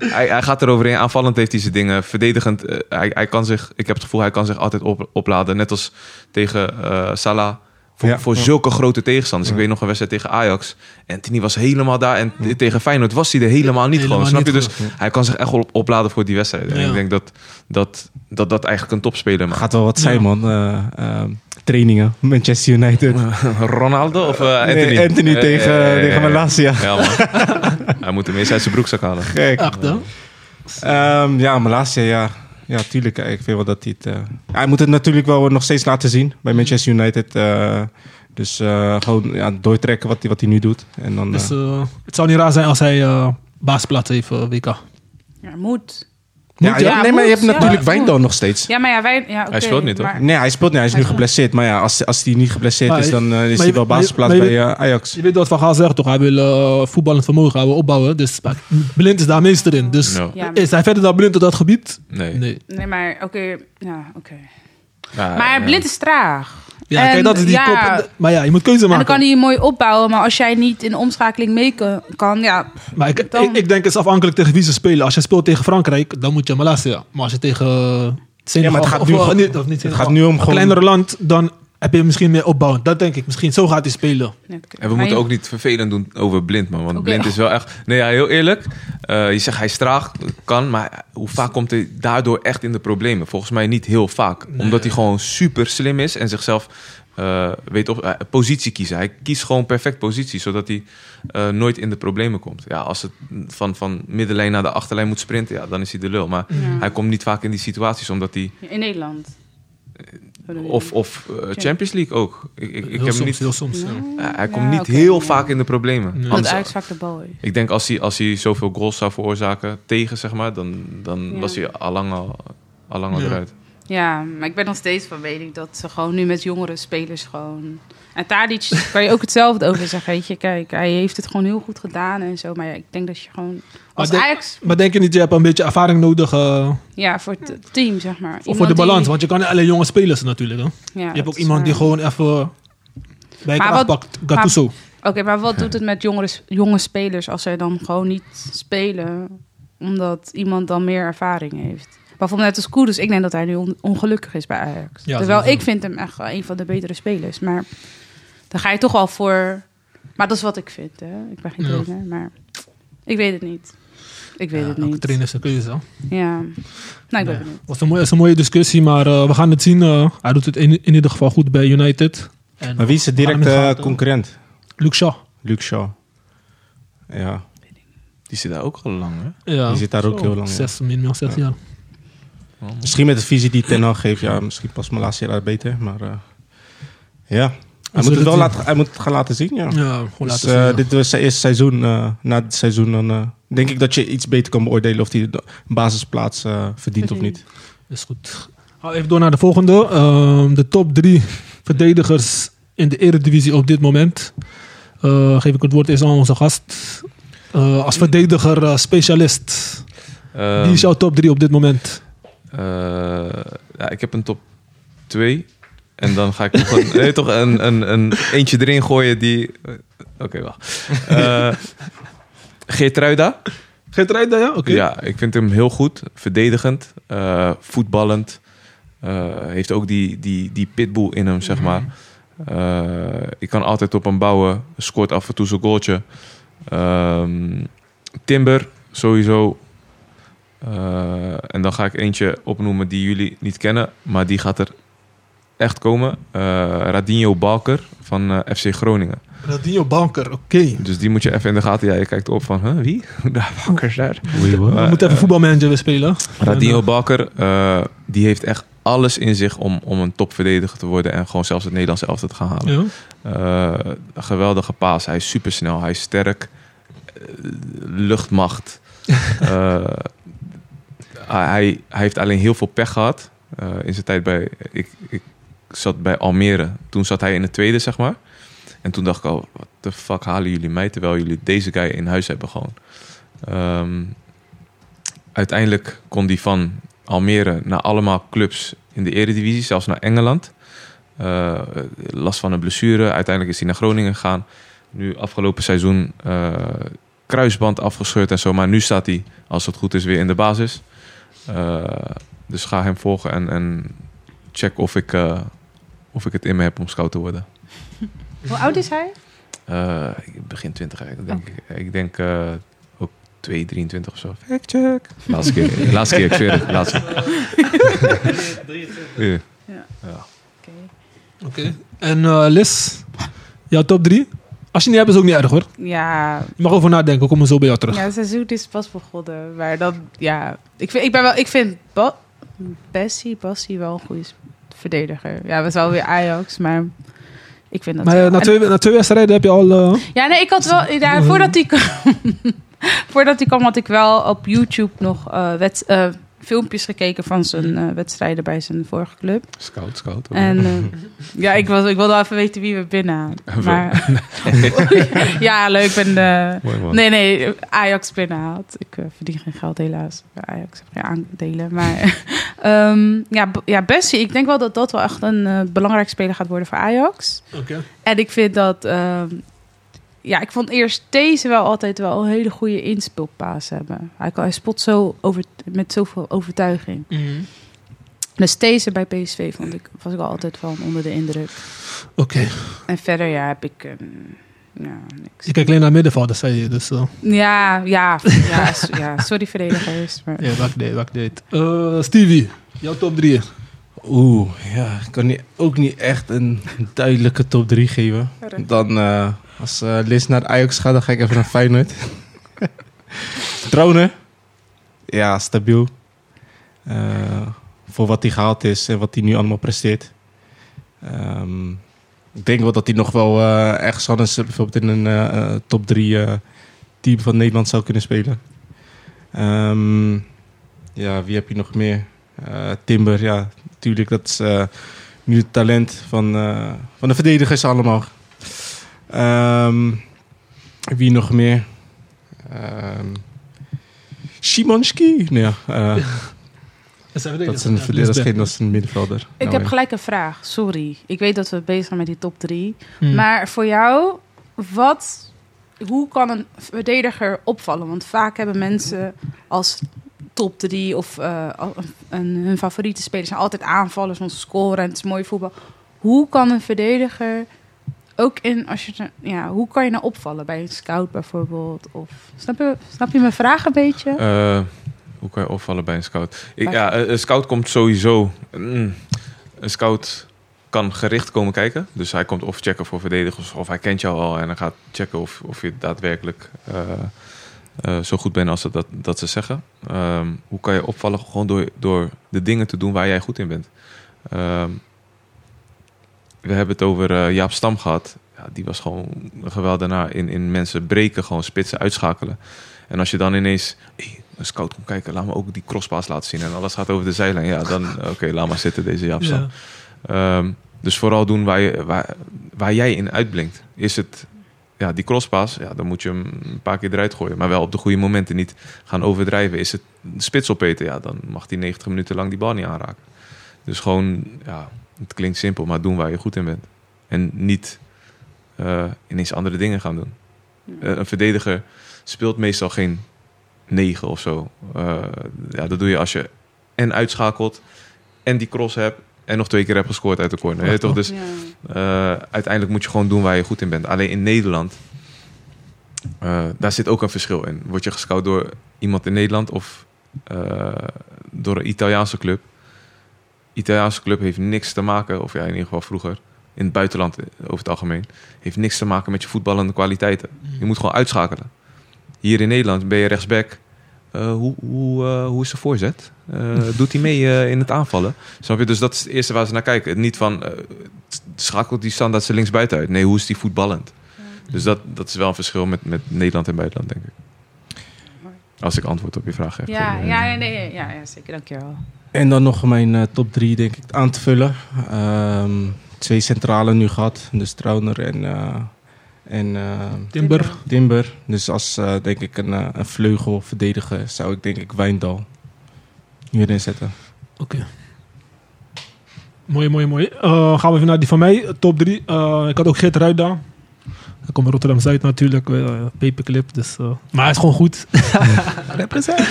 hij, hij gaat eroverheen. Aanvallend heeft hij zijn dingen. Verdedigend, eh, hij, hij kan zich, ik heb het gevoel, hij kan zich altijd op, opladen. Net als tegen eh, Salah. Voor, Ja. voor Ja. zulke grote tegenstanders. Ik weet nog een wedstrijd tegen Ajax. En Tini was helemaal daar. En t- tegen Feyenoord was hij er helemaal niet Helemaal gewoon. Snap je? niet Dus hij kan zich echt wel op, opladen voor die wedstrijd. En Ja. ik denk dat dat, dat dat eigenlijk een topspeler maakt. Gaat wel wat zijn, Ja. man. Eh, ehm, trainingen, Manchester United. Ronaldo of eh, Anthony? Nee, Anthony Eh, tegen, eh, tegen eh, Malasia. Ja, man. Hij moet hem eerst uit zijn broekzak halen. Gek. Echt, hè? Ehm, ja, Malasia, ja. Ja, tuurlijk. eh, Ik vind wel dat hij het... eh, Hij moet het natuurlijk wel nog steeds laten zien bij Manchester United. eh, dus eh, gewoon ja, doortrekken wat hij, wat hij nu doet. En dan, Dus eh, eh, het zou niet raar zijn als hij eh, baasplaats heeft, eh, WK. Moet, Ja, moet. ja, ja. ja, nee, maar je hebt moet, natuurlijk ja, Wijndal nog steeds. Ja, maar ja, wij... Ja, oké, speelt niet, hoor. maar- Nee, hij speelt niet. Hij is nu geblesseerd. Maar ja, als, als hij niet geblesseerd Maar is, je- dan eh, is maar hij je- wel maar je- basisplaats maar je- bij eh, Ajax. Je weet wat Van Gaal zegt toch? Hij wil eh, voetballend vermogen hij wil opbouwen. Dus maar Blind is daar meester in. Dus Ja. Ja, maar- is hij verder dan Blind op dat gebied? Nee. Nee. Nee, maar oké. Ja, oké. Ja, Maar Nou, ja. Blind is traag. Ja, En, kijk, dat is die ja. kop. Maar ja, je moet keuze En dan maken. kan hij mooi opbouwen, maar als jij niet in omschakeling mee kan- kan, ja, Maar ik, Dan- ik, ik denk het is afhankelijk tegen wie ze spelen. Als je speelt tegen Frankrijk, dan moet je Malasia. Maar als je tegen eh, Senegal het gaat of, nu eh, gewoon- niet, of niet Senegal, gaat nu om een gewoon- kleinere land, dan heb je misschien meer opbouw. Dat denk ik. Misschien zo gaat hij spelen. Nee, dat- En we maar moeten je- ook niet vervelend doen over Blind, man. Want Oké. Blind is wel echt... Nee, ja, heel eerlijk. eh, je zegt hij is traag, kan. Maar hoe vaak komt hij daardoor echt in de problemen? Volgens mij niet heel vaak. Omdat hij gewoon super slim is en zichzelf eh, weet op eh, positie kiezen. Hij kiest gewoon perfect positie, zodat hij eh, nooit in de problemen komt. Ja, als het van, van middenlijn naar de achterlijn moet sprinten, ja, dan is hij de lul. Maar hij komt niet vaak in die situaties, omdat hij... In Nederland. Oh, Of, of eh, Champions League ook. Ik, ik, ik heel heb soms, hem niet heel soms. ja. Ja, hij Ja, komt niet oké, heel ja. vaak in de problemen. Nee. Anders- dat Ajax vaak de bal heeft. ik denk als hij, als hij zoveel goals zou veroorzaken tegen, zeg maar, dan, dan Ja. was hij allang al, allang al Ja. eruit. Ja, maar ik ben nog steeds van mening dat ze gewoon nu met jongere spelers gewoon... En Tadic kan je ook hetzelfde over zeggen, weet je. Kijk, hij heeft het gewoon heel goed gedaan en zo. Maar ja, ik denk dat je gewoon als denk- Ajax... Maar denk je niet, je hebt een beetje ervaring nodig eh, Ja, voor het team, zeg maar. voor, voor de balans? Want je kan niet alleen jonge spelers natuurlijk. Hè? je hebt ook iemand die gewoon even bij Maar elkaar wat- pakt. Gattuso. Oké, maar wat doet het met jongere, jonge spelers als zij dan gewoon niet spelen? Omdat iemand dan meer ervaring heeft. Bijvoorbeeld net als Koeders. Ik denk dat hij nu on- ongelukkig is bij Ajax. Ja, Terwijl sowieso. ik vind hem echt wel een van de betere spelers. Maar dan ga je toch al voor... Maar dat is wat ik vind, hè. Ik ben geen Ja. trainer, maar... Ik weet het niet. Ik weet Ja, het elke niet. trainer is een keuze. hè. Ja. Nou, ik ben Ja. benieuwd. Het was een mooie, is een mooie discussie, maar eh, we gaan het zien. Eh, hij doet het in, in ieder geval goed bij United. En Maar wie is de we gaan hem in directe de eh, gaten- concurrent? Luke Shaw. Luke Shaw. Ja, Die zit daar ook al lang, hè? Ja. die zit daar ook Zo, heel lang. ja. Zes, minimaal zes jaar. Misschien met de visie die Ten Hag geeft, ja, misschien past Malasia daar beter. Maar eh, ja, hij moet zullen het wel het laten, hij moet het gaan laten zien. Ja. Ja, gewoon Dus, laten zien. eh, ja. dit was zijn eerste seizoen. eh, na dit seizoen dan, eh, denk ik dat je iets beter kan beoordelen of hij een basisplaats eh, verdient of niet. Is goed. Hou even door naar de volgende. Ehm, de top drie verdedigers in de eredivisie op dit moment. Eh, geef ik het woord eerst aan onze gast. Eh, als verdediger, eh, specialist. Ehm, Wie Ehm. is jouw top drie op dit moment? eh, ja, ik heb een top 2. En dan ga ik nog een, nee, toch een, een, een eentje erin gooien die... eh, Oké, wacht. Eh Geertruida. Geert Rijda, ja? Oké. Ja, ik vind hem heel goed. Verdedigend, eh, voetballend. Eh, heeft ook die, die, die pitbull in hem, zeg maar. Eh, ik kan altijd op hem bouwen. Scoort af en toe zijn goaltje. Ehm, Timber, sowieso. Eh, en dan ga ik eentje opnoemen die jullie niet kennen. Maar die gaat er echt komen. Eh Radinho Balker van eh, FC Groningen. Radinho Banker, oké. Dus die moet je even in de gaten. Ja, je kijkt op van, huh, wie? Daar, Balker is daar. We Maar, moeten even eh, voetbalmanager weer spelen. Radinho Bakker, eh, die heeft echt alles in zich om, om een topverdediger te worden en gewoon zelfs het Nederlandse elftal te gaan halen. Ja. Eh, geweldige paas, hij is supersnel, hij is sterk, eh, luchtmacht. Eh, hij, hij heeft alleen heel veel pech gehad eh, in zijn tijd bij. Ik, ik zat bij Almere, toen zat hij in de tweede, zeg maar. En toen dacht ik al, wat de fuck halen jullie mij terwijl jullie deze guy in huis hebben gewoon. Ehm, uiteindelijk kon die van Almere naar allemaal clubs in de eredivisie, zelfs naar Engeland. eh, last van een blessure. Uiteindelijk is hij naar Groningen gegaan. Nu afgelopen seizoen eh, kruisband afgescheurd en zo. Maar nu staat hij, als het goed is, weer in de basis. Eh, dus ga hem volgen en, en check of ik, eh, of ik het in me heb om scout te worden. Hoe oud is hij? Eh, ik begin 20 eigenlijk, denk ik. Ik denk eh, ook 2, 23 of zo. Fact check. Laatste keer, laatste keer ik zweer het. Laatste keer. Oké. Oké. En eh, Liz, jouw top drie? Als je niet hebt, is ook niet erg hoor. Ja, Je mag over nadenken, we komen zo bij jou terug. ja, het seizoen is pas begonnen. Maar dan, ja. Ik vind, ik ben wel, ik vind ba Bessie, Bassie wel een goede s- verdediger. Ja, we zijn wel weer Ajax, maar ik vind dat. maar eh, wel- na, twee, na twee wedstrijden heb je al... eh, Ja, nee, ik had wel. Ja, voordat hij kwam, voordat hij kwam, had ik wel op YouTube nog eh, wed- eh, filmpjes gekeken van zijn eh, wedstrijden bij zijn vorige club. Scout, scout. hoor. En eh, ja, ik, was, ik wilde wel even weten wie we binnen. Even- Maar ja, leuk. Ik ben de, Mooi man. nee, nee, Ajax binnenhaalt. Ik eh, verdien geen geld helaas. Bij Ajax heb geen aandelen. Maar ehm, ja, B- ja, Bessie, ik denk wel dat dat wel echt een eh, belangrijk speler gaat worden voor Ajax. En ik vind dat. ehm, ja, ik vond eerst deze wel altijd wel een hele goede inspeelpaas hebben. Hij, kan, hij spot zo over, met zoveel overtuiging. Mhm. Dus deze bij PSV vond ik, was ik wel altijd wel onder de indruk. Oké. En verder ja, heb ik. ehm, ja, niks. Je kijkt alleen naar middenvelden, zei je. Dus, eh, Ja, ja, ja, s- ja, sorry verdedigers. Maar... ja, wat ik deed, wat ik deed. Eh, Stevie, jouw top drie. Oeh, ja, ik kan niet, ook niet echt een duidelijke top 3 geven. Dan, eh, als eh Liz naar Ajax gaat, dan ga ik even naar Feyenoord. Dronen. Ja, stabiel. Eh, voor wat hij gehaald is en wat hij nu allemaal presteert. Ehm, ik denk wel dat hij nog wel eh, ergens anders eh, bijvoorbeeld in een eh, eh, top 3 team van Nederland zou kunnen spelen. Ehm, ja, wie heb je nog meer? Eh, Timber, ja, natuurlijk, dat is eh, nu het talent van, eh, van de verdedigers allemaal. Ehm, wie nog meer? Ehm Szymanski? Nee, ja, eh, dat is een verdediger, dat is geen- dat is een middenvelder. Ik Nou, heb ja. gelijk een vraag, sorry. Ik weet dat we bezig zijn met die top drie. Mm. Maar voor jou, wat, hoe kan een verdediger opvallen? Want vaak hebben mensen als top drie of eh, al- een, hun favoriete spelers zijn altijd aanvallers, want ze scoren en het is mooi voetbal. Hoe kan een verdediger ook in als je er- ja, hoe kan je nou opvallen bij een scout bijvoorbeeld? Of snap je, snap je mijn vraag een beetje? Eh, hoe kan je opvallen bij een scout? Ik, ja, eh, een scout komt sowieso. mm, een scout kan gericht komen kijken. Dus hij komt of checken voor verdedigers, of hij kent jou al en dan gaat checken of, of je daadwerkelijk eh, eh, zo goed bent als ze dat, dat ze zeggen. Ehm, hoe kan je opvallen? Gewoon door, door de dingen te doen waar jij goed in bent. Ehm, we hebben het over eh, Jaap Stam gehad. Ja, die was gewoon een geweldenaar in, in mensen breken, gewoon spitsen uitschakelen. En als je dan ineens hey, een scout komt kijken, laat me ook die crosspaas laten zien en alles gaat over de zijlijn. Ja, dan oké, laat maar zitten deze Jaap Stam. Ja. Ehm, dus vooral doen waar, je, waar, waar jij in uitblinkt. Is het ja, die crosspas, ja, dan moet je hem een paar keer eruit gooien. Maar wel op de goede momenten niet gaan overdrijven. Is het de spits opeten, ja, dan mag die 90 minuten lang die bal niet aanraken. Dus gewoon, ja, het klinkt simpel, maar doen waar je goed in bent. En niet eh, ineens andere dingen gaan doen. Eh, een verdediger speelt meestal geen 9 of zo. Eh, ja, dat doe je als je en uitschakelt en die cross hebt en nog twee keer hebt gescoord uit de corner. Weet je toch? Dus eh, uiteindelijk moet je gewoon doen waar je goed in bent. Alleen in Nederland, eh, daar zit ook een verschil in. Word je gescout door iemand in Nederland of eh, door een Italiaanse club? Italiaanse club heeft niks te maken, of ja, in ieder geval vroeger, in het buitenland eh, over het algemeen, heeft niks te maken met je voetballende kwaliteiten. Je moet gewoon uitschakelen. Hier in Nederland ben je rechtsback. Eh, hoe, hoe, eh, hoe is de voorzet? Eh, doet hij mee eh, in het aanvallen? Snap je? Dus dat is het eerste waar ze naar kijken. Niet van, eh, schakelt die standaard ze links buiten uit. Nee, hoe is die voetballend? Dus dat, dat is wel een verschil met, met Nederland en buitenland, denk ik. Als ik antwoord op je vraag heb. Ja, Eh, ja, nee, nee, ja, ja, zeker, dankjewel. En dan nog mijn eh, top 3 denk ik aan te vullen. Ehm, twee centralen nu gehad, dus Trauner en, eh, en eh, Timber. Timber. Dus als eh, denk ik een, eh, een vleugel verdedigen zou ik denk ik Wijndal hierin zetten. Oké. Mooi, mooi, mooi. Eh, gaan we even naar die van mij, top 3. ik had ook Geert Ruida. Hij komt uit Rotterdam-Zuid natuurlijk, eh, paperclip. Dus, eh, maar hij is gewoon goed. Represent.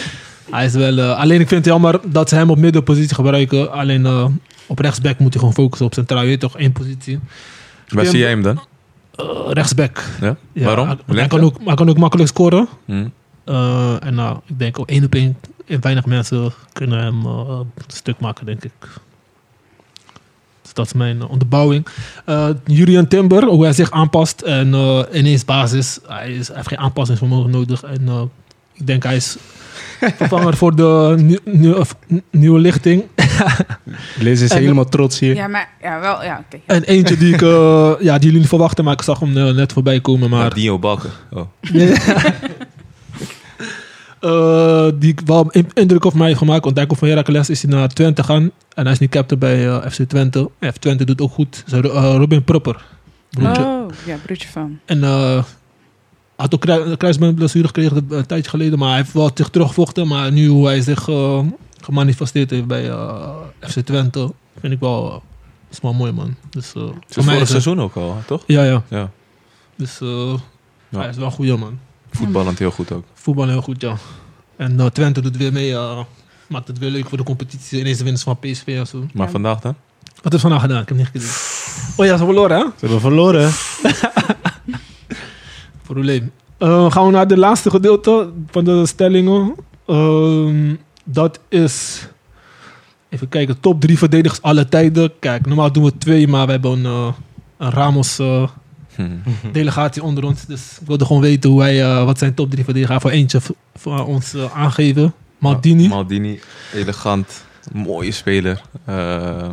Hij is wel, eh, alleen ik vind het jammer dat ze hem op middenpositie gebruiken. Alleen eh, op rechtsback moet hij gewoon focussen op centraal. Je weet toch, één positie. Waar zie jij hem dan? Eh, rechtsback. Ja? Ja, Waarom? hij- Hij kan, ook, hij kan ook makkelijk scoren. Hm. Eh, en nou, ik denk ook één op één. En weinig mensen kunnen hem eh, stuk maken, denk ik. Dus dat is mijn eh, onderbouwing. Eh, Julian Timber, hoe hij zich aanpast. En eh, ineens basis. Hij, is, hij heeft geen aanpassingsvermogen nodig. En eh, ik denk hij is vervanger voor de nieuw- nieuw- of nieuwe lichting. Liz is En- helemaal trots hier. Ja, maar ja, wel, ja, oké. En eentje die, ik, eh, ja, die jullie niet verwachten, maar ik zag hem eh, net voorbij komen. Maar Ah, Dio Balken. Oh. Eh, die ik wel in- indruk op mij heeft gemaakt. Want hij komt van Heracles, is hij naar Twente gaan. En hij is nu captain bij eh, FC Twente. F Twente doet ook goed. Zo, eh, Robin Propper. Broertje. Oh, ja, broertje van. En eh, had ook krui- een kruisbandblessure gekregen een tijdje geleden. Maar hij heeft wel zich terugvochten. Maar nu hoe hij zich eh, gemanifesteerd heeft bij eh, FC Twente. Vind ik wel, eh, is wel mooi man. Dus, eh, Het is vorig het- seizoen ook al, hè, toch? Ja, ja. Ja. Dus eh, Ja. hij is wel een goeie man. Voetballend heel goed ook. Voetbal heel goed, ja. En eh, Twente doet weer mee. eh, maakt het weer leuk voor de competitie. Ineens de winst van PSV en zo. Maar Ja. vandaag dan? Wat is vandaag gedaan? Ik heb het niet gezien. Oh ja, ze hebben verloren, hè? Ze hebben verloren. Probleem. Eh gaan we naar de laatste gedeelte van de stellingen. Ehm, dat is... Even kijken, top drie verdedigers alle tijden. Kijk, normaal doen we twee, maar we hebben een, eh, een Ramos-delegatie Hm. onder ons. Dus ik wilde gewoon weten hoe hij, eh, wat zijn top drie verdedigers. Hij voor eentje v- voor ons eh, aangeven. Maldini. Maldini, elegant, mooie speler. eh,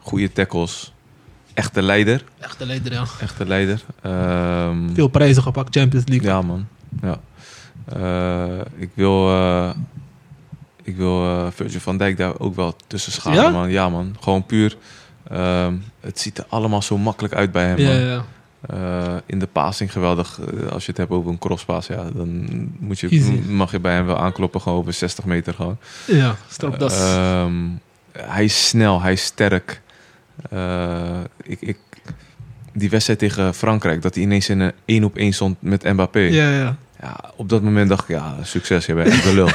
goede tackles. Echte leider. Echte leider, ja. Echte leider. Ehm, Veel prijzen gepakt, Champions League. ja, man. Ja. Eh, ik wil, eh, ik wil eh, Virgil van Dijk daar ook wel tussen scharen, Ja? man. Ja, man. Gewoon puur. ehm, het ziet er allemaal zo makkelijk uit bij hem, Ja, man. ja, ja. Eh, in de passing geweldig. Eh, als je het hebt over een crosspass, ja, dan moet je, Easy. mag je bij hem wel aankloppen. Gewoon over 60 meter gewoon. ja stropdas. Ehm, hij is snel, hij is sterk. Eh, ik, ik, die wedstrijd tegen Frankrijk, dat hij ineens in een 1 op 1 stond met Mbappé. ja, ja. Ja, op dat moment dacht ik, ja, succes, je bent echt de lul.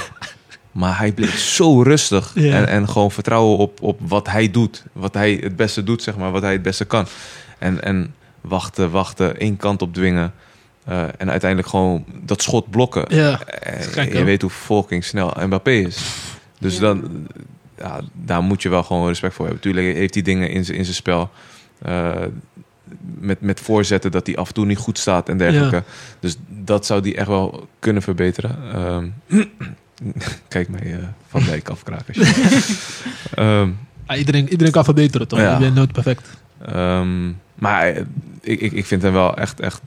maar hij bleef zo rustig Ja. en, en gewoon vertrouwen op, op wat hij doet. Wat hij het beste doet, zeg maar, wat hij het beste kan. En, en wachten, wachten, één kant op dwingen. Eh, en uiteindelijk gewoon dat schot blokken. Ja, Eh, is gek, je hè? weet hoe fucking snel Mbappé is. Dus Ja. dan, ja, daar moet je wel gewoon respect voor hebben. Tuurlijk heeft hij dingen in zijn in zijn spel. eh, met, met voorzetten dat hij af en toe niet goed staat en dergelijke. Dus dat zou die echt wel kunnen verbeteren. Ehm, kijk mij eh, Van Dijk afkraken. Ehm Ah, iedereen, iedereen kan verbeteren, toch? Ja. Je bent nooit perfect. Ehm, maar eh, ik, ik, ik vind hem wel echt, echt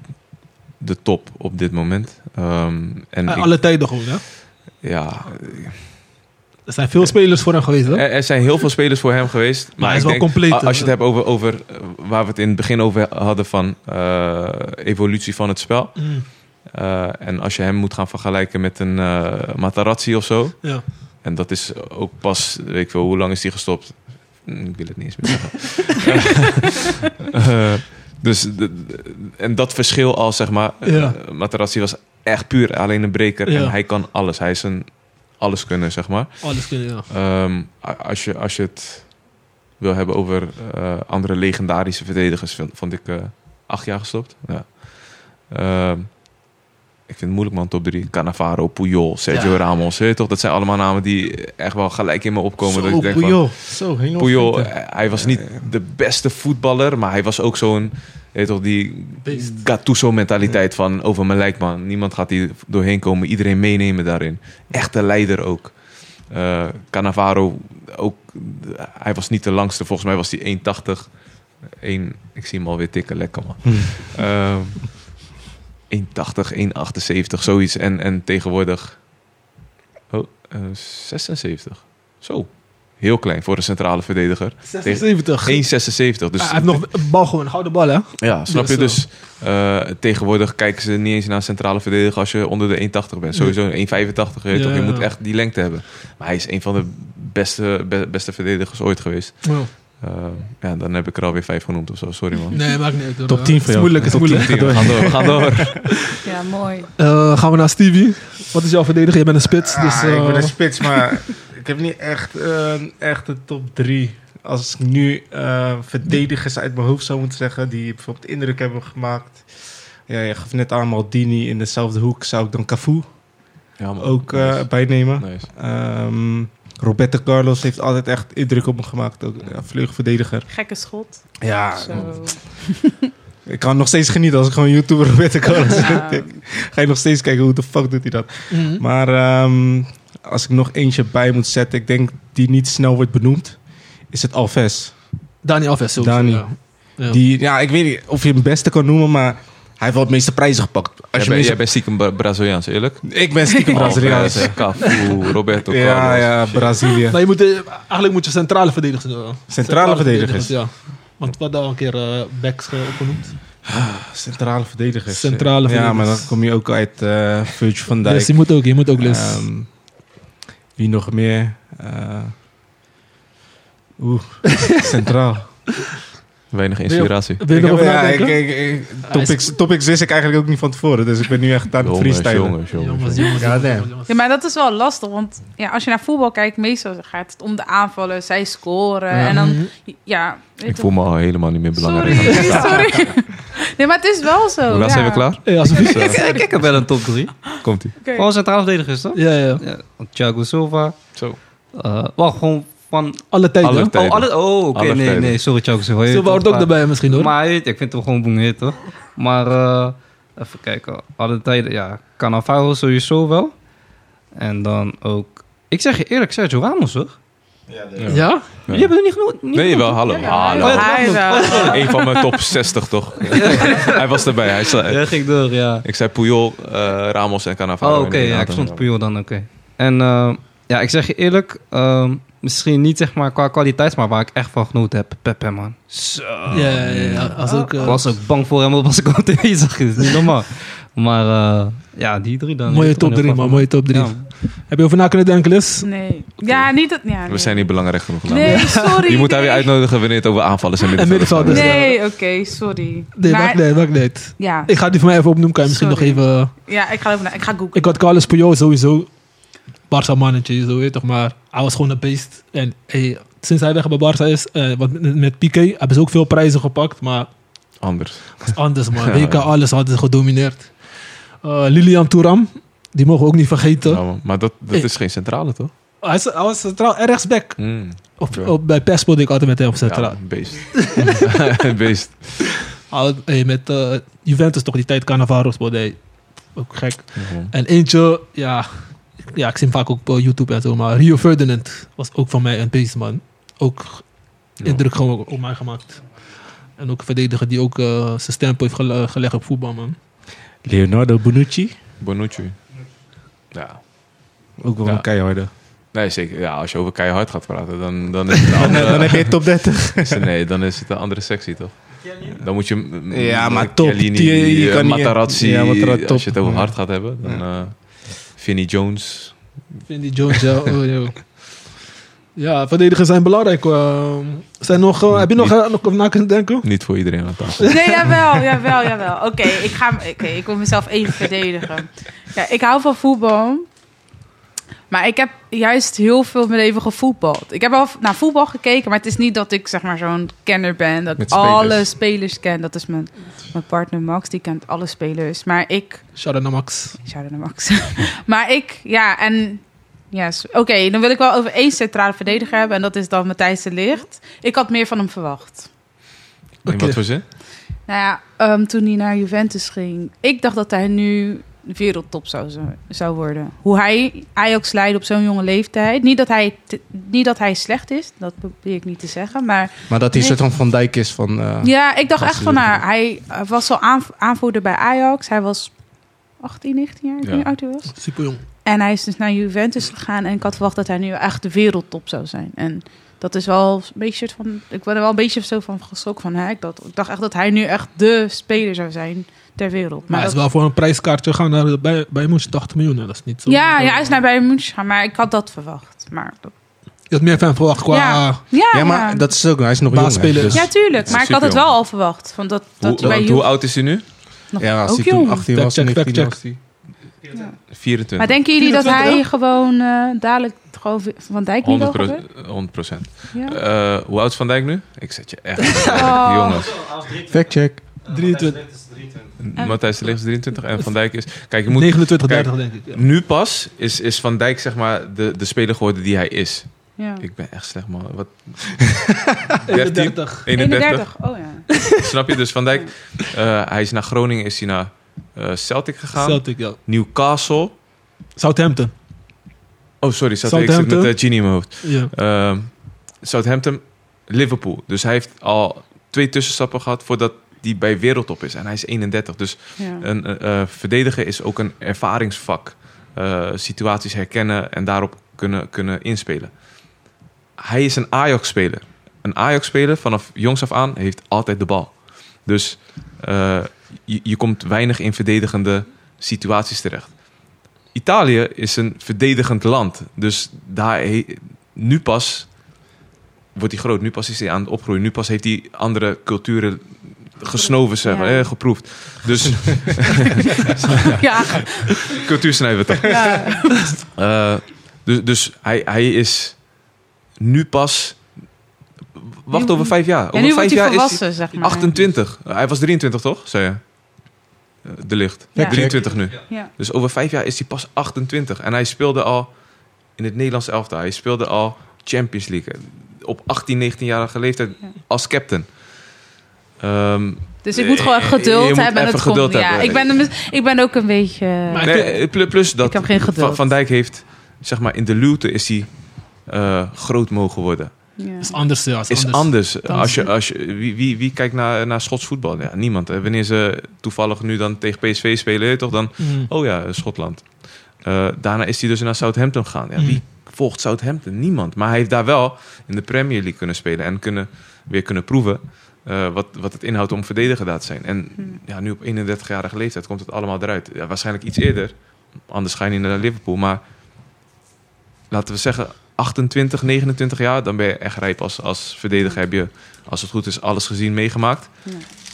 de top op dit moment. Ehm, en Ah, ik- Alle tijden gewoon, hè? ja, Er zijn veel spelers voor hem geweest, hè? er, er zijn heel veel spelers voor hem geweest. Maar, hij is ik wel denk, compleet, a- Als je hè? het hebt over, over eh, waar we het in het begin over hadden van eh, evolutie van het spel. Mm, Eh, en als je hem moet gaan vergelijken met een eh, Matarazzi of zo. ja. En dat is ook pas, weet ik veel, hoe lang is die gestopt? Mm, Ik wil het niet eens meer zeggen. Eh, dus de- de- en dat verschil al, zeg maar. Ja. eh, Materazzi was echt puur alleen een breker. Ja. En hij kan alles. Hij is een alles kunnen, zeg maar. Alles kunnen, ja. Ehm, a- als, je, als je het wil hebben over eh, andere legendarische verdedigers, vind- vond ik eh, acht jaar gestopt. Ja. Ehm, ik vind het moeilijk, man, top drie. Cannavaro, Puyol, Sergio Ja. Ramos. Weet je toch? Dat zijn allemaal namen die echt wel gelijk in me opkomen. dat ik denk van, Puyol. Zo, helemaal Puyol, fit, hè. eh, hij was niet de beste voetballer, maar hij was ook zo'n, weet je toch, die Beest. Gattuso-mentaliteit van over mijn lijk, man. Niemand gaat hier doorheen komen, iedereen meenemen daarin. Echte leider ook. Eh Cannavaro, ook, eh, hij was niet de langste, volgens mij was hij 1,80. Eén- ik zie hem alweer tikken, lekker man. Hmm. Ehm, 1,80, 1,78, zoiets. En, en tegenwoordig oh, eh, 76. Zo, heel klein voor een centrale verdediger. 76. 1,76. Dus Ah, hij heeft nog een bal gewoon, een gouden bal, hè? ja, snap je? Dus, Dus eh, tegenwoordig kijken ze niet eens naar een centrale verdediger als je onder de 1,80 bent. Sowieso een 1,85. weet je Ja. toch? Je moet echt die lengte hebben. Maar hij is een van de beste, be- beste verdedigers ooit geweest. Ja. Eh, ja, dan heb ik er alweer vijf genoemd of zo. Sorry man. Nee, maakt niet uit. hoor. Top 10 Het voor is jou. moeilijk, het is Top moeilijk. 10, we gaan door, we gaan door. Ja, mooi. Eh, gaan we naar Stevie. Wat is jouw verdediger? Je bent een spits. dus, Ah, eh, ik ben een spits, maar ik heb niet echt, een echt de top drie. Als ik nu eh, verdedigers uit mijn hoofd zou moeten zeggen, die bijvoorbeeld indruk hebben gemaakt. Ja, je gaf net aan Maldini in dezelfde hoek. Zou ik dan Cafu Ja, man. ook eh, Nice. bijnemen? Nice. Ehm, Roberto Carlos heeft altijd echt indruk op me gemaakt. Ook, ja, vleugelverdediger. Gekke schot. Ja, Zo. ik kan nog steeds genieten als ik gewoon YouTube Roberto Carlos Ja. zet. Ga je nog steeds kijken hoe de fuck doet hij dat. mhm. Maar ehm, als ik nog eentje bij moet zetten, ik denk die niet snel wordt benoemd, is het Alves. Dani Alves. sowieso, Dani. ja. Ja. Die, ja, ik weet niet of je hem beste kan noemen, maar hij heeft wel het meeste prijzen gepakt. Als Jij, je bent- jij mensen- bent stiekem Bra- Braziliaans, eerlijk? Ik ben stiekem Braziliaans. Alvarez, eh, Cafu, Roberto Carlos. Ja, ja, Brazilië. Maar je moet, eh, eigenlijk moet je centrale verdedigers doen. Centrale, Centrale verdedigers. Ja. Want wat daar al een keer eh, backs eh, opgenoemd. Centrale verdedigers. Centrale Ja, maar dan verdedigers. kom je ook uit eh Virgil van Dijk. Dus je moet ook, je moet ook les. Ehm, wie nog meer? Eh, Oeh, centraal. Weinig inspiratie. Wil je Ik nog over heb- ja, nadenken? ik- ik- ik- Hij is- topics, topics wist ik eigenlijk ook niet van tevoren, dus ik ben nu echt aan het Jongens, freestylen. jongens, jongens. Jongens, jongens, Ja, nee. jongens, jongens. Ja, maar dat is wel lastig, want ja, als je naar voetbal kijkt, meestal gaat het om de aanvallen, zij scoren en dan, ja. weet Ik je- voel me al helemaal niet meer belangrijk. Sorry, sorry. Nee, maar het is wel zo. Hoe laat ja. zijn we klaar? Oh, Ja, alsjeblieft. Zo, Ik, ik, ik heb wel een top 3. Komt ie. Oké. Gewoon centrale verdedigers, toch? Ja, ja. Ja, want Thiago Silva. Zo. eh wel gewoon van... Alle tijden. Alle hè? tijden. Oh, alle, oh oké. Alle nee, tijden. nee, sorry Thiago Silva. Je Silva weet hoort toch, ook maar- erbij misschien hoor. Maar hij weet- ik vind hem gewoon boeien, toch? Maar eh, even kijken. Alle tijden, ja. Cannavaro sowieso wel. En dan ook... Ik zeg je eerlijk, Sergio Ramos, hoor. ja? Jullie hebben er niet genoeg... niet Nee, genoeg. wel, hallo. Oh, hallo. ja. Hij wel. Eén van mijn top 60, toch? Hij was erbij. Hij zei, Ja, ging door, ja. Ik zei Puyol, eh, Ramos en Cannavaro. Oh, oké. inderdaad. ja, ik stond Puyol dan, oké. En eh, ja, ik zeg je eerlijk... ehm, misschien niet, zeg maar, qua kwaliteit, maar waar ik echt van genoten heb. Pepe, man. Zo. Ja, ja, ja. Als ook, eh, Ik was ook bang voor hem, want was ik op tv zag. Dat is niet normaal. Maar eh, ja, die drie dan. Mooie top 3, man. Mooie top 3. Ja. Heb je over na kunnen denken, Les? Nee. Ja, niet dat. Ja, We nee. zijn niet belangrijk genoeg. Laan. Nee, sorry. Je moet daar weer nee. uitnodigen wanneer het over aanvallen en En middenvelders gaat. middenvelders. Nee, oké, sorry. Nee, Maar- maakt niet, uit, maakt niet. uit. ja, Ik ga die voor mij even opnoemen. Kan je misschien Sorry. nog even... eh, ja, ik ga even naar. Ik ga googlen. Ik had Carlos Puyol sowieso. Barça mannetje, zo weet je toch. Maar hij was gewoon een beest. En hey, sinds hij weg bij Barça is, eh, wat met, met Piqué, hebben ze ook veel prijzen gepakt. Maar Anders. het was anders, man. WK, alles hadden ze gedomineerd. Eh, Lilian Thuram, die mogen we ook niet vergeten. Ja, man. Nou, maar dat, dat is geen centrale, toch? Hij, is, hij was centraal en rechtsback. Hmm. Mm. Op, Ja. op, bij PES speelde ik altijd met hem op centraal. Ja, beest. beest. Al- hey, met eh, Juventus toch die tijd, Cannavaro speelde hij. Ook gek. Ja, Mhm. man. En eentje, ja, ja, ik zie hem vaak ook op eh, YouTube en zo, maar Rio Ferdinand was ook van mij een beest, man. Ook indruk gewoon op mij gemaakt. En ook een verdediger die ook eh, zijn stempel heeft gele- gelegd op voetbal, man. Leonardo Bonucci, Bonucci. Ja. ook wel Ja. een keiharde. Nee, zeker. Ja, als je over keihard gaat praten, dan, dan is het een Dan, andere... dan heb je top 30. Is er- Nee, dan is het een andere sectie, toch? Dan moet je... m- Ja, m- maar top. Chiellini, Die- je eh, kan niet- Materazzi. Ja, Materazzi, top. Als je het over Ja. hard gaat hebben, dan... eh Vinnie Jones. Vindy Jones, ja. oh, joh. Ja, verdedigers zijn belangrijk. eh. zijn nog, eh, heb je nog, eh, nog over na kunnen denken? Niet voor iedereen aan tafel. Nee, jawel, jawel, jawel. Oké, ik ga. Oké, ik wil mezelf even verdedigen. Ja, ik hou van voetbal. Maar ik heb juist heel veel in mijn leven gevoetbald. Ik heb al naar voetbal gekeken, maar het is niet dat ik zeg maar zo'n kenner ben. Dat ik Met spelers. alle spelers ken. Dat is mijn, mijn partner Max, die kent alle spelers. Maar ik Shout-out naar Max. Shout-out naar Max. maar ik, ja, en... Yes. Oké, dan wil ik wel over één centrale verdediger hebben. En dat is dan Matthijs de Ligt. Ik had meer van hem verwacht. In wat voor zin? Nou ja, ehm, toen hij naar Juventus ging... Ik dacht dat hij nu wereldtop zou, zo- zou worden. Hoe hij Ajax leidde op zo'n jonge leeftijd. Niet dat, hij te- niet dat hij slecht is. Dat probeer ik niet te zeggen. Maar Maar dat hij Nee. soort van Van Dijk is van... eh, ja, ik dacht echt van... absoluut. Nou, hij eh, was al aanv- aanvoerder bij Ajax. Hij was 18, 19 jaar. Ik weet Ja. niet hoe oud hij was. Super jong. En hij is dus naar Juventus gegaan. En ik had verwacht dat hij nu echt de wereldtop zou zijn. En dat is wel een beetje soort van. Ik ben er wel een beetje zo van geschrokken van. Hè? Ik, dacht, ik dacht echt dat hij nu echt de speler zou zijn ter wereld. Maar hij dat- is wel voor een prijskaartje gaan naar bij, bij Moes, 80 miljoen. hè. Dat is niet zo. ja, ja, hij is naar Bayern München gegaan. Maar ik had dat verwacht. Maar dat, Je had meer van hem verwacht qua... Ja. Ja, Ja, maar dat is ook, hij is nog jong. hè, Basisspeler. dus- ja, tuurlijk. is Maar ik had het superjong. wel al verwacht. Van dat, dat Hoe, je bij want hoe Juve oud is hij nu? nog ja, als ook hij jong. toen 18 was, en Backcheck, 19 was hij. Maar 24. denken jullie dat 24, hij gewoon eh, dadelijk gewoon Van Dijk niet wel 100 gebeurt? procent. Ja. Eh, hoe oud is Van Dijk nu? Ik zet je echt. Oh. Jongens, Factcheck. 23. 23. Matthijs de Ligt is 23 en Van Dijk is. Kijk, je moet 29, Kijk, 30 denk ik. Ja. Nu pas is, is Van Dijk zeg maar de, de speler geworden die hij is. Ja. Ik ben echt slecht man. Wat? 13, 31. 31. 31, oh ja. Snap je? Dus Van Dijk, eh, hij is naar Groningen, is hij naar eh, Celtic gegaan. Celtic, ja. Newcastle. Southampton. Oh, sorry, Celtic. Ik zit met Southampton. eh, Genie in mijn hoofd. Ja. Ehm, Southampton, Liverpool. Dus hij heeft al twee tussenstappen gehad voordat hij bij wereldtop is. En hij is 31. Dus ja. Een eh, eh, verdedigen is ook een ervaringsvak. Eh, situaties herkennen en daarop kunnen, kunnen inspelen. Hij is een Ajax-speler. Een Ajax-speler vanaf jongs af aan heeft altijd de bal. Dus eh, je, je komt weinig in verdedigende situaties terecht. Italië is een verdedigend land. Dus daar he- nu pas wordt hij groot. Nu pas is hij aan het opgroeien. Nu pas heeft hij andere culturen gesnoven, zeg maar, Ja. eh, geproefd. Dus ja. cultuursnijden we toch. Eh, dus dus hij, hij is nu pas... Wacht over vijf jaar. Over En nu vijf wordt hij jaar is volwassen, zeg hij maar. 28. Hij was 23, toch? Zei je? Eh, De licht. Ja. 23 nu. Ja. Dus over vijf jaar is hij pas 28. En hij speelde al in het Nederlands elftal. Hij speelde al Champions League. Op 18, 19-jarige leeftijd Ja. als captain. Ehm, Dus ik moet gewoon Je geduld moet hebben. en even het komt- geduld ja, hebben. Ik, ben, een mis- ik ben ook een beetje... Maar ik vind- nee, pl- plus dat Ik heb geen geduld. Van, Van Dijk heeft, zeg maar, in de luwte is hij eh, groot mogen worden. ja. is anders, ja. Is Is anders. anders. anders. Als je, als je, wie, wie, wie kijkt naar, naar Schots voetbal? Ja, niemand. hè. Wanneer ze toevallig nu dan tegen PSV spelen, hè, toch dan... Mm. Oh ja, Schotland. Eh, daarna is hij dus naar Southampton gegaan. Ja, Mm. Wie volgt Southampton? Niemand. Maar hij heeft daar wel in de Premier League kunnen spelen en kunnen, weer kunnen proeven eh, wat, wat het inhoudt om verdediger daar te zijn. En Mm. ja, nu op 31-jarige leeftijd komt het allemaal eruit. Ja, waarschijnlijk iets eerder, anders ga je niet naar Liverpool. Maar laten we zeggen 28, 29 jaar, dan ben je echt rijp als, als verdediger. Heb je, als het goed is, alles gezien, meegemaakt. Ja.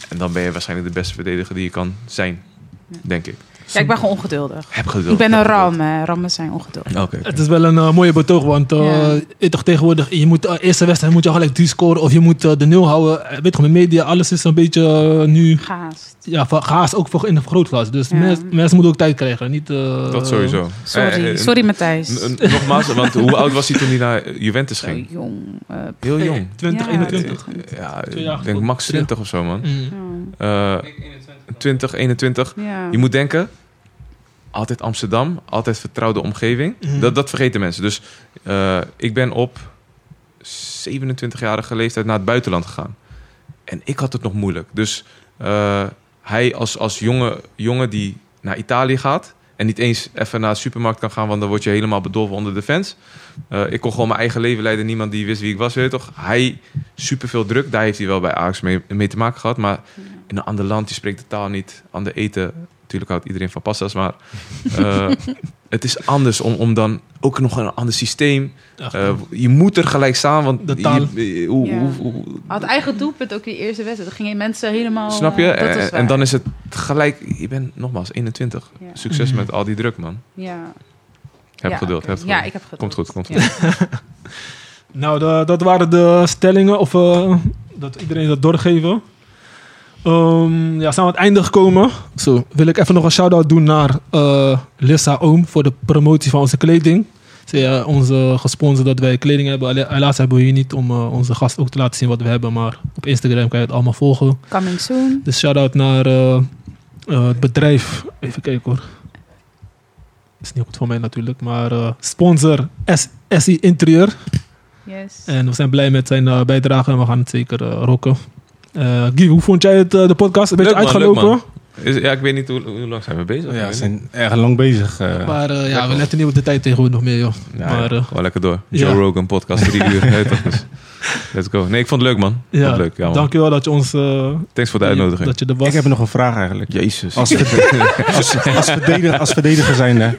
En dan ben je waarschijnlijk de beste verdediger die je kan zijn, Ja. denk ik. Ja, ik ben gewoon ongeduldig. Heb geduld. Ik ben een heb ram. geduld. hè. Rammen zijn ongeduldig. Oké. Het is wel een eh, mooie betoog, want eh, Ja. je toch tegenwoordig, je moet eh, eerste wedstrijd moet je al gelijk drie scoren of je moet eh, de nul houden. Eh, weet je, met media, alles is een beetje eh, nu Gehaast. ja, va- gaas ook voor in de vergrootglas. Dus Ja. mens- mensen moeten ook tijd krijgen. Niet, eh, Dat sowieso. Eh, Sorry, eh, sorry Matthijs. n- n- Nogmaals, want hoe oud was hij toen hij naar Juventus Zo ging? jong. eh, Heel jong. 20, ja, 21. Ja, Twee jaar ik denk max terug. 20 of zo, man. Mm. ja. Eh, Ik denk 21. 20, 21. Ja. Je moet denken, altijd Amsterdam, altijd vertrouwde omgeving. Mhm. Dat, dat vergeten mensen. Dus eh, ik ben op 27-jarige leeftijd naar het buitenland gegaan. En ik had het nog moeilijk. Dus eh, hij als, als jonge, jongen die naar Italië gaat... en niet eens even naar de supermarkt kan gaan... want dan word je helemaal bedolven onder de fans. Eh, ik kon gewoon mijn eigen leven leiden. Niemand die wist wie ik was, weet je toch? Hij, superveel druk. Daar heeft hij wel bij Ajax mee, mee te maken gehad. Maar in een ander land, je spreekt de taal niet. Ander eten, natuurlijk houdt iedereen van pasta's. Maar eh, het is anders om, om dan ook nog een ander systeem. Echt, Eh, je moet er gelijk staan, want... De taal. je- eh, hoe- Ja. hoe- hoe- Had eigen doelpunt ook die eerste wedstrijd. Dan gingen mensen helemaal... snap je? eh, dat was En, waar. en dan is het gelijk... Je bent nogmaals 21. Ja. Succes Mhm. met al die druk, man. Ja. Heb Ja, geduld, oké. heb geduld. Ja, ik heb geduld. Komt goed, komt Ja. goed. Nou, da- dat waren de stellingen. Of eh, dat iedereen dat doorgeven. Ehm, ja, zijn we aan het einde gekomen. Zo, wil ik even nog een shout-out doen naar eh, Lissa Oom voor de promotie van onze kleding. Ze eh, onze gesponsord dat wij kleding hebben. Alleen- Helaas hebben we hier niet om eh, onze gast ook te laten zien wat we hebben. Maar op Instagram kan je het allemaal volgen. Coming soon. Dus shout-out naar eh, eh, het bedrijf. Even kijken hoor. Is niet goed voor mij natuurlijk. Maar eh, sponsor S SI Interieur. Yes. En we zijn blij met zijn eh, bijdrage en we gaan het zeker eh, rocken. Eh Guy, hoe vond jij het, eh, de podcast? Een beetje Leuk, man, uitgelopen. leuk, Is- ja, ik weet niet hoe, hoe lang Oh zijn we bezig. Ik Ja, weet ze zijn erg lang bezig. eh. maar eh, ja, we man. letten niet op de tijd tegenwoordig nog meer, joh. niet. Ja, maar, ja, eh, gewoon lekker door. ja. Joe Rogan podcast, drie uur. Heet toch, dus. Let's go. Nee, ik vond het leuk, man. Ik Ja, vond het leuk, ja, man. Dankjewel dat je ons... eh, Thanks voor de uitnodiging. Dat je er was. ik heb nog een vraag eigenlijk. Jezus. Als, verde- als, als, verdediger, als verdediger zijnde.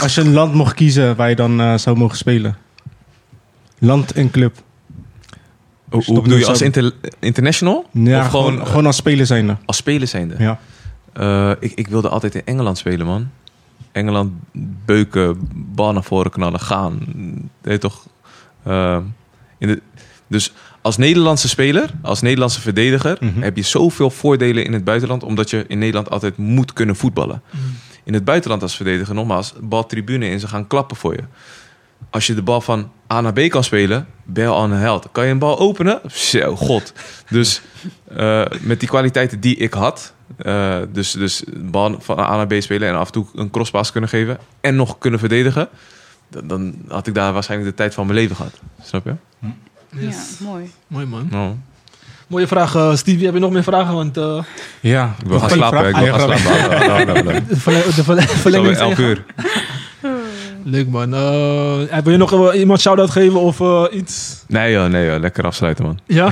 Als je een land mocht kiezen waar je dan eh, zou mogen spelen. Land en club. Hoe, Stop hoe bedoel je, nu als zo. inter- international? Ja, of gewoon, gewoon, gewoon, als speler zijnde. als speler zijnde? Ja. Eh, ik, ik wilde altijd in Engeland spelen, man. Engeland beuken, bal naar voren knallen, gaan. Deed toch. eh, in de, dus als Nederlandse speler, als Nederlandse verdediger, Mhm. heb je zoveel voordelen in het buitenland, omdat je in Nederland altijd moet kunnen voetballen. In het buitenland als verdediger, nogmaals, baltribune in, ze gaan klappen voor je. Als je de bal van A naar B kan spelen, ben je al een held. Kan je een bal openen? Zo, god. Dus eh, met die kwaliteiten die ik had, eh, dus, dus bal van A naar B spelen en af en toe een crosspaas kunnen geven en nog kunnen verdedigen, dan, dan had ik daar waarschijnlijk de tijd van mijn leven gehad. Snap je? Yes. Ja, mooi. Mooi man. Nou, Mooie vraag, eh, Stevie. Heb je nog meer vragen? Want eh, Ja. ik wil gaan slapen. Ik wil gaan slapen. de, verle- de verle- Zo weer verlenging is elf uur. Leuk man. Eh, eh, wil je nog eh, iemand shout-out geven of eh, iets? Nee joh, nee joh. Lekker afsluiten man. Ja?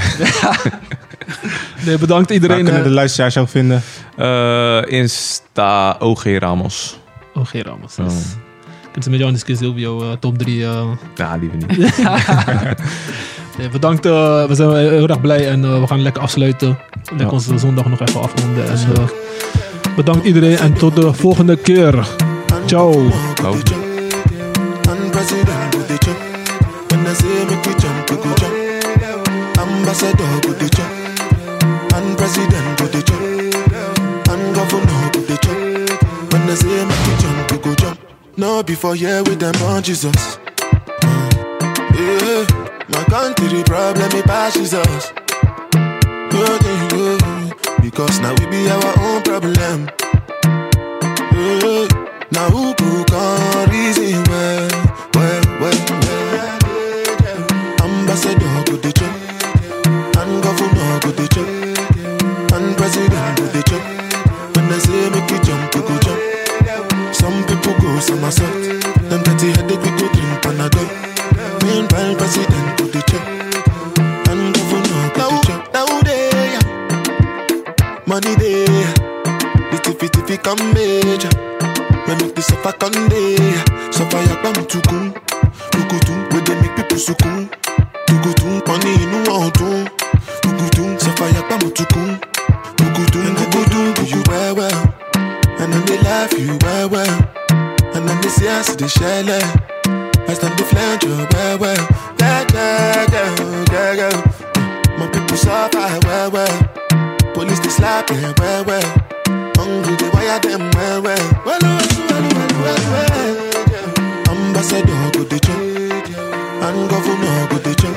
nee, bedankt Waar iedereen. kunnen de eh. luisteraars jou vinden? Eh, Insta OG Ramos. Oh, geen Ramos. Yes. Kunnen ze met jou discussiëren over jouw eh, top 3? Ja, liever niet. Nee, bedankt. eh, we zijn heel erg blij en eh, we gaan lekker afsluiten. Lekker Ja. onze zondag nog even afronden. En, eh, bedankt iedereen en tot de volgende keer. Ciao. Oh. And president go the jump. When I say make you jump, you go jump. Ambassador go the jump. And president go the jump. And governor go the jump. When I say make you jump, you go jump. No before here with them on Jesus. Yeah, my country problem it passes us. Good thing, yeah, because now we be our own problem. Yeah, now who could come reason well, well, well, well. Ambassador go the check, and governor go the check, and president go the check. When they say make you jump, you go jump. Some people go some assault. Them dirty headache we go drink panadol. Meanwhile, president go the check, and governor go the check. Now, now they, yeah. money they. yeah. This tiffy tiffy come major. Me make the suffer conde. Suffer ya bam tukun. Tukutun. Where they make people sukun. Tukutun. Money inu ọdun. Tukutun. Suffer ya bam tukun. Tukutun. Tukutun. Do you well well. And then they laugh you well well. And then they see us the shell. I stand the flange you well well. Yeah, yeah, yeah, yeah, yeah. My people suffer well well. Police they slap them well well. Hungry they wire them well well. Well well well well well well. Ambassador go the check, and governor go the check,